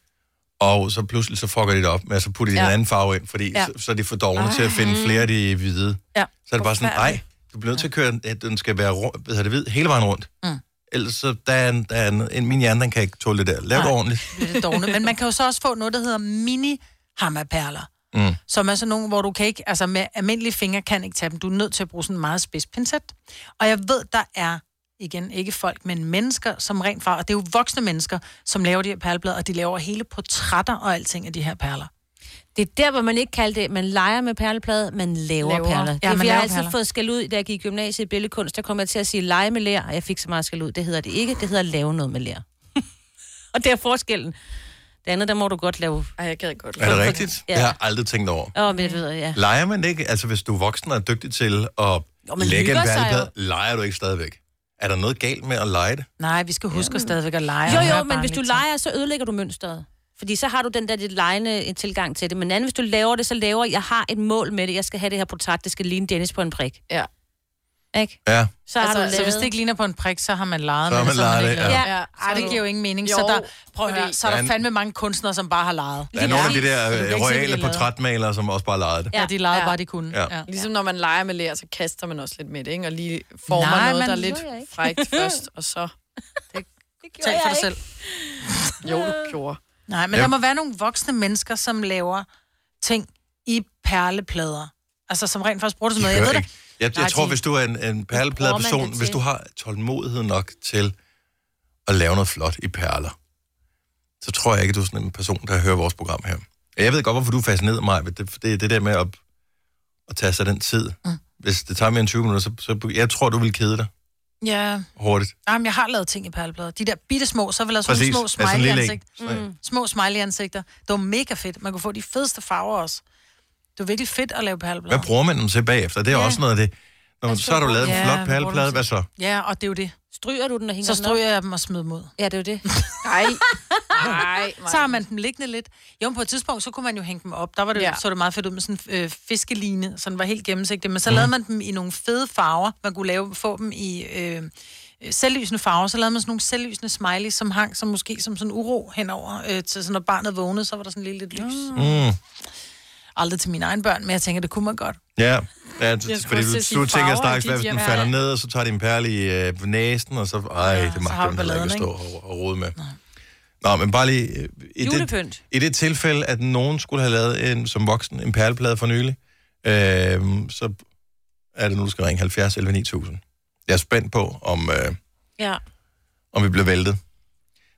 [SPEAKER 1] Og så pludselig så fucker de det op med, at så putter de ja.
[SPEAKER 2] Ja.
[SPEAKER 1] en anden farve ind, fordi
[SPEAKER 2] Ja.
[SPEAKER 1] ja. så, så er de for dogne til at finde flere af de hvide.
[SPEAKER 2] Ja.
[SPEAKER 1] Så er det bare sådan, nej, du bliver nødt til at køre, den- at den skal være rundt, hvad hedder det, hvid hele vejen rundt.
[SPEAKER 2] Mm.
[SPEAKER 1] Ellers så der er, en, der er en, en, min hjerne, den kan ikke tåle det der. Lav det
[SPEAKER 2] Nej.
[SPEAKER 1] ordentligt.
[SPEAKER 2] Bliver det dovne. Men man kan jo så også få noget, der hedder mini hammerperler.
[SPEAKER 1] Mm.
[SPEAKER 2] som er sådan nogle, hvor du kan ikke, altså med almindelige fingre kan ikke tage dem. Du er nødt til at bruge sådan en meget spids pincet. Og jeg ved, der er, igen, ikke folk, men mennesker, som rent fra, og det er jo voksne mennesker, som laver de her perleblad, og de laver hele portrætter og alting af de her perler.
[SPEAKER 4] <laughs> Det er der, hvor man ikke kalder det, man leger med perleplade, man laver,
[SPEAKER 2] Laver.
[SPEAKER 4] laver. perler.
[SPEAKER 2] Ja,
[SPEAKER 4] Ja,
[SPEAKER 2] man
[SPEAKER 4] det, man jeg har
[SPEAKER 2] laver
[SPEAKER 4] altid
[SPEAKER 2] perler.
[SPEAKER 4] fået skæld ud, da jeg gik i gymnasiet i billedkunst, der kom jeg til at sige lege med lær, og jeg fik så meget skæld ud. Det hedder det ikke, det hedder lave noget med lær. <laughs> og det er forskellen. Det andet, der må du godt lave.
[SPEAKER 5] Ej, jeg gad godt.
[SPEAKER 1] Er det rigtigt? Ja.
[SPEAKER 4] Ja.
[SPEAKER 1] Det har jeg aldrig tænkt over.
[SPEAKER 4] Åh, oh, men det ved jeg, ja.
[SPEAKER 1] Leger man ikke, altså hvis du er voksen og er dygtig til at jo,
[SPEAKER 2] man
[SPEAKER 1] lægge en
[SPEAKER 2] hygger sig
[SPEAKER 1] valgblad, leger du ikke stadigvæk? Er der noget galt med at lege det?
[SPEAKER 2] Nej, vi skal huske ja. stadigvæk at lege.
[SPEAKER 4] Jo,
[SPEAKER 2] og
[SPEAKER 4] jo,
[SPEAKER 2] høre
[SPEAKER 4] men hvis du
[SPEAKER 2] barnligt.
[SPEAKER 4] leger, så ødelægger du mønstret. Fordi så har du den der lidt lejende øh, tilgang til det. Men anden, hvis du laver det, så laver jeg har et mål med det. Jeg skal have det her portræt, det skal ligne Dennis på en prik.
[SPEAKER 5] Ja.
[SPEAKER 4] Ikke?
[SPEAKER 1] Ja.
[SPEAKER 4] Så har du
[SPEAKER 2] altså, så
[SPEAKER 4] lavet-
[SPEAKER 2] hvis det ikke ligner på en prik, så har man leget
[SPEAKER 1] Så har
[SPEAKER 2] med det,
[SPEAKER 1] man leget
[SPEAKER 2] ikke
[SPEAKER 1] det,
[SPEAKER 2] lavet
[SPEAKER 1] ja.
[SPEAKER 2] Ja, Ej, det giver jo ingen mening. Så
[SPEAKER 5] Jo,
[SPEAKER 2] der, prøv at
[SPEAKER 5] fordi-
[SPEAKER 2] høre, så er
[SPEAKER 1] Der er
[SPEAKER 2] der
[SPEAKER 1] en-
[SPEAKER 2] fandme mange kunstnere, som bare har leget.
[SPEAKER 1] Der er nogle af de der
[SPEAKER 2] Så du kan
[SPEAKER 1] øh,
[SPEAKER 2] ikke se, hvad de har
[SPEAKER 1] royale
[SPEAKER 2] lavet.
[SPEAKER 1] portrætmalere, som også bare leger det.
[SPEAKER 2] Ja, de legede bare, de kunne.
[SPEAKER 1] Ja. Ja.
[SPEAKER 5] Ligesom når man leger med lær, så kaster man også lidt med det, ikke? Og lige former
[SPEAKER 2] Nej,
[SPEAKER 5] noget,
[SPEAKER 2] man-
[SPEAKER 5] der er
[SPEAKER 2] Det gjorde jeg
[SPEAKER 5] lidt
[SPEAKER 2] ikke. <laughs>
[SPEAKER 5] frækt først, og så...
[SPEAKER 2] Det
[SPEAKER 5] gjorde
[SPEAKER 2] for
[SPEAKER 5] jeg
[SPEAKER 2] dig selv.
[SPEAKER 5] Jo, du gjorde.
[SPEAKER 2] Nej, men
[SPEAKER 5] Ja.
[SPEAKER 2] der må være nogle voksne mennesker, som laver ting i perleplader. Altså, som rent faktisk bruger det som noget. Jeg ved
[SPEAKER 1] Gør
[SPEAKER 2] det.
[SPEAKER 1] ikke. Jeg,
[SPEAKER 2] Nej,
[SPEAKER 1] jeg tror,
[SPEAKER 2] de-
[SPEAKER 1] hvis du er en, en perleplade
[SPEAKER 2] bruger man det
[SPEAKER 1] person, hvis
[SPEAKER 2] til.
[SPEAKER 1] du har tålmodighed nok til at lave noget flot i perler, så tror jeg ikke, at du er sådan en person, der hører vores program her. Og Jeg ved godt, hvorfor du fascinerer mig, men det, det er det der med at, at tage sig den tid. Mm. Hvis det tager mere end 20 minutter, så, så jeg tror, du vil kede dig
[SPEAKER 2] Ja.
[SPEAKER 1] hurtigt.
[SPEAKER 2] Nej, men jeg har lavet ting i perleplader. De der bitte små, så vil jeg sådan
[SPEAKER 1] Præcis.
[SPEAKER 2] nogle
[SPEAKER 1] Ja,
[SPEAKER 2] små
[SPEAKER 1] sådan en lille en.
[SPEAKER 2] smiley-ansigter. Mm. Små smiley-ansigter. Det var mega fedt. Man kunne få de fedeste farver også. Det var virkelig fedt at lave perleplader.
[SPEAKER 1] Hvad bruger man dem til bagefter? Det er ja. også noget af det. Når, man- så har du lavet en
[SPEAKER 2] Ja,
[SPEAKER 1] flot
[SPEAKER 2] hvad bruger du
[SPEAKER 1] perleplade,
[SPEAKER 2] dem
[SPEAKER 1] hvad så?
[SPEAKER 2] Ja, og det er jo det.
[SPEAKER 4] Stryger du den og hænger
[SPEAKER 2] Så stryger jeg dem og smider dem ud.
[SPEAKER 4] Ja, det er jo det.
[SPEAKER 2] <laughs>
[SPEAKER 5] Nej. Nej.
[SPEAKER 2] Så har man dem liggende lidt. Jo, men på et tidspunkt, så kunne man jo hænge dem op. Der var det, ja.
[SPEAKER 5] Ja.
[SPEAKER 2] så det meget fedt ud med sådan en øh, fiskeline, så den var helt gennemsigtig. Men så
[SPEAKER 1] Mhm.
[SPEAKER 5] Mm.
[SPEAKER 2] lavede man dem i nogle fede farver. Man kunne lave, få dem i øh, øh, selvlysende farver. Så lavede man sådan nogle selvlysende smileys, som hang som måske som sådan uro henover. Øh, til sådan, når barnet vågnede, så var der sådan lidt, lidt lys.
[SPEAKER 1] Mm.
[SPEAKER 2] Aldrig til mine egne børn, men jeg tænker, det kunne man godt.
[SPEAKER 1] Ja, ja
[SPEAKER 2] skulle også
[SPEAKER 1] fordi
[SPEAKER 2] til
[SPEAKER 1] du,
[SPEAKER 2] at sige
[SPEAKER 1] du tænker
[SPEAKER 2] farver
[SPEAKER 1] straks,
[SPEAKER 2] i
[SPEAKER 1] hvad
[SPEAKER 2] dit
[SPEAKER 1] hvis den
[SPEAKER 2] hjem.
[SPEAKER 1] falder
[SPEAKER 2] Ja.
[SPEAKER 1] ned, og så tager de en perle i øh, næsen, og så, ej, ja, det
[SPEAKER 2] har
[SPEAKER 1] magter
[SPEAKER 2] du
[SPEAKER 1] man heller ikke at
[SPEAKER 2] balladen,
[SPEAKER 1] stå og, og rode med. Nå, men bare lige... øh, I det,
[SPEAKER 4] Julepynt.
[SPEAKER 1] I det tilfælde, at nogen skulle have lavet en, som voksen en perleplade for nylig, øh, så er det nu, du skal ringe 70 11 9000. Jeg er spændt på, om, øh,
[SPEAKER 4] Ja.
[SPEAKER 1] om vi bliver væltet.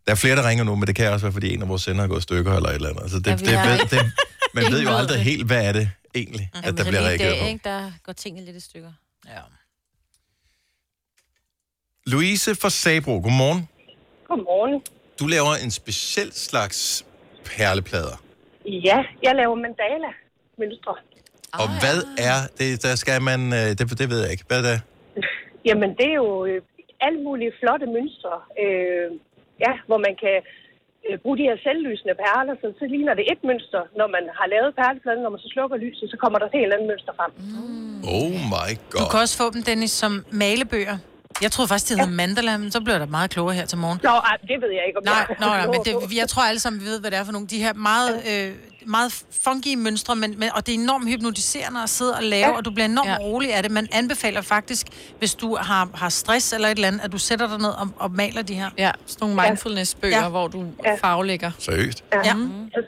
[SPEAKER 1] Der er flere, der ringer nu, men det kan også være, fordi en af vores sender er gået i stykker eller et eller andet. Altså, det,
[SPEAKER 4] Ja,
[SPEAKER 1] ja,
[SPEAKER 4] vi
[SPEAKER 1] det,
[SPEAKER 4] har
[SPEAKER 1] ved,
[SPEAKER 4] ikke-
[SPEAKER 1] det, man
[SPEAKER 4] Ingen
[SPEAKER 1] ved jo
[SPEAKER 4] ved
[SPEAKER 1] aldrig
[SPEAKER 4] det.
[SPEAKER 1] helt, hvad er det egentlig, at der bliver reageret på.
[SPEAKER 4] Ikke? Der går tingene lidt i stykker.
[SPEAKER 2] Ja.
[SPEAKER 1] Louise fra Sabro, godmorgen.
[SPEAKER 19] Godmorgen.
[SPEAKER 1] Du laver en speciel slags perleplader.
[SPEAKER 19] Ja, jeg laver mandala mønstre.
[SPEAKER 1] Og hvad er det, der skal man... øh, Det, det ved jeg ikke. Hvad er det?
[SPEAKER 19] Jamen, det er jo øh, alle mulige flotte mønstre, øh, ja, hvor man kan øh, bruge de her selvlysende perler, så, så ligner det et mønster, når man har lavet perlepladen, når man så slukker lyset, så kommer der et helt andet mønster frem.
[SPEAKER 1] Oh my
[SPEAKER 2] Du kan
[SPEAKER 1] god.
[SPEAKER 2] også få dem, Dennis, som malebøger. Jeg troede faktisk, det hed ja. mandala, men så blev der meget klogere her til morgen.
[SPEAKER 19] Nå, ej, det ved jeg ikke, om
[SPEAKER 2] Nej,
[SPEAKER 19] jeg...
[SPEAKER 2] nå, nej, men det, jeg tror alle sammen, vi ved, hvad det er for nogle. De her meget øh, meget funky mønstre, men, men, og det er enormt hypnotiserende at sidde og lave, ja. og du bliver enormt ja. rolig af det. Man anbefaler faktisk, hvis du har, har stress eller et eller andet, at du sætter dig ned og, og maler de her.
[SPEAKER 5] Ja, sådan nogle mindfulness-bøger, ja. hvor du ja. faglægger.
[SPEAKER 1] Seriøst?
[SPEAKER 19] Ja. ja. Så,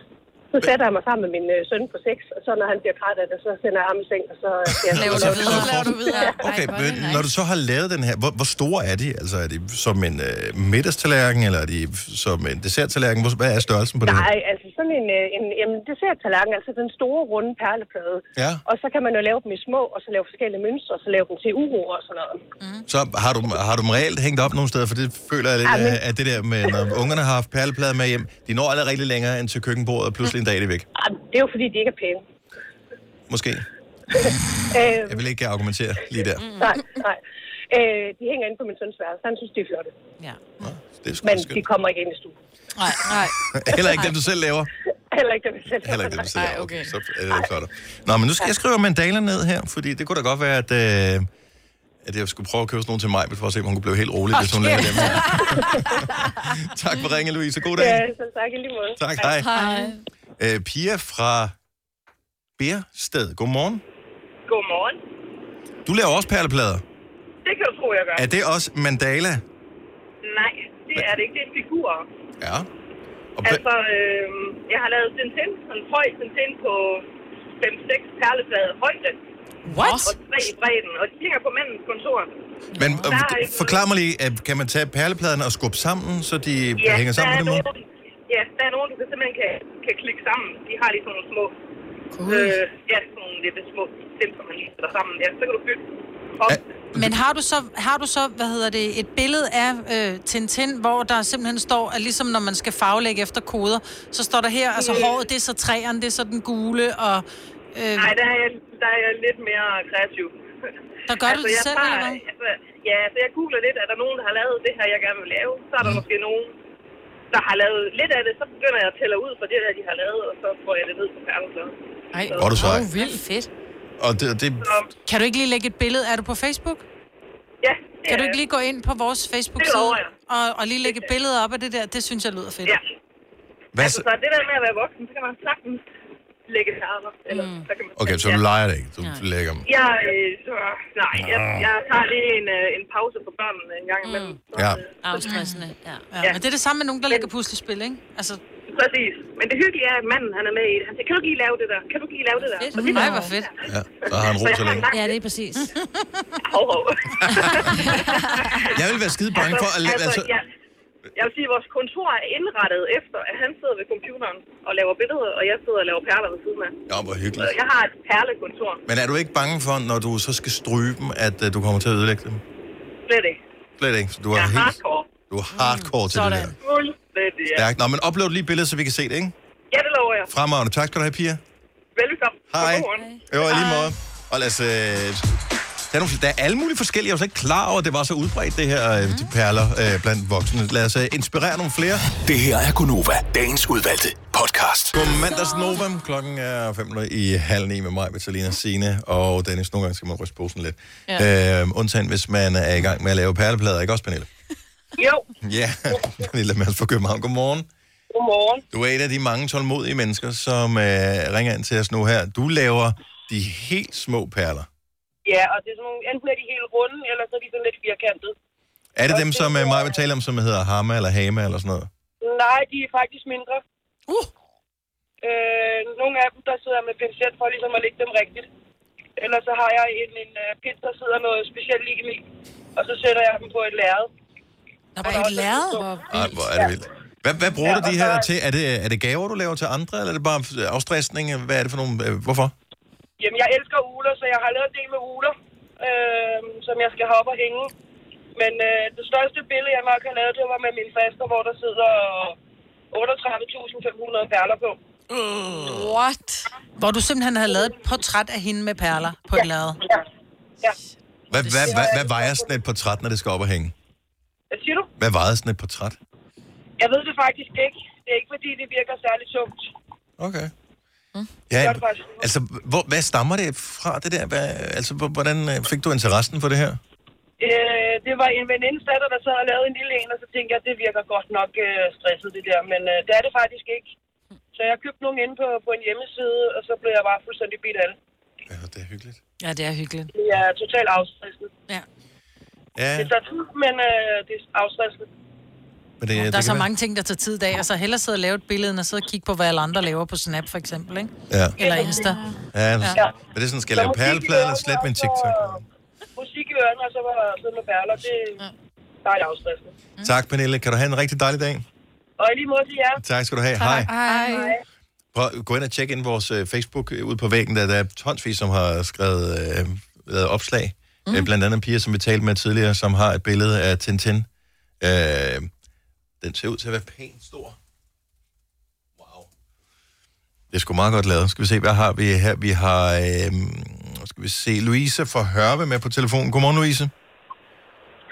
[SPEAKER 19] så sætter jeg mig sammen med min øh, søn på seks, og så når han bliver træt af det, så sender jeg ham i seng, og så øh, siger jeg...
[SPEAKER 5] Laver
[SPEAKER 1] du
[SPEAKER 5] videre, laver du videre.
[SPEAKER 1] Okay, men når du så har lavet den her, hvor, hvor store er de? Altså er de som en øh, middagstallerken, eller er de som en desserttallerken? Hvor- Hvad er størrelsen på den her?
[SPEAKER 19] Nej, altså sådan en, øh, en jamen, desserttallerken, altså den store runde perleplade.
[SPEAKER 1] Ja.
[SPEAKER 19] Og så kan man jo lave dem i små, og så lave forskellige mønstre, og så lave dem til uro og sådan noget.
[SPEAKER 1] Så har du, dem- har du dem reelt hængt op nogle steder, for det føler jeg lidt, øh,
[SPEAKER 19] Ja, men-
[SPEAKER 1] at- at det der med, når ungerne har haft perleplader med hjem, de når aldrig rigtig længere end til køkkenbordet, og pludselig en dag er det væk.
[SPEAKER 19] Ej, det er jo fordi, de ikke er pæne.
[SPEAKER 1] Måske.
[SPEAKER 19] Øh,
[SPEAKER 1] Jeg vil ikke argumentere lige der.
[SPEAKER 19] Øhm, nej, nej. Øh, de hænger inde på min søns værelse. Han synes, de er flotte.
[SPEAKER 2] Ja.
[SPEAKER 1] Det er sgu
[SPEAKER 19] Men
[SPEAKER 1] da skønt.
[SPEAKER 19] de kommer ikke ind i stuen.
[SPEAKER 2] Nej, nej.
[SPEAKER 1] <laughs> Heller ikke dem, du selv laver.
[SPEAKER 19] <laughs> Heller ikke dem selv.
[SPEAKER 1] Heller ikke dem, du selv laver. Okay. Så øh, er det ikke flot. Nå, men nu skal jeg skrive mandaler ned her, fordi det kunne da godt være, at, øh, at jeg skulle prøve at købe sådan nogle til mig, for at se, om hun kunne blive helt rolig, hvis hun
[SPEAKER 19] Okay.
[SPEAKER 1] lavede dem. <laughs> tak for ringen, Louise. God
[SPEAKER 19] Ja,
[SPEAKER 1] dag.
[SPEAKER 19] så tak i lige måde.
[SPEAKER 1] Tak, hej. Øh, Pia fra Bærsted. Godmorgen.
[SPEAKER 10] Godmorgen.
[SPEAKER 1] Du laver også perleplader.
[SPEAKER 10] Det kan du tro, jeg gør.
[SPEAKER 1] Er det også mandala?
[SPEAKER 10] Nej, det er det ikke. Det er figurer.
[SPEAKER 1] Ja.
[SPEAKER 10] Altså, øh, jeg har lavet Tintin, sådan en høj Tintin på 5-6 perleplader højde.
[SPEAKER 2] What?
[SPEAKER 10] Og tre i bredden, og de hænger på mandens kontor.
[SPEAKER 1] Men
[SPEAKER 10] Der
[SPEAKER 1] øh,
[SPEAKER 10] er ikke-
[SPEAKER 1] forklar mig lige, øh, kan man tage perlepladerne og skubbe sammen, så de
[SPEAKER 10] Ja,
[SPEAKER 1] hænger sammen på
[SPEAKER 10] der er
[SPEAKER 1] den måde?
[SPEAKER 10] nogen, ja, der er nogen, du kan simpelthen kan, kan klikke sammen. De har lige sådan nogle små...
[SPEAKER 2] Cool.
[SPEAKER 10] Øh, ja, sådan nogle lidt små ting, som man lige sætter sammen. Ja, så kan du bytte op.
[SPEAKER 2] Men har du så, har du så hvad hedder det, et billede af øh, Tintin, hvor der simpelthen står, at ligesom når man skal farvelægge efter koder, så står der her, altså
[SPEAKER 10] Øh.
[SPEAKER 2] håret, det er så træerne, det er så den gule, og... Øh,
[SPEAKER 10] Nej, der er, jeg, der er jeg lidt mere kreativ.
[SPEAKER 2] Der gør du det
[SPEAKER 10] jeg
[SPEAKER 2] selv,
[SPEAKER 10] tager-
[SPEAKER 2] eller hvad?
[SPEAKER 10] Altså, ja, så jeg googler lidt, er der nogen, der har lavet det her, jeg gerne vil lave? Så er der måske nogen, der har lavet lidt af det, så begynder jeg at tælle ud fra det der, de har lavet, og så får jeg det ned på perlepladen.
[SPEAKER 5] Ej,
[SPEAKER 1] Hvor er du sej.
[SPEAKER 2] Åh, vildt fedt.
[SPEAKER 1] Og det, det,
[SPEAKER 2] Kan du ikke lige lægge et billede? Er du på Facebook?
[SPEAKER 10] Ja.
[SPEAKER 2] Kan du
[SPEAKER 10] er
[SPEAKER 2] ikke lige gå ind på vores
[SPEAKER 10] Det
[SPEAKER 2] Facebook-side
[SPEAKER 10] lover jeg.
[SPEAKER 2] og, og lige lægge et billede op af det der? Det synes jeg lyder fedt. Ja.
[SPEAKER 1] hvad
[SPEAKER 10] Altså,
[SPEAKER 1] så?
[SPEAKER 10] så det der med at være voksen, så kan man sagtens lægge det her, eller mm. så kan man...
[SPEAKER 1] Okay, så du leger det ikke. Du lægger dem.
[SPEAKER 10] Jeg, øh, så, nej, jeg,
[SPEAKER 1] Ah.
[SPEAKER 10] jeg tager lige en, øh, en pause for børnene en gang imellem. Mm.
[SPEAKER 1] Ja.
[SPEAKER 2] Afstressende, ja. ja. Men det er det samme med nogen, der lægger puslespil, ikke? Altså,
[SPEAKER 10] Præcis. Men det hyggelige er, at manden han er med i det. Han siger, kan du ikke lige lave det der? Kan du ikke lige lave det der? Og det
[SPEAKER 2] nej, hvor fedt.
[SPEAKER 1] Ja, så har han
[SPEAKER 10] Altså,
[SPEAKER 1] ro
[SPEAKER 10] <laughs>
[SPEAKER 1] så længe.
[SPEAKER 4] Ja, det er præcis.
[SPEAKER 10] Hov, hov.
[SPEAKER 1] Jeg vil være skide bange for at lave... Altså,
[SPEAKER 10] altså, jeg, jeg vil sige, at vores kontor er indrettet efter, at han sidder ved computeren og laver billeder, og jeg sidder og laver perler ved siden af.
[SPEAKER 1] ja, hvor
[SPEAKER 10] Så
[SPEAKER 1] hyggeligt.
[SPEAKER 10] jeg har et perlekontor.
[SPEAKER 1] Men er du ikke bange for, når du så skal stryge dem, at øh, du kommer til at ødelægge dem?
[SPEAKER 10] Slet ikke.
[SPEAKER 1] Slet ikke. Så du
[SPEAKER 10] Jeg
[SPEAKER 1] er
[SPEAKER 10] er
[SPEAKER 1] helt...
[SPEAKER 10] hardcore.
[SPEAKER 1] Du er hardcore til det der.
[SPEAKER 10] Fuldstændig, ja.
[SPEAKER 1] Stærkt. Nå, men upload lige billedet, så vi kan se det, ikke?
[SPEAKER 10] Ja, det lover jeg.
[SPEAKER 1] Fremragende. Tak skal du have, Pia.
[SPEAKER 10] Velkommen.
[SPEAKER 1] Hej.
[SPEAKER 10] Godmorgen.
[SPEAKER 1] Jo, i lige måde. Og lad os... Øh, der, er nogle, der er alle mulige forskellige. Jeg var slet ikke klar over, at det var så udbredt, det her øh, de perler øh, blandt voksne. Lad os øh, inspirere nogle flere.
[SPEAKER 7] Det her er Gunova, dagens udvalgte podcast.
[SPEAKER 1] God mandags Nova. Klokken er 5 i halv ni med mig, Vitalina Sine og Dennis. Nogle gange skal man ryste posen lidt. Ja.
[SPEAKER 20] Ja.
[SPEAKER 1] Øh, undtagen hvis man er i gang med at lave perleplader, ikke også, Pernille?
[SPEAKER 20] Jo,
[SPEAKER 1] Ja, <laughs> Pernille Mads fra København. Godmorgen.
[SPEAKER 20] godmorgen.
[SPEAKER 1] Du er et af de mange tålmodige mennesker, som øh, ringer ind til os nu her. Du laver de helt små perler.
[SPEAKER 20] Ja, og det er sådan nogle, enten er de helt runde, eller så er de sådan lidt firkantede.
[SPEAKER 1] Er det dem, som øh, mig vil tale om, som hedder Hama eller Hama eller sådan noget?
[SPEAKER 20] Nej, de er faktisk mindre.
[SPEAKER 2] Uh!
[SPEAKER 20] Øh, nogle af dem, der sidder med pincet for ligesom at lægge dem rigtigt. Ellers så har jeg en, en uh, pind, der sidder noget specielt lim i, og så sætter jeg dem på et lærred.
[SPEAKER 2] Nå, på et lærred?
[SPEAKER 1] Ej, hvor er det vildt. Hvad, hvad bruger
[SPEAKER 20] Ja,
[SPEAKER 1] ja, du de
[SPEAKER 20] og
[SPEAKER 1] her
[SPEAKER 20] så-
[SPEAKER 1] til? Er det, er det gaver, du laver til andre, eller er det bare afstressning? Hvad er det for nogle... Øh, hvorfor?
[SPEAKER 20] Jamen, jeg elsker uler, så jeg har lavet en del med uler, øh, som jeg skal hoppe og hænge. Men øh, det største billede, jeg nok har lavet, det var med min faster, hvor der sidder 38.500 perler på.
[SPEAKER 2] Uh. What? Hvor du simpelthen havde lavet et portræt af hende med perler på et lærred.
[SPEAKER 1] Hvad, hvad, hvad, hvad vejer sådan et portræt, når det skal op og hænge?
[SPEAKER 20] Hvad siger du?
[SPEAKER 1] Hvad vejede sådan et portræt?
[SPEAKER 20] Jeg ved det faktisk ikke. Det er ikke, fordi det virker særlig tungt.
[SPEAKER 1] Okay. Ja, altså, hvor, hvad stammer det fra, det der? Hvad, altså, hvor- hvordan øh, fik du interessen for det her?
[SPEAKER 20] Øh, det var en venindes datter, der så havde lavet en lille en, og så tænkte jeg, det virker godt nok øh, stresset det der, men øh, det er det faktisk ikke. Så jeg købte nogle inde på, på en hjemmeside, og så blev jeg bare fuldstændig bidt af det.
[SPEAKER 2] Ja, det er hyggeligt.
[SPEAKER 20] Det er totalt afstresset.
[SPEAKER 2] Ja.
[SPEAKER 1] Ja,
[SPEAKER 20] Det tager tid, men øh, det er afstresset.
[SPEAKER 1] men det,
[SPEAKER 2] Der er
[SPEAKER 1] det
[SPEAKER 2] så
[SPEAKER 1] kan
[SPEAKER 2] mange ting, der tager tid i dag, og så hellere sidde og lave et billede, end at sidde og kigge på, hvad alle andre laver på Snap, for eksempel, ikke?
[SPEAKER 1] Ja.
[SPEAKER 2] Eller Insta.
[SPEAKER 1] Være, ja,
[SPEAKER 2] Ja.
[SPEAKER 1] ja. Men det er sådan, skal jeg lave perleplade eller slet min TikTok?
[SPEAKER 20] Musik i ørerne, og så var sidde med perler, det er dejligt afstressende.
[SPEAKER 2] Mm.
[SPEAKER 1] Tak, Pernille. Kan du have en rigtig dejlig dag?
[SPEAKER 20] Og i lige måde til jer.
[SPEAKER 1] Tak skal du have. Hej.
[SPEAKER 20] Hej.
[SPEAKER 1] Prøv, gå ind og tjek ind vores øh, Facebook øh, ude på væggen, der, der er tonsvis, som har skrevet øh, lavet opslag. Mm. Øh, blandt andet en pige, som vi talte med tidligere, som har et billede af Tintin. Øh, den ser ud til at være pænt stor. Wow. Det er sgu meget godt lavet. Skal vi se, hvad har vi her? Vi har, øh, skal vi se, Louise fra Hørve med på telefonen. Godmorgen, Louise.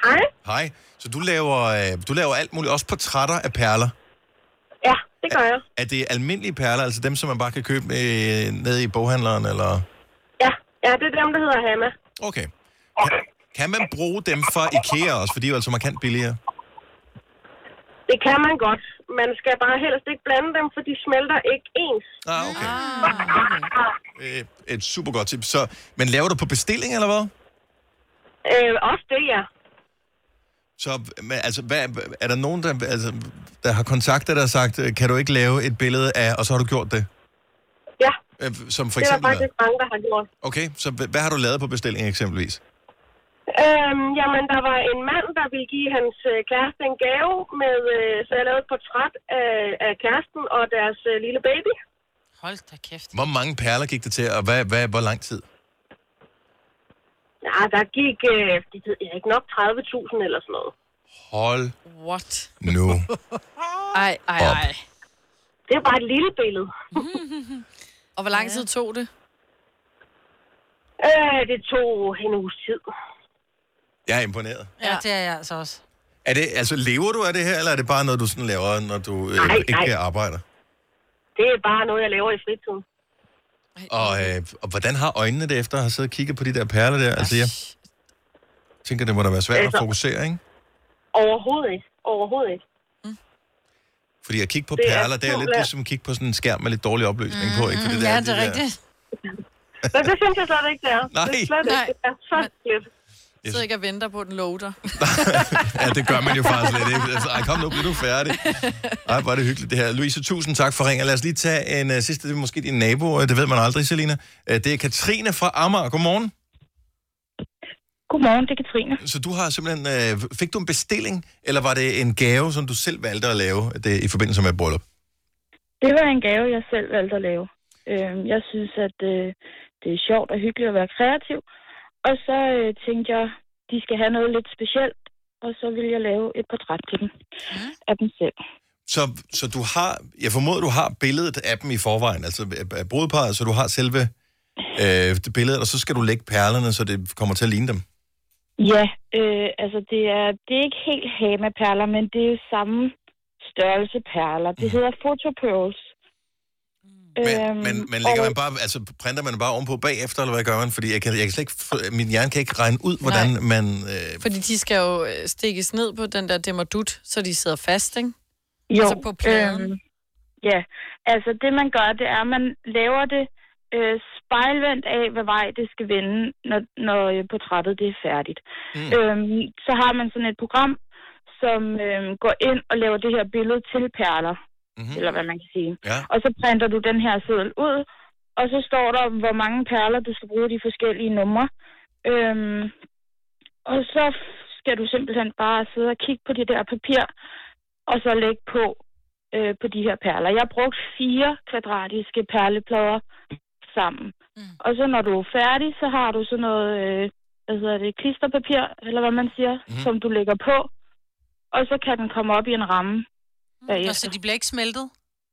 [SPEAKER 9] Hej.
[SPEAKER 1] Hej. Så du laver, øh, du laver alt muligt, også portrætter af perler.
[SPEAKER 9] Ja, det gør jeg.
[SPEAKER 1] Er det almindelige perler, altså dem, som man bare kan købe øh, nede i boghandleren, eller...
[SPEAKER 9] Ja, ja det er dem, der hedder Hanna.
[SPEAKER 1] Okay. Kan, kan man bruge dem fra IKEA også, for de er jo altså markant billigere?
[SPEAKER 9] Det kan man godt. Man skal bare helst ikke blande dem, for de smelter ikke ens.
[SPEAKER 1] Ah, okay. Øh, et super godt tip. Så, men laver du på bestilling, eller hvad?
[SPEAKER 9] Øh, også det, ja.
[SPEAKER 1] Så men, altså, hvad, er der nogen, der, altså, der har kontaktet dig og sagt, øh, kan du ikke lave et billede af, og så har du gjort det?
[SPEAKER 9] Ja.
[SPEAKER 1] Øh, Som for
[SPEAKER 9] det er
[SPEAKER 1] eksempel...
[SPEAKER 9] der faktisk mange, der har gjort.
[SPEAKER 1] Okay, så hvad hvad har du lavet på bestilling eksempelvis?
[SPEAKER 9] Øhm, jamen, der var en mand, der ville give hans øh, kæreste en gave, med, øh, så jeg lavede et portræt af, af kæresten og deres øh, lille baby.
[SPEAKER 2] Hold da kæft.
[SPEAKER 1] Hvor mange perler gik det til, og hvad, hvad, hvor lang tid?
[SPEAKER 9] Ja, der gik, øh, det ved jeg ikke nok, 30.000 eller sådan noget.
[SPEAKER 1] Hold
[SPEAKER 9] What?
[SPEAKER 1] nu.
[SPEAKER 9] Ej, ej, ej. Det er bare et lille billede.
[SPEAKER 5] <laughs> Og hvor lang tid tog det?
[SPEAKER 9] Øh, det tog en uges tid.
[SPEAKER 1] Jeg er imponeret.
[SPEAKER 2] Ja, det er jeg altså også.
[SPEAKER 1] Er det, altså, lever du af det her, eller er det bare noget, du sådan laver, når du øh,
[SPEAKER 9] Nej,
[SPEAKER 1] ikke
[SPEAKER 9] nej.
[SPEAKER 1] arbejder?
[SPEAKER 9] Det er bare noget, jeg laver i fritiden.
[SPEAKER 1] Og, øh, og hvordan har øjnene det efter at have siddet og kigget på de der perler der? Altså, jeg tænker, det må da være svært at
[SPEAKER 9] Altså-
[SPEAKER 1] fokusere, ikke?
[SPEAKER 9] Overhovedet ikke. Overhovedet ikke.
[SPEAKER 1] Fordi at kigge på
[SPEAKER 9] Det er
[SPEAKER 1] perler, det er lidt
[SPEAKER 9] simpelthen-
[SPEAKER 1] ligesom at kigge på sådan en skærm med lidt dårlig opløsning på, ikke? Fordi
[SPEAKER 9] Mm. ja,
[SPEAKER 1] der,
[SPEAKER 9] det er
[SPEAKER 1] de der-
[SPEAKER 9] rigtigt. <laughs> Men det synes jeg slet ikke, det er.
[SPEAKER 1] Nej.
[SPEAKER 9] Det er slet ikke. Det er så lidt.
[SPEAKER 5] Jeg sidder ikke og venter på, at den loader.
[SPEAKER 1] Ja, det gør man jo faktisk lidt, ikke? Altså, ej, kom nu, bliv nu færdig. Ej, hvor er det hyggeligt det her. Louise, tusind tak for ringen. Lad os lige tage en uh, sidste, det er måske din nabo, øh, det ved man aldrig, Selina. Uh, det er Katrine fra Amager. Godmorgen.
[SPEAKER 21] Godmorgen, det er Katrine.
[SPEAKER 1] Så du har simpelthen, uh, fik du en bestilling, eller var det en gave, som du selv valgte at lave øh, det, i forbindelse med et bryllup?
[SPEAKER 21] Det var en gave, jeg selv valgte at lave. Øhm, jeg synes, at øh, det er sjovt og hyggeligt at være kreativ. Og så øh, tænkte jeg, de skal have noget lidt specielt. Og så ville jeg lave et portræt til dem. Af dem selv.
[SPEAKER 1] Så, så du har, jeg formoder, du har billedet af dem i forvejen, altså af- af brudeparret, så du har selve øh, det billedet, og så skal du lægge perlerne, så det kommer til at ligne dem.
[SPEAKER 21] Ja, øh, altså det er, det er ikke helt hamaperler, men det er samme størrelse perler. Det hedder Øhm, photopearls.
[SPEAKER 1] Mhm. Men, men, men lægger man bare, altså printer man bare ovenpå bagefter, eller hvad gør man? Fordi jeg kan, jeg kan slet ikke, få- min hjerne kan ikke regne ud, hvordan Nej. man... Øh,
[SPEAKER 5] Fordi de skal jo øh, stikkes ned på den der demardut, så de sidder fast, ikke?
[SPEAKER 21] Jo,
[SPEAKER 5] altså på pladen.
[SPEAKER 21] øhm, Ja, altså det man gør, det er, at man laver det øh, spejlvendt af, hvad vej det skal vende, når, når øh, portrættet det er færdigt. Mm. Øhm, så har man sådan et program, som øhm, går ind og laver det her billede til perler, mm-hmm. eller hvad man kan sige.
[SPEAKER 1] Ja.
[SPEAKER 21] Og så printer du den her seddel ud, og så står der, hvor mange perler du skal bruge i de forskellige numre. Øhm, og så f- skal du simpelthen bare sidde og kigge på det der papir, og så lægge på øh, på de her perler. Jeg brugte fire kvadratiske perleplader sammen. Mm. Og så når du er færdig, så har du sådan noget, øh, hvad hedder det, klisterpapir, eller hvad man siger, mm. som du lægger på. Og så kan den komme op i en ramme bagefter.
[SPEAKER 2] Og så de bliver ikke smeltet?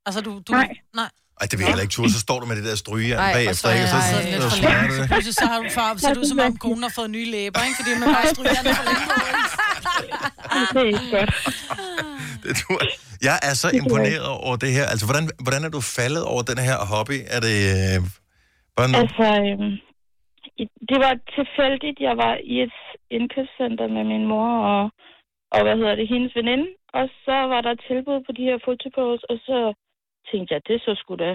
[SPEAKER 2] Altså, du... du
[SPEAKER 21] Nej.
[SPEAKER 2] Nej.
[SPEAKER 1] ej, det vil jeg heller ikke turde, så står du med det der strygejern
[SPEAKER 2] Ej, og
[SPEAKER 1] bagefter,
[SPEAKER 2] så-
[SPEAKER 1] ikke? Og så,
[SPEAKER 2] ej,
[SPEAKER 1] så,
[SPEAKER 2] lidt
[SPEAKER 1] så,
[SPEAKER 2] for
[SPEAKER 1] så,
[SPEAKER 2] længe.
[SPEAKER 1] så,
[SPEAKER 2] Så pludselig så har du far, så er det ud som om konen har fået nye læber, ikke? Fordi man
[SPEAKER 21] <laughs>
[SPEAKER 2] bare stryger den for længe.
[SPEAKER 21] Det er ikke godt.
[SPEAKER 1] Det tror jeg. Jeg er så imponeret over det her. Altså, hvordan, hvordan er du faldet over den her hobby? Er det øh, bare noget?
[SPEAKER 21] Altså, øhm, i- det var tilfældigt. Jeg var i et indkøbscenter med min mor og, og hvad hedder det, hendes veninde. Og så var der et tilbud på de her fotopods, og så tænkte jeg, det så sgu da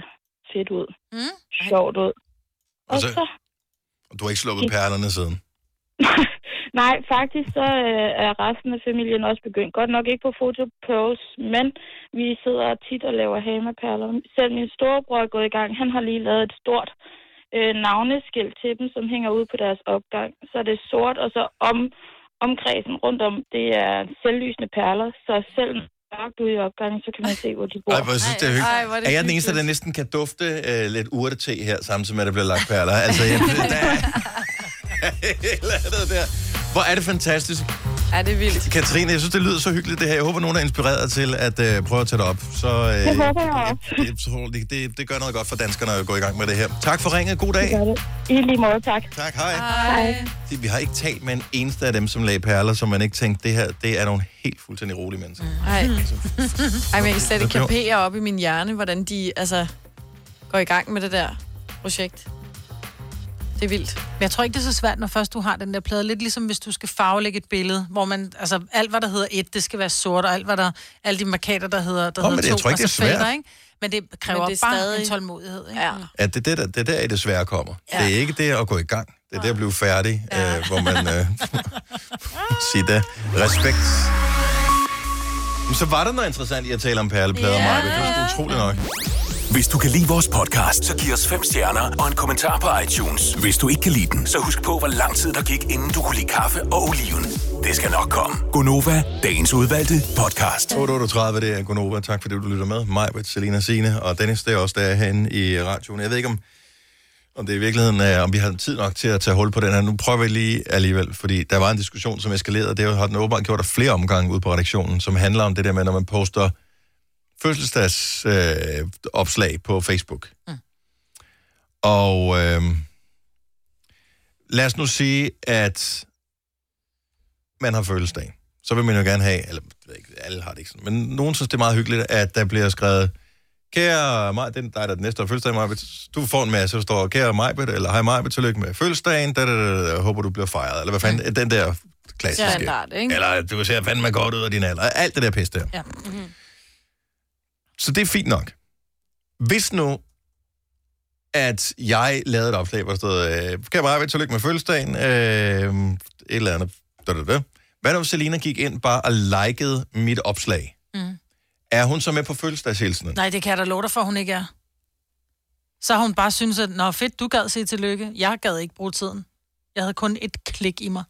[SPEAKER 21] fedt ud. Mm. Sjovt ud.
[SPEAKER 1] Og så, og du har ikke sluppet perlerne siden.
[SPEAKER 21] Nej, faktisk så øh, er resten af familien også begyndt. Godt nok ikke på Photo Pearls, men vi sidder tit og laver hamerperler. Selv min storebror er gået i gang. Han har lige lavet et stort øh, navneskilt til dem, som hænger ud på deres opgang. Så er det sort, og så om, omkredsen rundt om, det er selvlysende perler. Så selv når det er mørkt ude i opgangen, så kan man se, hvor de bor.
[SPEAKER 1] Ej, hvor jeg synes, det er hyggeligt. Ej, er, jeg den eneste, der næsten kan dufte øh, lidt urtete her, samtidig med, at der bliver lagt perler? Altså, <laughs> jeg, der er... Eller andet der. Hvor er det fantastisk.
[SPEAKER 5] Ja, det er vildt.
[SPEAKER 1] Katrine, jeg synes, det lyder så hyggeligt det her. Jeg håber, nogen er inspireret dig til at øh, prøve at tage det op. Så øh,
[SPEAKER 21] Det håber jeg
[SPEAKER 1] jeg, jeg tror, det, det, det gør noget godt for danskerne at gå i gang med det her. Tak for ringet. God dag.
[SPEAKER 21] Det gør det. I lige måde, tak.
[SPEAKER 1] Tak, hej.
[SPEAKER 21] Hej.
[SPEAKER 1] Det- Vi har ikke talt med en eneste af dem, som lagde perler, som man ikke tænkte, det her det er nogle helt fuldstændig rolige mennesker.
[SPEAKER 5] Ej. <laughs> Ej, men jeg kan slet ikke
[SPEAKER 1] Hvad gjorde-
[SPEAKER 5] kapere op i min hjerne, hvordan de altså, går i gang med det der projekt. Det er vildt.
[SPEAKER 2] Men jeg tror ikke, det er så svært, når først du har den der plade. Lidt ligesom hvis du skal farvelægge et billede, hvor man, altså alt hvad der hedder et, det skal være sort, og alt hvad der, alle de markater, der hedder, der
[SPEAKER 1] Nå, men
[SPEAKER 2] hedder
[SPEAKER 1] det-
[SPEAKER 2] to,
[SPEAKER 1] jeg tror ikke,
[SPEAKER 2] og
[SPEAKER 1] det
[SPEAKER 2] så
[SPEAKER 1] er svært.
[SPEAKER 2] fader, ikke? Men det kræver
[SPEAKER 5] Men
[SPEAKER 2] men
[SPEAKER 5] det
[SPEAKER 2] det
[SPEAKER 5] er
[SPEAKER 2] bare
[SPEAKER 5] stadig-
[SPEAKER 2] en tålmodighed, ikke?
[SPEAKER 5] Ja.
[SPEAKER 1] At det, det, der, det der er det svære kommer. Ja. Det er ikke det at gå i gang. Det er det at blive færdig, ja. øh, hvor man øh, <laughs> siger det. Respekt. Men så var der noget interessant i at tale om perleplader, ja. Maja. Det var sgu utroligt nok.
[SPEAKER 7] Hvis du kan lide vores podcast, så giv os fem stjerner og en kommentar på iTunes. Hvis du ikke kan lide den, så husk på, hvor lang tid der gik, inden du kunne lide kaffe og oliven. Det skal nok komme.
[SPEAKER 1] Gonova, dagens udvalgte podcast. 8.38, det er Gonova. Tak fordi du lytter med. Mig, Selina Sine og Dennis, det er også der herinde i radioen. Jeg ved ikke, om, om det er i virkeligheden, øh, om vi har tid nok til at tage hul på den her. Nu prøver vi lige alligevel, fordi der var en diskussion, som eskalerede, og det har den åbenbart gjort af flere omgange ude på redaktionen, som handler om det der med, når man poster fødselsdags øh, opslag på Facebook. Mm. Og øh, lad os nu sige, at man har fødselsdag, så vil man jo gerne have, eller jeg ved ikke, alle har det ikke sådan, men nogen synes, det er meget hyggeligt, at der bliver skrevet, kære Maj, den dig, der er den næste der har fødselsdag, Majbet, du får en masse, der står, kære Majbet, eller hej Majbet, tillykke med fødselsdagen, da, da, da, da, håber du bliver fejret, eller hvad fanden, den der klassiske.
[SPEAKER 5] Standard, ikke?
[SPEAKER 1] Eller du ser fandme godt ud af din alder, alt det der pis der.
[SPEAKER 5] Ja.
[SPEAKER 4] Mhm.
[SPEAKER 5] Mm-hmm.
[SPEAKER 1] Så det er fint nok. Hvis nu, at jeg lavede et opslag, hvor der stod, øh, kan jeg bare tillykke med fødselsdagen, øh, et eller andet, da, da, da. Hvad nu, hvis Selina gik ind bare og likede mit opslag?
[SPEAKER 2] Mm.
[SPEAKER 1] Er hun så med på fødselsdagshilsenen?
[SPEAKER 2] Nej, det kan jeg da love dig for, hun ikke er. Så har hun bare synes at, nå fedt, du gad sige tillykke. Jeg gad ikke bruge tiden. Jeg havde kun et klik i mig.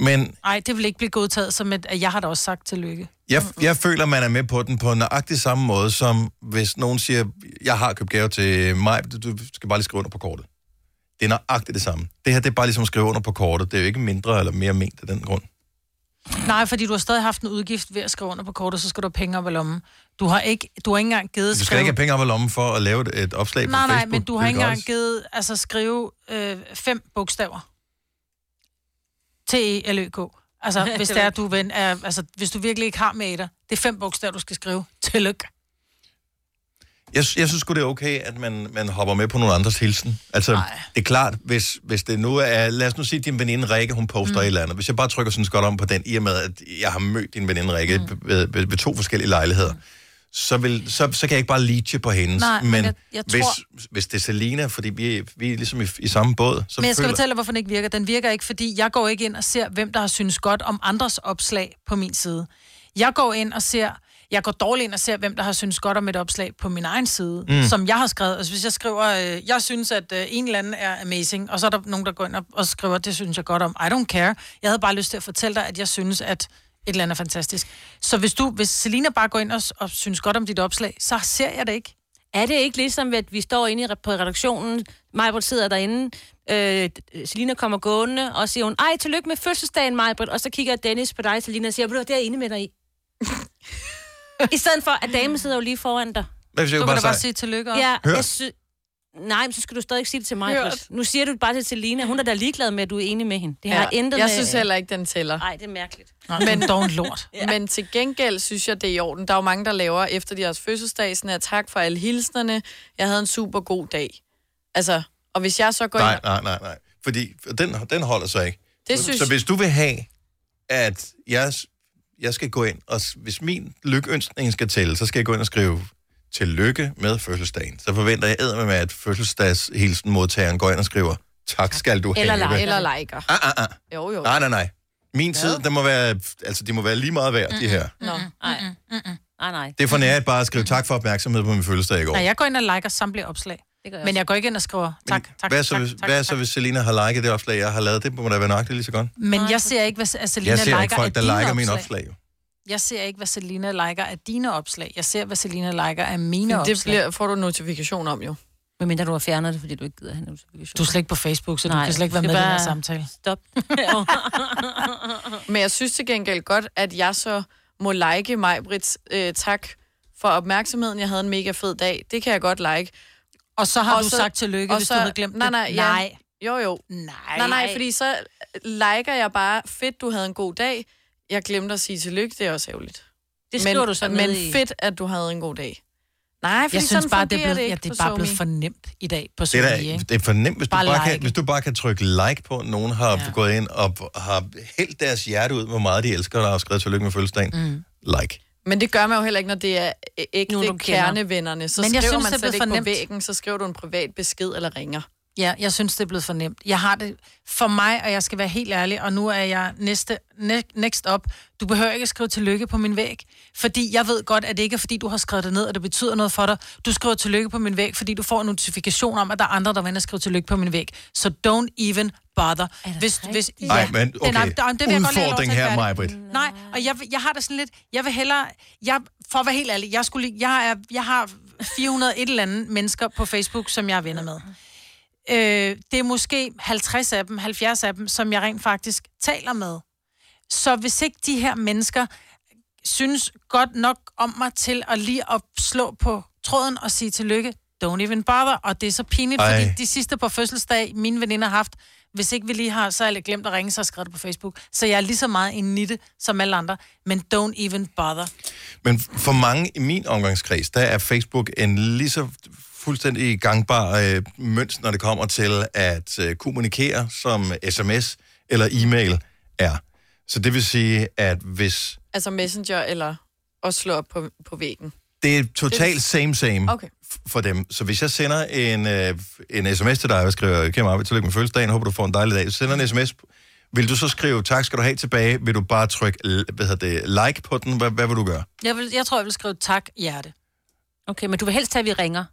[SPEAKER 1] Men
[SPEAKER 2] Nej, det vil ikke blive godtaget som et, at jeg har da også sagt tillykke.
[SPEAKER 1] jeg, jeg føler, man er med på den på nøjagtig samme måde, som hvis nogen siger, jeg har købt gave til mig, du skal bare lige skrive under på kortet. Det er nøjagtigt det samme. Det her, det er bare ligesom at skrive under på kortet. Det er jo ikke mindre eller mere ment af den grund.
[SPEAKER 2] Nej, fordi du har stadig haft en udgift ved at skrive under på kortet, så skal du have penge op i lommen. Du har ikke, du har ikke engang givet
[SPEAKER 1] Du skal ikke have penge op af lommen for at lave et, et opslag på
[SPEAKER 2] Nej,
[SPEAKER 1] Facebook.
[SPEAKER 2] nej, men du
[SPEAKER 1] Det
[SPEAKER 2] har
[SPEAKER 1] er
[SPEAKER 2] ikke engang
[SPEAKER 1] gratis.
[SPEAKER 2] givet, altså skrive øh, fem bogstaver. t e l -Ø k Altså, <laughs>
[SPEAKER 4] Det
[SPEAKER 2] hvis
[SPEAKER 4] ved
[SPEAKER 2] det er,
[SPEAKER 4] jeg.
[SPEAKER 2] du ven, er, altså, hvis du virkelig ikke har med i dig, det er fem bogstaver, du skal skrive. Tillykke.
[SPEAKER 1] Jeg, sy- jeg synes sgu, det er okay, at man, man hopper med på nogle andres hilsen. Altså, Nej. det er klart, hvis, hvis det nu er... Lad os nu sige, at din veninde Rikke, hun poster mm. et eller andet. Hvis jeg bare trykker sådan godt om på den, i og med, at jeg har mødt din veninde Rikke mm. ved, ved, ved to forskellige lejligheder, mm. så, vil, så, så kan jeg ikke bare leache på hendes.
[SPEAKER 2] Nej, men
[SPEAKER 1] men
[SPEAKER 2] jeg- jeg
[SPEAKER 1] hvis,
[SPEAKER 2] tror-
[SPEAKER 1] hvis det er Selina, fordi vi, vi er ligesom i, i samme båd, så
[SPEAKER 2] Men jeg skal
[SPEAKER 1] føler...
[SPEAKER 2] fortælle dig, hvorfor den ikke virker. Den virker ikke, fordi jeg går ikke ind og ser, hvem der har synes godt om andres opslag på min side. Jeg går ind og ser, jeg går dårligt ind og ser, hvem der har synes godt om et opslag på min egen side,
[SPEAKER 4] Mm.
[SPEAKER 2] mm. som jeg har skrevet. Altså hvis jeg skriver, øh, jeg synes, at øh, en eller anden er amazing, og så er der nogen, der går ind og, og skriver, det synes jeg godt om. I don't care. Jeg havde bare lyst til at fortælle dig, at jeg synes, at et eller andet er fantastisk. Så hvis du, hvis Selina bare går ind og, s- og synes godt om dit opslag, så ser jeg det ikke.
[SPEAKER 4] Er det ikke ligesom, at vi står inde i- på redaktionen, Majbrit sidder derinde, øh, Selina kommer gående, og siger hun, ej, tillykke med fødselsdagen, Majbrit, og så kigger Dennis på dig, Selina, og siger, "Ved du, hvad, det er jeg enig med dig i. I stedet for, at damen sidder jo lige foran dig.
[SPEAKER 1] Hvad hvis jeg
[SPEAKER 4] Du
[SPEAKER 1] bare
[SPEAKER 4] kan da bare
[SPEAKER 1] sagde-
[SPEAKER 4] sige tillykke
[SPEAKER 2] også.
[SPEAKER 4] Ja,
[SPEAKER 1] Hørt.
[SPEAKER 4] jeg sy- Nej, men så skal du stadig ikke sige det til mig.
[SPEAKER 5] Hørt.
[SPEAKER 4] Britt. Nu siger du det bare til Selina. Hun er da ligeglad med, at du er enig med hende. Det har ja, intet
[SPEAKER 5] jeg
[SPEAKER 4] med...
[SPEAKER 5] synes heller ikke, den tæller.
[SPEAKER 4] Nej, det er mærkeligt.
[SPEAKER 2] Nå, men dog en lort.
[SPEAKER 5] ja. Men til gengæld synes jeg, det er i orden. Der er jo mange, der laver efter deres fødselsdag, sådan her, tak for alle hilsnerne. Jeg havde en super god dag. Altså, og hvis jeg så går
[SPEAKER 1] Nej,
[SPEAKER 5] ind...
[SPEAKER 1] nej, nej, nej. Fordi den, den holder sig ikke.
[SPEAKER 5] Det
[SPEAKER 1] så,
[SPEAKER 5] synes-
[SPEAKER 1] så hvis du vil have, at jeg, jeg skal gå ind, og s- hvis min lykønskning skal tælle, så skal jeg gå ind og skrive, tillykke med fødselsdagen, så forventer jeg eddermame, med, at fødselsdagshilsen modtageren går ind og skriver, tak skal du
[SPEAKER 5] Eller,
[SPEAKER 1] have.
[SPEAKER 5] like, eller liker.
[SPEAKER 1] Ah, ah, ah.
[SPEAKER 5] Jo, jo.
[SPEAKER 1] Nej, nej, nej. Min tid, der må være, altså, de må være lige meget værd, de her.
[SPEAKER 5] Nå,
[SPEAKER 4] nej. Nej, nej.
[SPEAKER 1] Det er for nært bare at skrive tak for opmærksomhed på min fødselsdag i går.
[SPEAKER 2] Nej, jeg går ind og liker samtlige opslag.
[SPEAKER 4] jeg
[SPEAKER 2] Men jeg går ikke ind og skriver tak, tak,
[SPEAKER 1] hvad,
[SPEAKER 2] tak,
[SPEAKER 1] så,
[SPEAKER 2] tak,
[SPEAKER 1] hvis, hvad så, hvis Selina har liket det opslag, jeg har lavet? Det må da være nøjagtigt lige så godt.
[SPEAKER 2] Men jeg ser ikke, hvad at Selina
[SPEAKER 1] jeg ser
[SPEAKER 2] liker
[SPEAKER 1] ikke
[SPEAKER 2] af
[SPEAKER 1] folk, der
[SPEAKER 2] dine
[SPEAKER 1] liker
[SPEAKER 2] opslag.
[SPEAKER 1] mine opslag. jo.
[SPEAKER 2] Jeg ser ikke, hvad Selina liker af dine opslag. Jeg ser, hvad Selina liker af mine
[SPEAKER 5] Men
[SPEAKER 2] opslag.
[SPEAKER 5] det bliver, får du notifikation om jo.
[SPEAKER 4] Medmindre du har fjernet det, fordi du ikke gider have notifikation.
[SPEAKER 2] Du er slet ikke på Facebook, så du kan slet ikke være med i den her samtale.
[SPEAKER 4] Stop.
[SPEAKER 5] Men jeg synes til gengæld godt, at jeg så må like mig, Brits, øh, tak for opmærksomheden. Jeg havde en mega fed dag. Det kan jeg godt like.
[SPEAKER 2] Og så har du sagt tillykke,
[SPEAKER 5] og
[SPEAKER 2] hvis du havde glemt
[SPEAKER 5] nej,
[SPEAKER 2] det.
[SPEAKER 5] nej, Ja.
[SPEAKER 2] Nej.
[SPEAKER 5] Jo, jo.
[SPEAKER 2] Nej.
[SPEAKER 5] Nej, nej, fordi så øh, liker jeg bare, fedt, du havde en god dag. Jeg glemte at sige tillykke, det er også ærgerligt.
[SPEAKER 2] Det skriver
[SPEAKER 5] men,
[SPEAKER 2] du så ned
[SPEAKER 5] Men
[SPEAKER 2] i-
[SPEAKER 5] fedt, at du havde en god dag. Nej, fordi
[SPEAKER 2] Jeg
[SPEAKER 5] sådan
[SPEAKER 2] synes bare, det er
[SPEAKER 5] fungerer
[SPEAKER 2] blevet,
[SPEAKER 5] ikke
[SPEAKER 2] ja, det er
[SPEAKER 5] på
[SPEAKER 2] bare blevet
[SPEAKER 5] SoMe.
[SPEAKER 2] for nemt i dag på
[SPEAKER 1] Det er,
[SPEAKER 2] Sony,
[SPEAKER 1] da,
[SPEAKER 2] ikke?
[SPEAKER 1] det er for nemt, hvis du,
[SPEAKER 2] Bare
[SPEAKER 1] bare, bare kan,
[SPEAKER 2] like.
[SPEAKER 1] hvis du bare kan trykke like på, at nogen har ja. gået ind og har hældt deres hjerte ud, hvor meget de elsker dig og skrevet tillykke med fødselsdagen. Mm. Like.
[SPEAKER 5] Men det gør man jo heller ikke, når det er øh, ægte
[SPEAKER 2] Nogen, du
[SPEAKER 5] Nogen,
[SPEAKER 2] kender.
[SPEAKER 5] kernevennerne. Så
[SPEAKER 2] Men
[SPEAKER 5] Men jeg
[SPEAKER 2] jeg
[SPEAKER 5] skriver
[SPEAKER 2] synes,
[SPEAKER 5] man
[SPEAKER 2] det
[SPEAKER 5] slet
[SPEAKER 2] er blevet
[SPEAKER 5] ikke
[SPEAKER 2] for
[SPEAKER 5] på
[SPEAKER 2] nemt.
[SPEAKER 5] væggen, så skriver du en privat besked eller ringer.
[SPEAKER 2] Ja, jeg synes, det er blevet for nemt. Jeg har det for mig, og jeg skal være helt ærlig, og nu er jeg næste, ne- next up. Du behøver ikke at skrive tillykke på min væg, fordi jeg ved godt, at det ikke er, fordi du har skrevet det ned, og det betyder noget for dig. Du skriver tillykke på min væg, fordi du får en notifikation om, at der er andre, der vil skrive tillykke på min væg. Så don't even bother. Hvis, hvis, ja.
[SPEAKER 1] Nej, men
[SPEAKER 2] Det er-
[SPEAKER 1] okay.
[SPEAKER 2] nej, der- det vil jeg godt lige have lov til
[SPEAKER 1] Udfordring
[SPEAKER 2] at
[SPEAKER 1] her,
[SPEAKER 2] være det.
[SPEAKER 1] Majbrit.
[SPEAKER 2] Nej, og jeg, jeg har da sådan lidt, jeg vil hellere, jeg, for at være helt ærlig, jeg, skulle, lige- jeg, er, jeg har 400 et eller andet mennesker på Facebook, som jeg er venner med. Øh, det er måske 50 af dem, 70 af dem, som jeg rent faktisk taler med. Så hvis ikke de her mennesker synes godt nok om mig til at lige at slå på tråden og sige tillykke, don't even bother, og det er så pinligt, Ej.
[SPEAKER 1] Ej.
[SPEAKER 2] fordi de sidste på fødselsdag, mine veninder har haft, hvis ikke vi lige har, så har jeg glemt at ringe, så har jeg skrevet det på Facebook. Så jeg er lige så meget en nitte som alle andre, men don't even bother.
[SPEAKER 1] Men for mange i min omgangskreds, der er Facebook en lige så fuldstændig gangbar øh, mønst, når det kommer til at øh, kommunikere, som sms eller e-mail er. Så det vil sige, at hvis
[SPEAKER 5] Altså messenger eller og slå op på, på væggen.
[SPEAKER 1] det er totalt same same
[SPEAKER 5] Okay.
[SPEAKER 1] f- for dem, så hvis jeg sender en, øh, en sms til dig, og jeg skriver, kæmpe arbejde, tillykke med fødselsdagen, håber du får en dejlig dag, så sender jeg en sms, vil du så skrive, tak skal du have tilbage, vil du bare trykke, l- hvad hedder det, like på den, hvad, hvad vil du gøre?
[SPEAKER 2] Jeg, vil, jeg tror, jeg vil skrive tak, hjerte.
[SPEAKER 4] Okay, men du vil helst have, at vi ringer.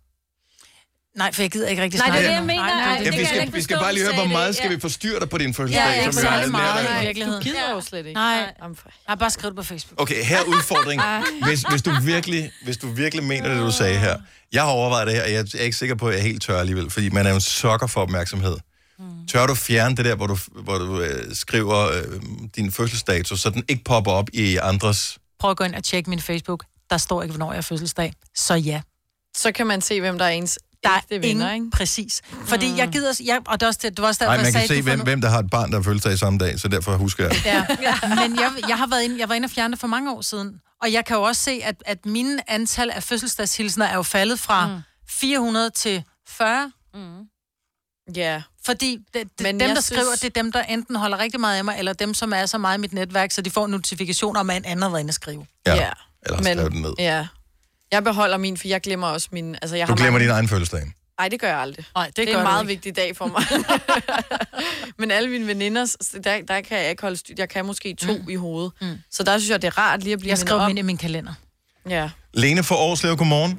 [SPEAKER 2] Nej, for jeg gider ikke rigtig
[SPEAKER 4] Nej, det er
[SPEAKER 2] snakke
[SPEAKER 4] det, jeg
[SPEAKER 2] om
[SPEAKER 4] mener.
[SPEAKER 2] Nej, nej,
[SPEAKER 4] Ej, det
[SPEAKER 1] Jamen,
[SPEAKER 4] kan
[SPEAKER 1] vi,
[SPEAKER 4] jeg
[SPEAKER 1] skal,
[SPEAKER 4] heller ikke
[SPEAKER 1] vi skal
[SPEAKER 4] forstå,
[SPEAKER 1] bare lige
[SPEAKER 4] du
[SPEAKER 1] høre,
[SPEAKER 4] sagde
[SPEAKER 1] hvor
[SPEAKER 4] det.
[SPEAKER 1] meget skal
[SPEAKER 4] Ja.
[SPEAKER 1] vi forstyrre dig på din fødselsdag?
[SPEAKER 2] Ja, ikke
[SPEAKER 1] som jo er
[SPEAKER 2] særlig
[SPEAKER 1] lidt
[SPEAKER 2] meget,
[SPEAKER 1] nærværende.
[SPEAKER 2] nej.
[SPEAKER 5] Du
[SPEAKER 2] virkeligheden.
[SPEAKER 5] gider jo slet ikke.
[SPEAKER 2] Nej.
[SPEAKER 5] Jamen, for-
[SPEAKER 2] Jeg har bare skrevet det på Facebook.
[SPEAKER 1] Okay, her er
[SPEAKER 4] <laughs>
[SPEAKER 1] udfordring.
[SPEAKER 4] Ah.
[SPEAKER 1] Hvis, hvis, du virkelig, hvis du virkelig mener det, du sagde her. Jeg har overvejet det her, og jeg er ikke sikker på, at jeg er helt tør alligevel, fordi man er jo en sokker for opmærksomhed. Tør du fjerne det der, hvor du, hvor du øh, skriver øh, din fødselsdato, så den ikke popper op i andres...
[SPEAKER 2] Prøv at gå ind og tjekke min Facebook. Der står ikke, hvornår jeg er fødselsdag. Så ja.
[SPEAKER 5] Så kan man se, hvem der er ens der er ægte venner, ikke?
[SPEAKER 2] Præcis. Fordi mm. jeg gider... Jeg, og det er også, det, det var også derfor,
[SPEAKER 1] Nej, man
[SPEAKER 2] jeg sagde,
[SPEAKER 1] kan se,
[SPEAKER 2] du får
[SPEAKER 1] hvem,
[SPEAKER 2] no-
[SPEAKER 1] hvem der har et barn, der har fødselsdag samme dag, så derfor husker jeg det.
[SPEAKER 2] <laughs> Ja. Men jeg, jeg, har været inde, jeg var inde og fjerne det for mange år siden. Og jeg kan jo også se, at, at mine antal af fødselsdagshilsener er jo faldet fra mm. 400 til 40.
[SPEAKER 4] Mm.
[SPEAKER 5] Ja.
[SPEAKER 2] Fordi det, det,
[SPEAKER 5] Men
[SPEAKER 2] dem,
[SPEAKER 5] jeg
[SPEAKER 2] der
[SPEAKER 5] synes-
[SPEAKER 2] synes... skriver, det er dem, der enten holder rigtig meget af mig, eller dem, som er så meget i mit netværk, så de får notifikationer om, at en anden har været inde og skrive.
[SPEAKER 1] Ja.
[SPEAKER 5] ja.
[SPEAKER 1] Eller skriv den ned.
[SPEAKER 5] Ja. Jeg beholder min, for jeg glemmer også min... Altså, jeg
[SPEAKER 1] Du
[SPEAKER 5] har
[SPEAKER 1] glemmer
[SPEAKER 5] mange...
[SPEAKER 1] din egen fødselsdag.
[SPEAKER 5] Nej, det gør jeg aldrig.
[SPEAKER 2] Nej, det,
[SPEAKER 5] det er
[SPEAKER 2] gør
[SPEAKER 5] en
[SPEAKER 2] du
[SPEAKER 5] meget
[SPEAKER 2] ikke.
[SPEAKER 5] vigtig dag for mig. <laughs> Men alle mine veninder, så der, der kan jeg ikke holde styr. Jeg kan måske to mm. i hovedet. Mm. Så der synes jeg, det er rart lige at blive
[SPEAKER 2] Jeg
[SPEAKER 5] mindet
[SPEAKER 2] skriver
[SPEAKER 5] om.
[SPEAKER 2] dem ind i min kalender.
[SPEAKER 5] Ja.
[SPEAKER 1] Lene fra Aarhuslev, godmorgen.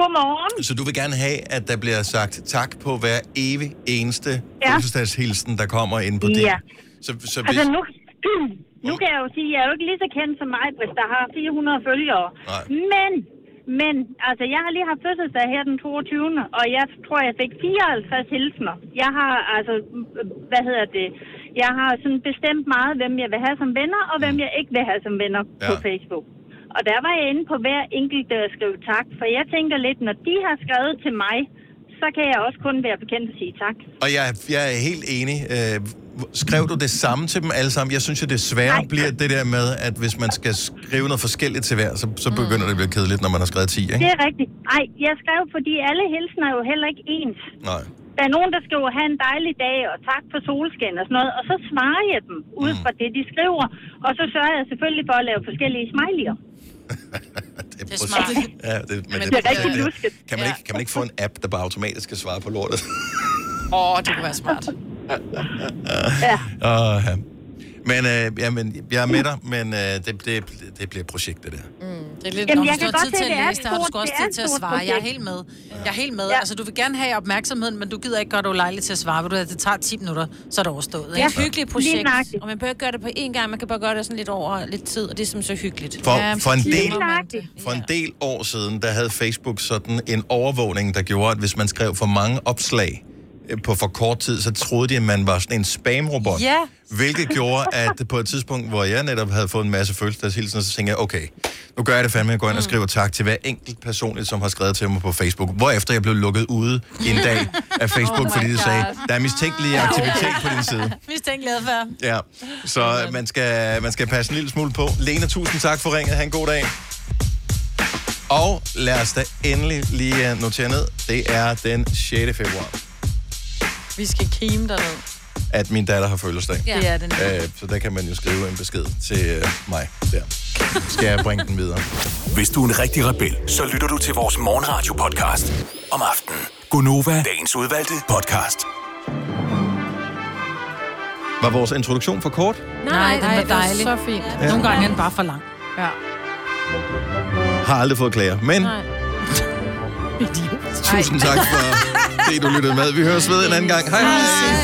[SPEAKER 8] Godmorgen.
[SPEAKER 1] Så du vil gerne have, at der bliver sagt tak på hver evig eneste
[SPEAKER 8] Ja.
[SPEAKER 1] ja. fødselsdagshilsen, der kommer ind på din.
[SPEAKER 8] Ja.
[SPEAKER 1] Så, så hvis...
[SPEAKER 8] Altså nu, nu <clears throat> kan jeg jo sige, at jeg er jo ikke lige så kendt som mig, Britt, der har 400 følgere.
[SPEAKER 1] Nej.
[SPEAKER 8] Men, men, altså jeg har lige haft fødselsdag her den 22. Og jeg tror, jeg fik 54 hilsner. Jeg har altså, øh, hvad hedder det, jeg har sådan bestemt meget, hvem jeg vil have som venner, og hvem jeg ikke vil have som venner ja. på
[SPEAKER 12] Ja.
[SPEAKER 8] Facebook. Og der var jeg inde på hver enkelt og skrev tak, for jeg tænker lidt, når de har skrevet til mig, så kan jeg også kun være bekendt og sige tak.
[SPEAKER 1] Og jeg, jeg er helt enig. Øh, skrev du det samme til dem alle sammen? Jeg synes jo, det svære Nej. bliver det der med, at hvis man skal skrive noget forskelligt til hver, så, så begynder det at blive kedeligt, når man har skrevet 10, ikke?
[SPEAKER 8] Det er rigtigt. Nej, jeg skrev, fordi alle hilsen er jo heller ikke ens.
[SPEAKER 1] Nej.
[SPEAKER 8] Der er nogen, der skriver, have en dejlig dag, og tak for solskin og sådan noget, og så svarer jeg dem ud fra det, de skriver, og så sørger jeg selvfølgelig for at lave forskellige smiley'er.
[SPEAKER 1] Det Det
[SPEAKER 2] er smart.
[SPEAKER 1] Ja, det, men,
[SPEAKER 5] Men
[SPEAKER 1] det,
[SPEAKER 5] det er rigtig
[SPEAKER 1] rigtig
[SPEAKER 5] lusket.
[SPEAKER 1] Kan man, ikke, kan man ikke få en app, der bare automatisk skal svare på lortet?
[SPEAKER 5] Åh, oh, det kunne være smart.
[SPEAKER 1] <laughs> ja. <laughs> Og, ja. Men, øh, ja, men jeg er med dig, men øh, det, det, det bliver et projekt, det der.
[SPEAKER 2] Det er lidt,
[SPEAKER 16] Jamen,
[SPEAKER 2] Jamen,
[SPEAKER 16] jeg
[SPEAKER 2] jeg du
[SPEAKER 16] kan
[SPEAKER 2] har
[SPEAKER 16] godt
[SPEAKER 2] tid
[SPEAKER 16] se,
[SPEAKER 2] til
[SPEAKER 16] det er
[SPEAKER 2] at læse,
[SPEAKER 16] et
[SPEAKER 2] der har du
[SPEAKER 16] stort-
[SPEAKER 2] sgu også
[SPEAKER 16] det
[SPEAKER 2] tid
[SPEAKER 16] er et
[SPEAKER 2] til at
[SPEAKER 16] stort
[SPEAKER 2] svare. Jeg er
[SPEAKER 16] projekt.
[SPEAKER 2] helt med. Jeg er helt med. Altså, du vil gerne have opmærksomheden, men du gider ikke godt ulejligt til at svare. Ved du, at det tager 10 minutter, så er det overstået.
[SPEAKER 4] Det er et hyggeligt projekt, og man behøver ikke gøre det på én gang, man kan bare gøre det sådan lidt over lidt tid, og det er som så hyggeligt.
[SPEAKER 1] For, for, en del,
[SPEAKER 4] nøjagtigt.
[SPEAKER 1] for en del år siden, der havde Facebook sådan en overvågning, der gjorde, at hvis man skrev for mange opslag øh, på for kort tid, så troede de, at man var sådan en spamrobot.
[SPEAKER 2] Ja.
[SPEAKER 1] Hvilket gjorde, at på et tidspunkt, hvor jeg netop havde fået en masse følelseshilsener, så tænkte jeg, okay, nu gør jeg det fandme, jeg går ind og
[SPEAKER 2] Mm.
[SPEAKER 1] skriver tak til hver enkelt personligt, som har skrevet til mig på Facebook. Hvorefter jeg blev lukket ude i en dag af
[SPEAKER 2] <laughs>
[SPEAKER 1] Facebook,
[SPEAKER 2] Oh
[SPEAKER 1] oh
[SPEAKER 2] my
[SPEAKER 1] fordi de sagde,
[SPEAKER 2] God.
[SPEAKER 1] der er mistænkelig aktivitet på din side.
[SPEAKER 2] Mistænkt adfærd.
[SPEAKER 1] Ja, så øh, man skal, man skal passe en lille smule på. Lena, tusind tak for ringet. Ha' en god dag. Og lad os da endelig lige øh, notere ned. Det er den 6. februar,
[SPEAKER 5] Vi skal kime derned.
[SPEAKER 1] at min datter har fødselsdag.
[SPEAKER 5] Ja. Det er det nemlig.
[SPEAKER 1] Øh, så der kan man jo skrive en besked til øh, mig der. Skal jeg bringe den videre?
[SPEAKER 7] Hvis du er en rigtig rebel, så lytter du til vores morgenradio-podcast om aftenen. Gunova, dagens udvalgte podcast.
[SPEAKER 1] Var vores introduktion for kort?
[SPEAKER 2] Nej, den
[SPEAKER 5] nej,
[SPEAKER 2] var
[SPEAKER 5] det var
[SPEAKER 2] dejlig.
[SPEAKER 5] så fint.
[SPEAKER 1] Ja.
[SPEAKER 2] Nogle gange er den bare for lang. Ja.
[SPEAKER 1] Har aldrig fået klager, men Nej. tusind tak for det, du lyttede med. Vi høres ved en anden gang. Hej hej!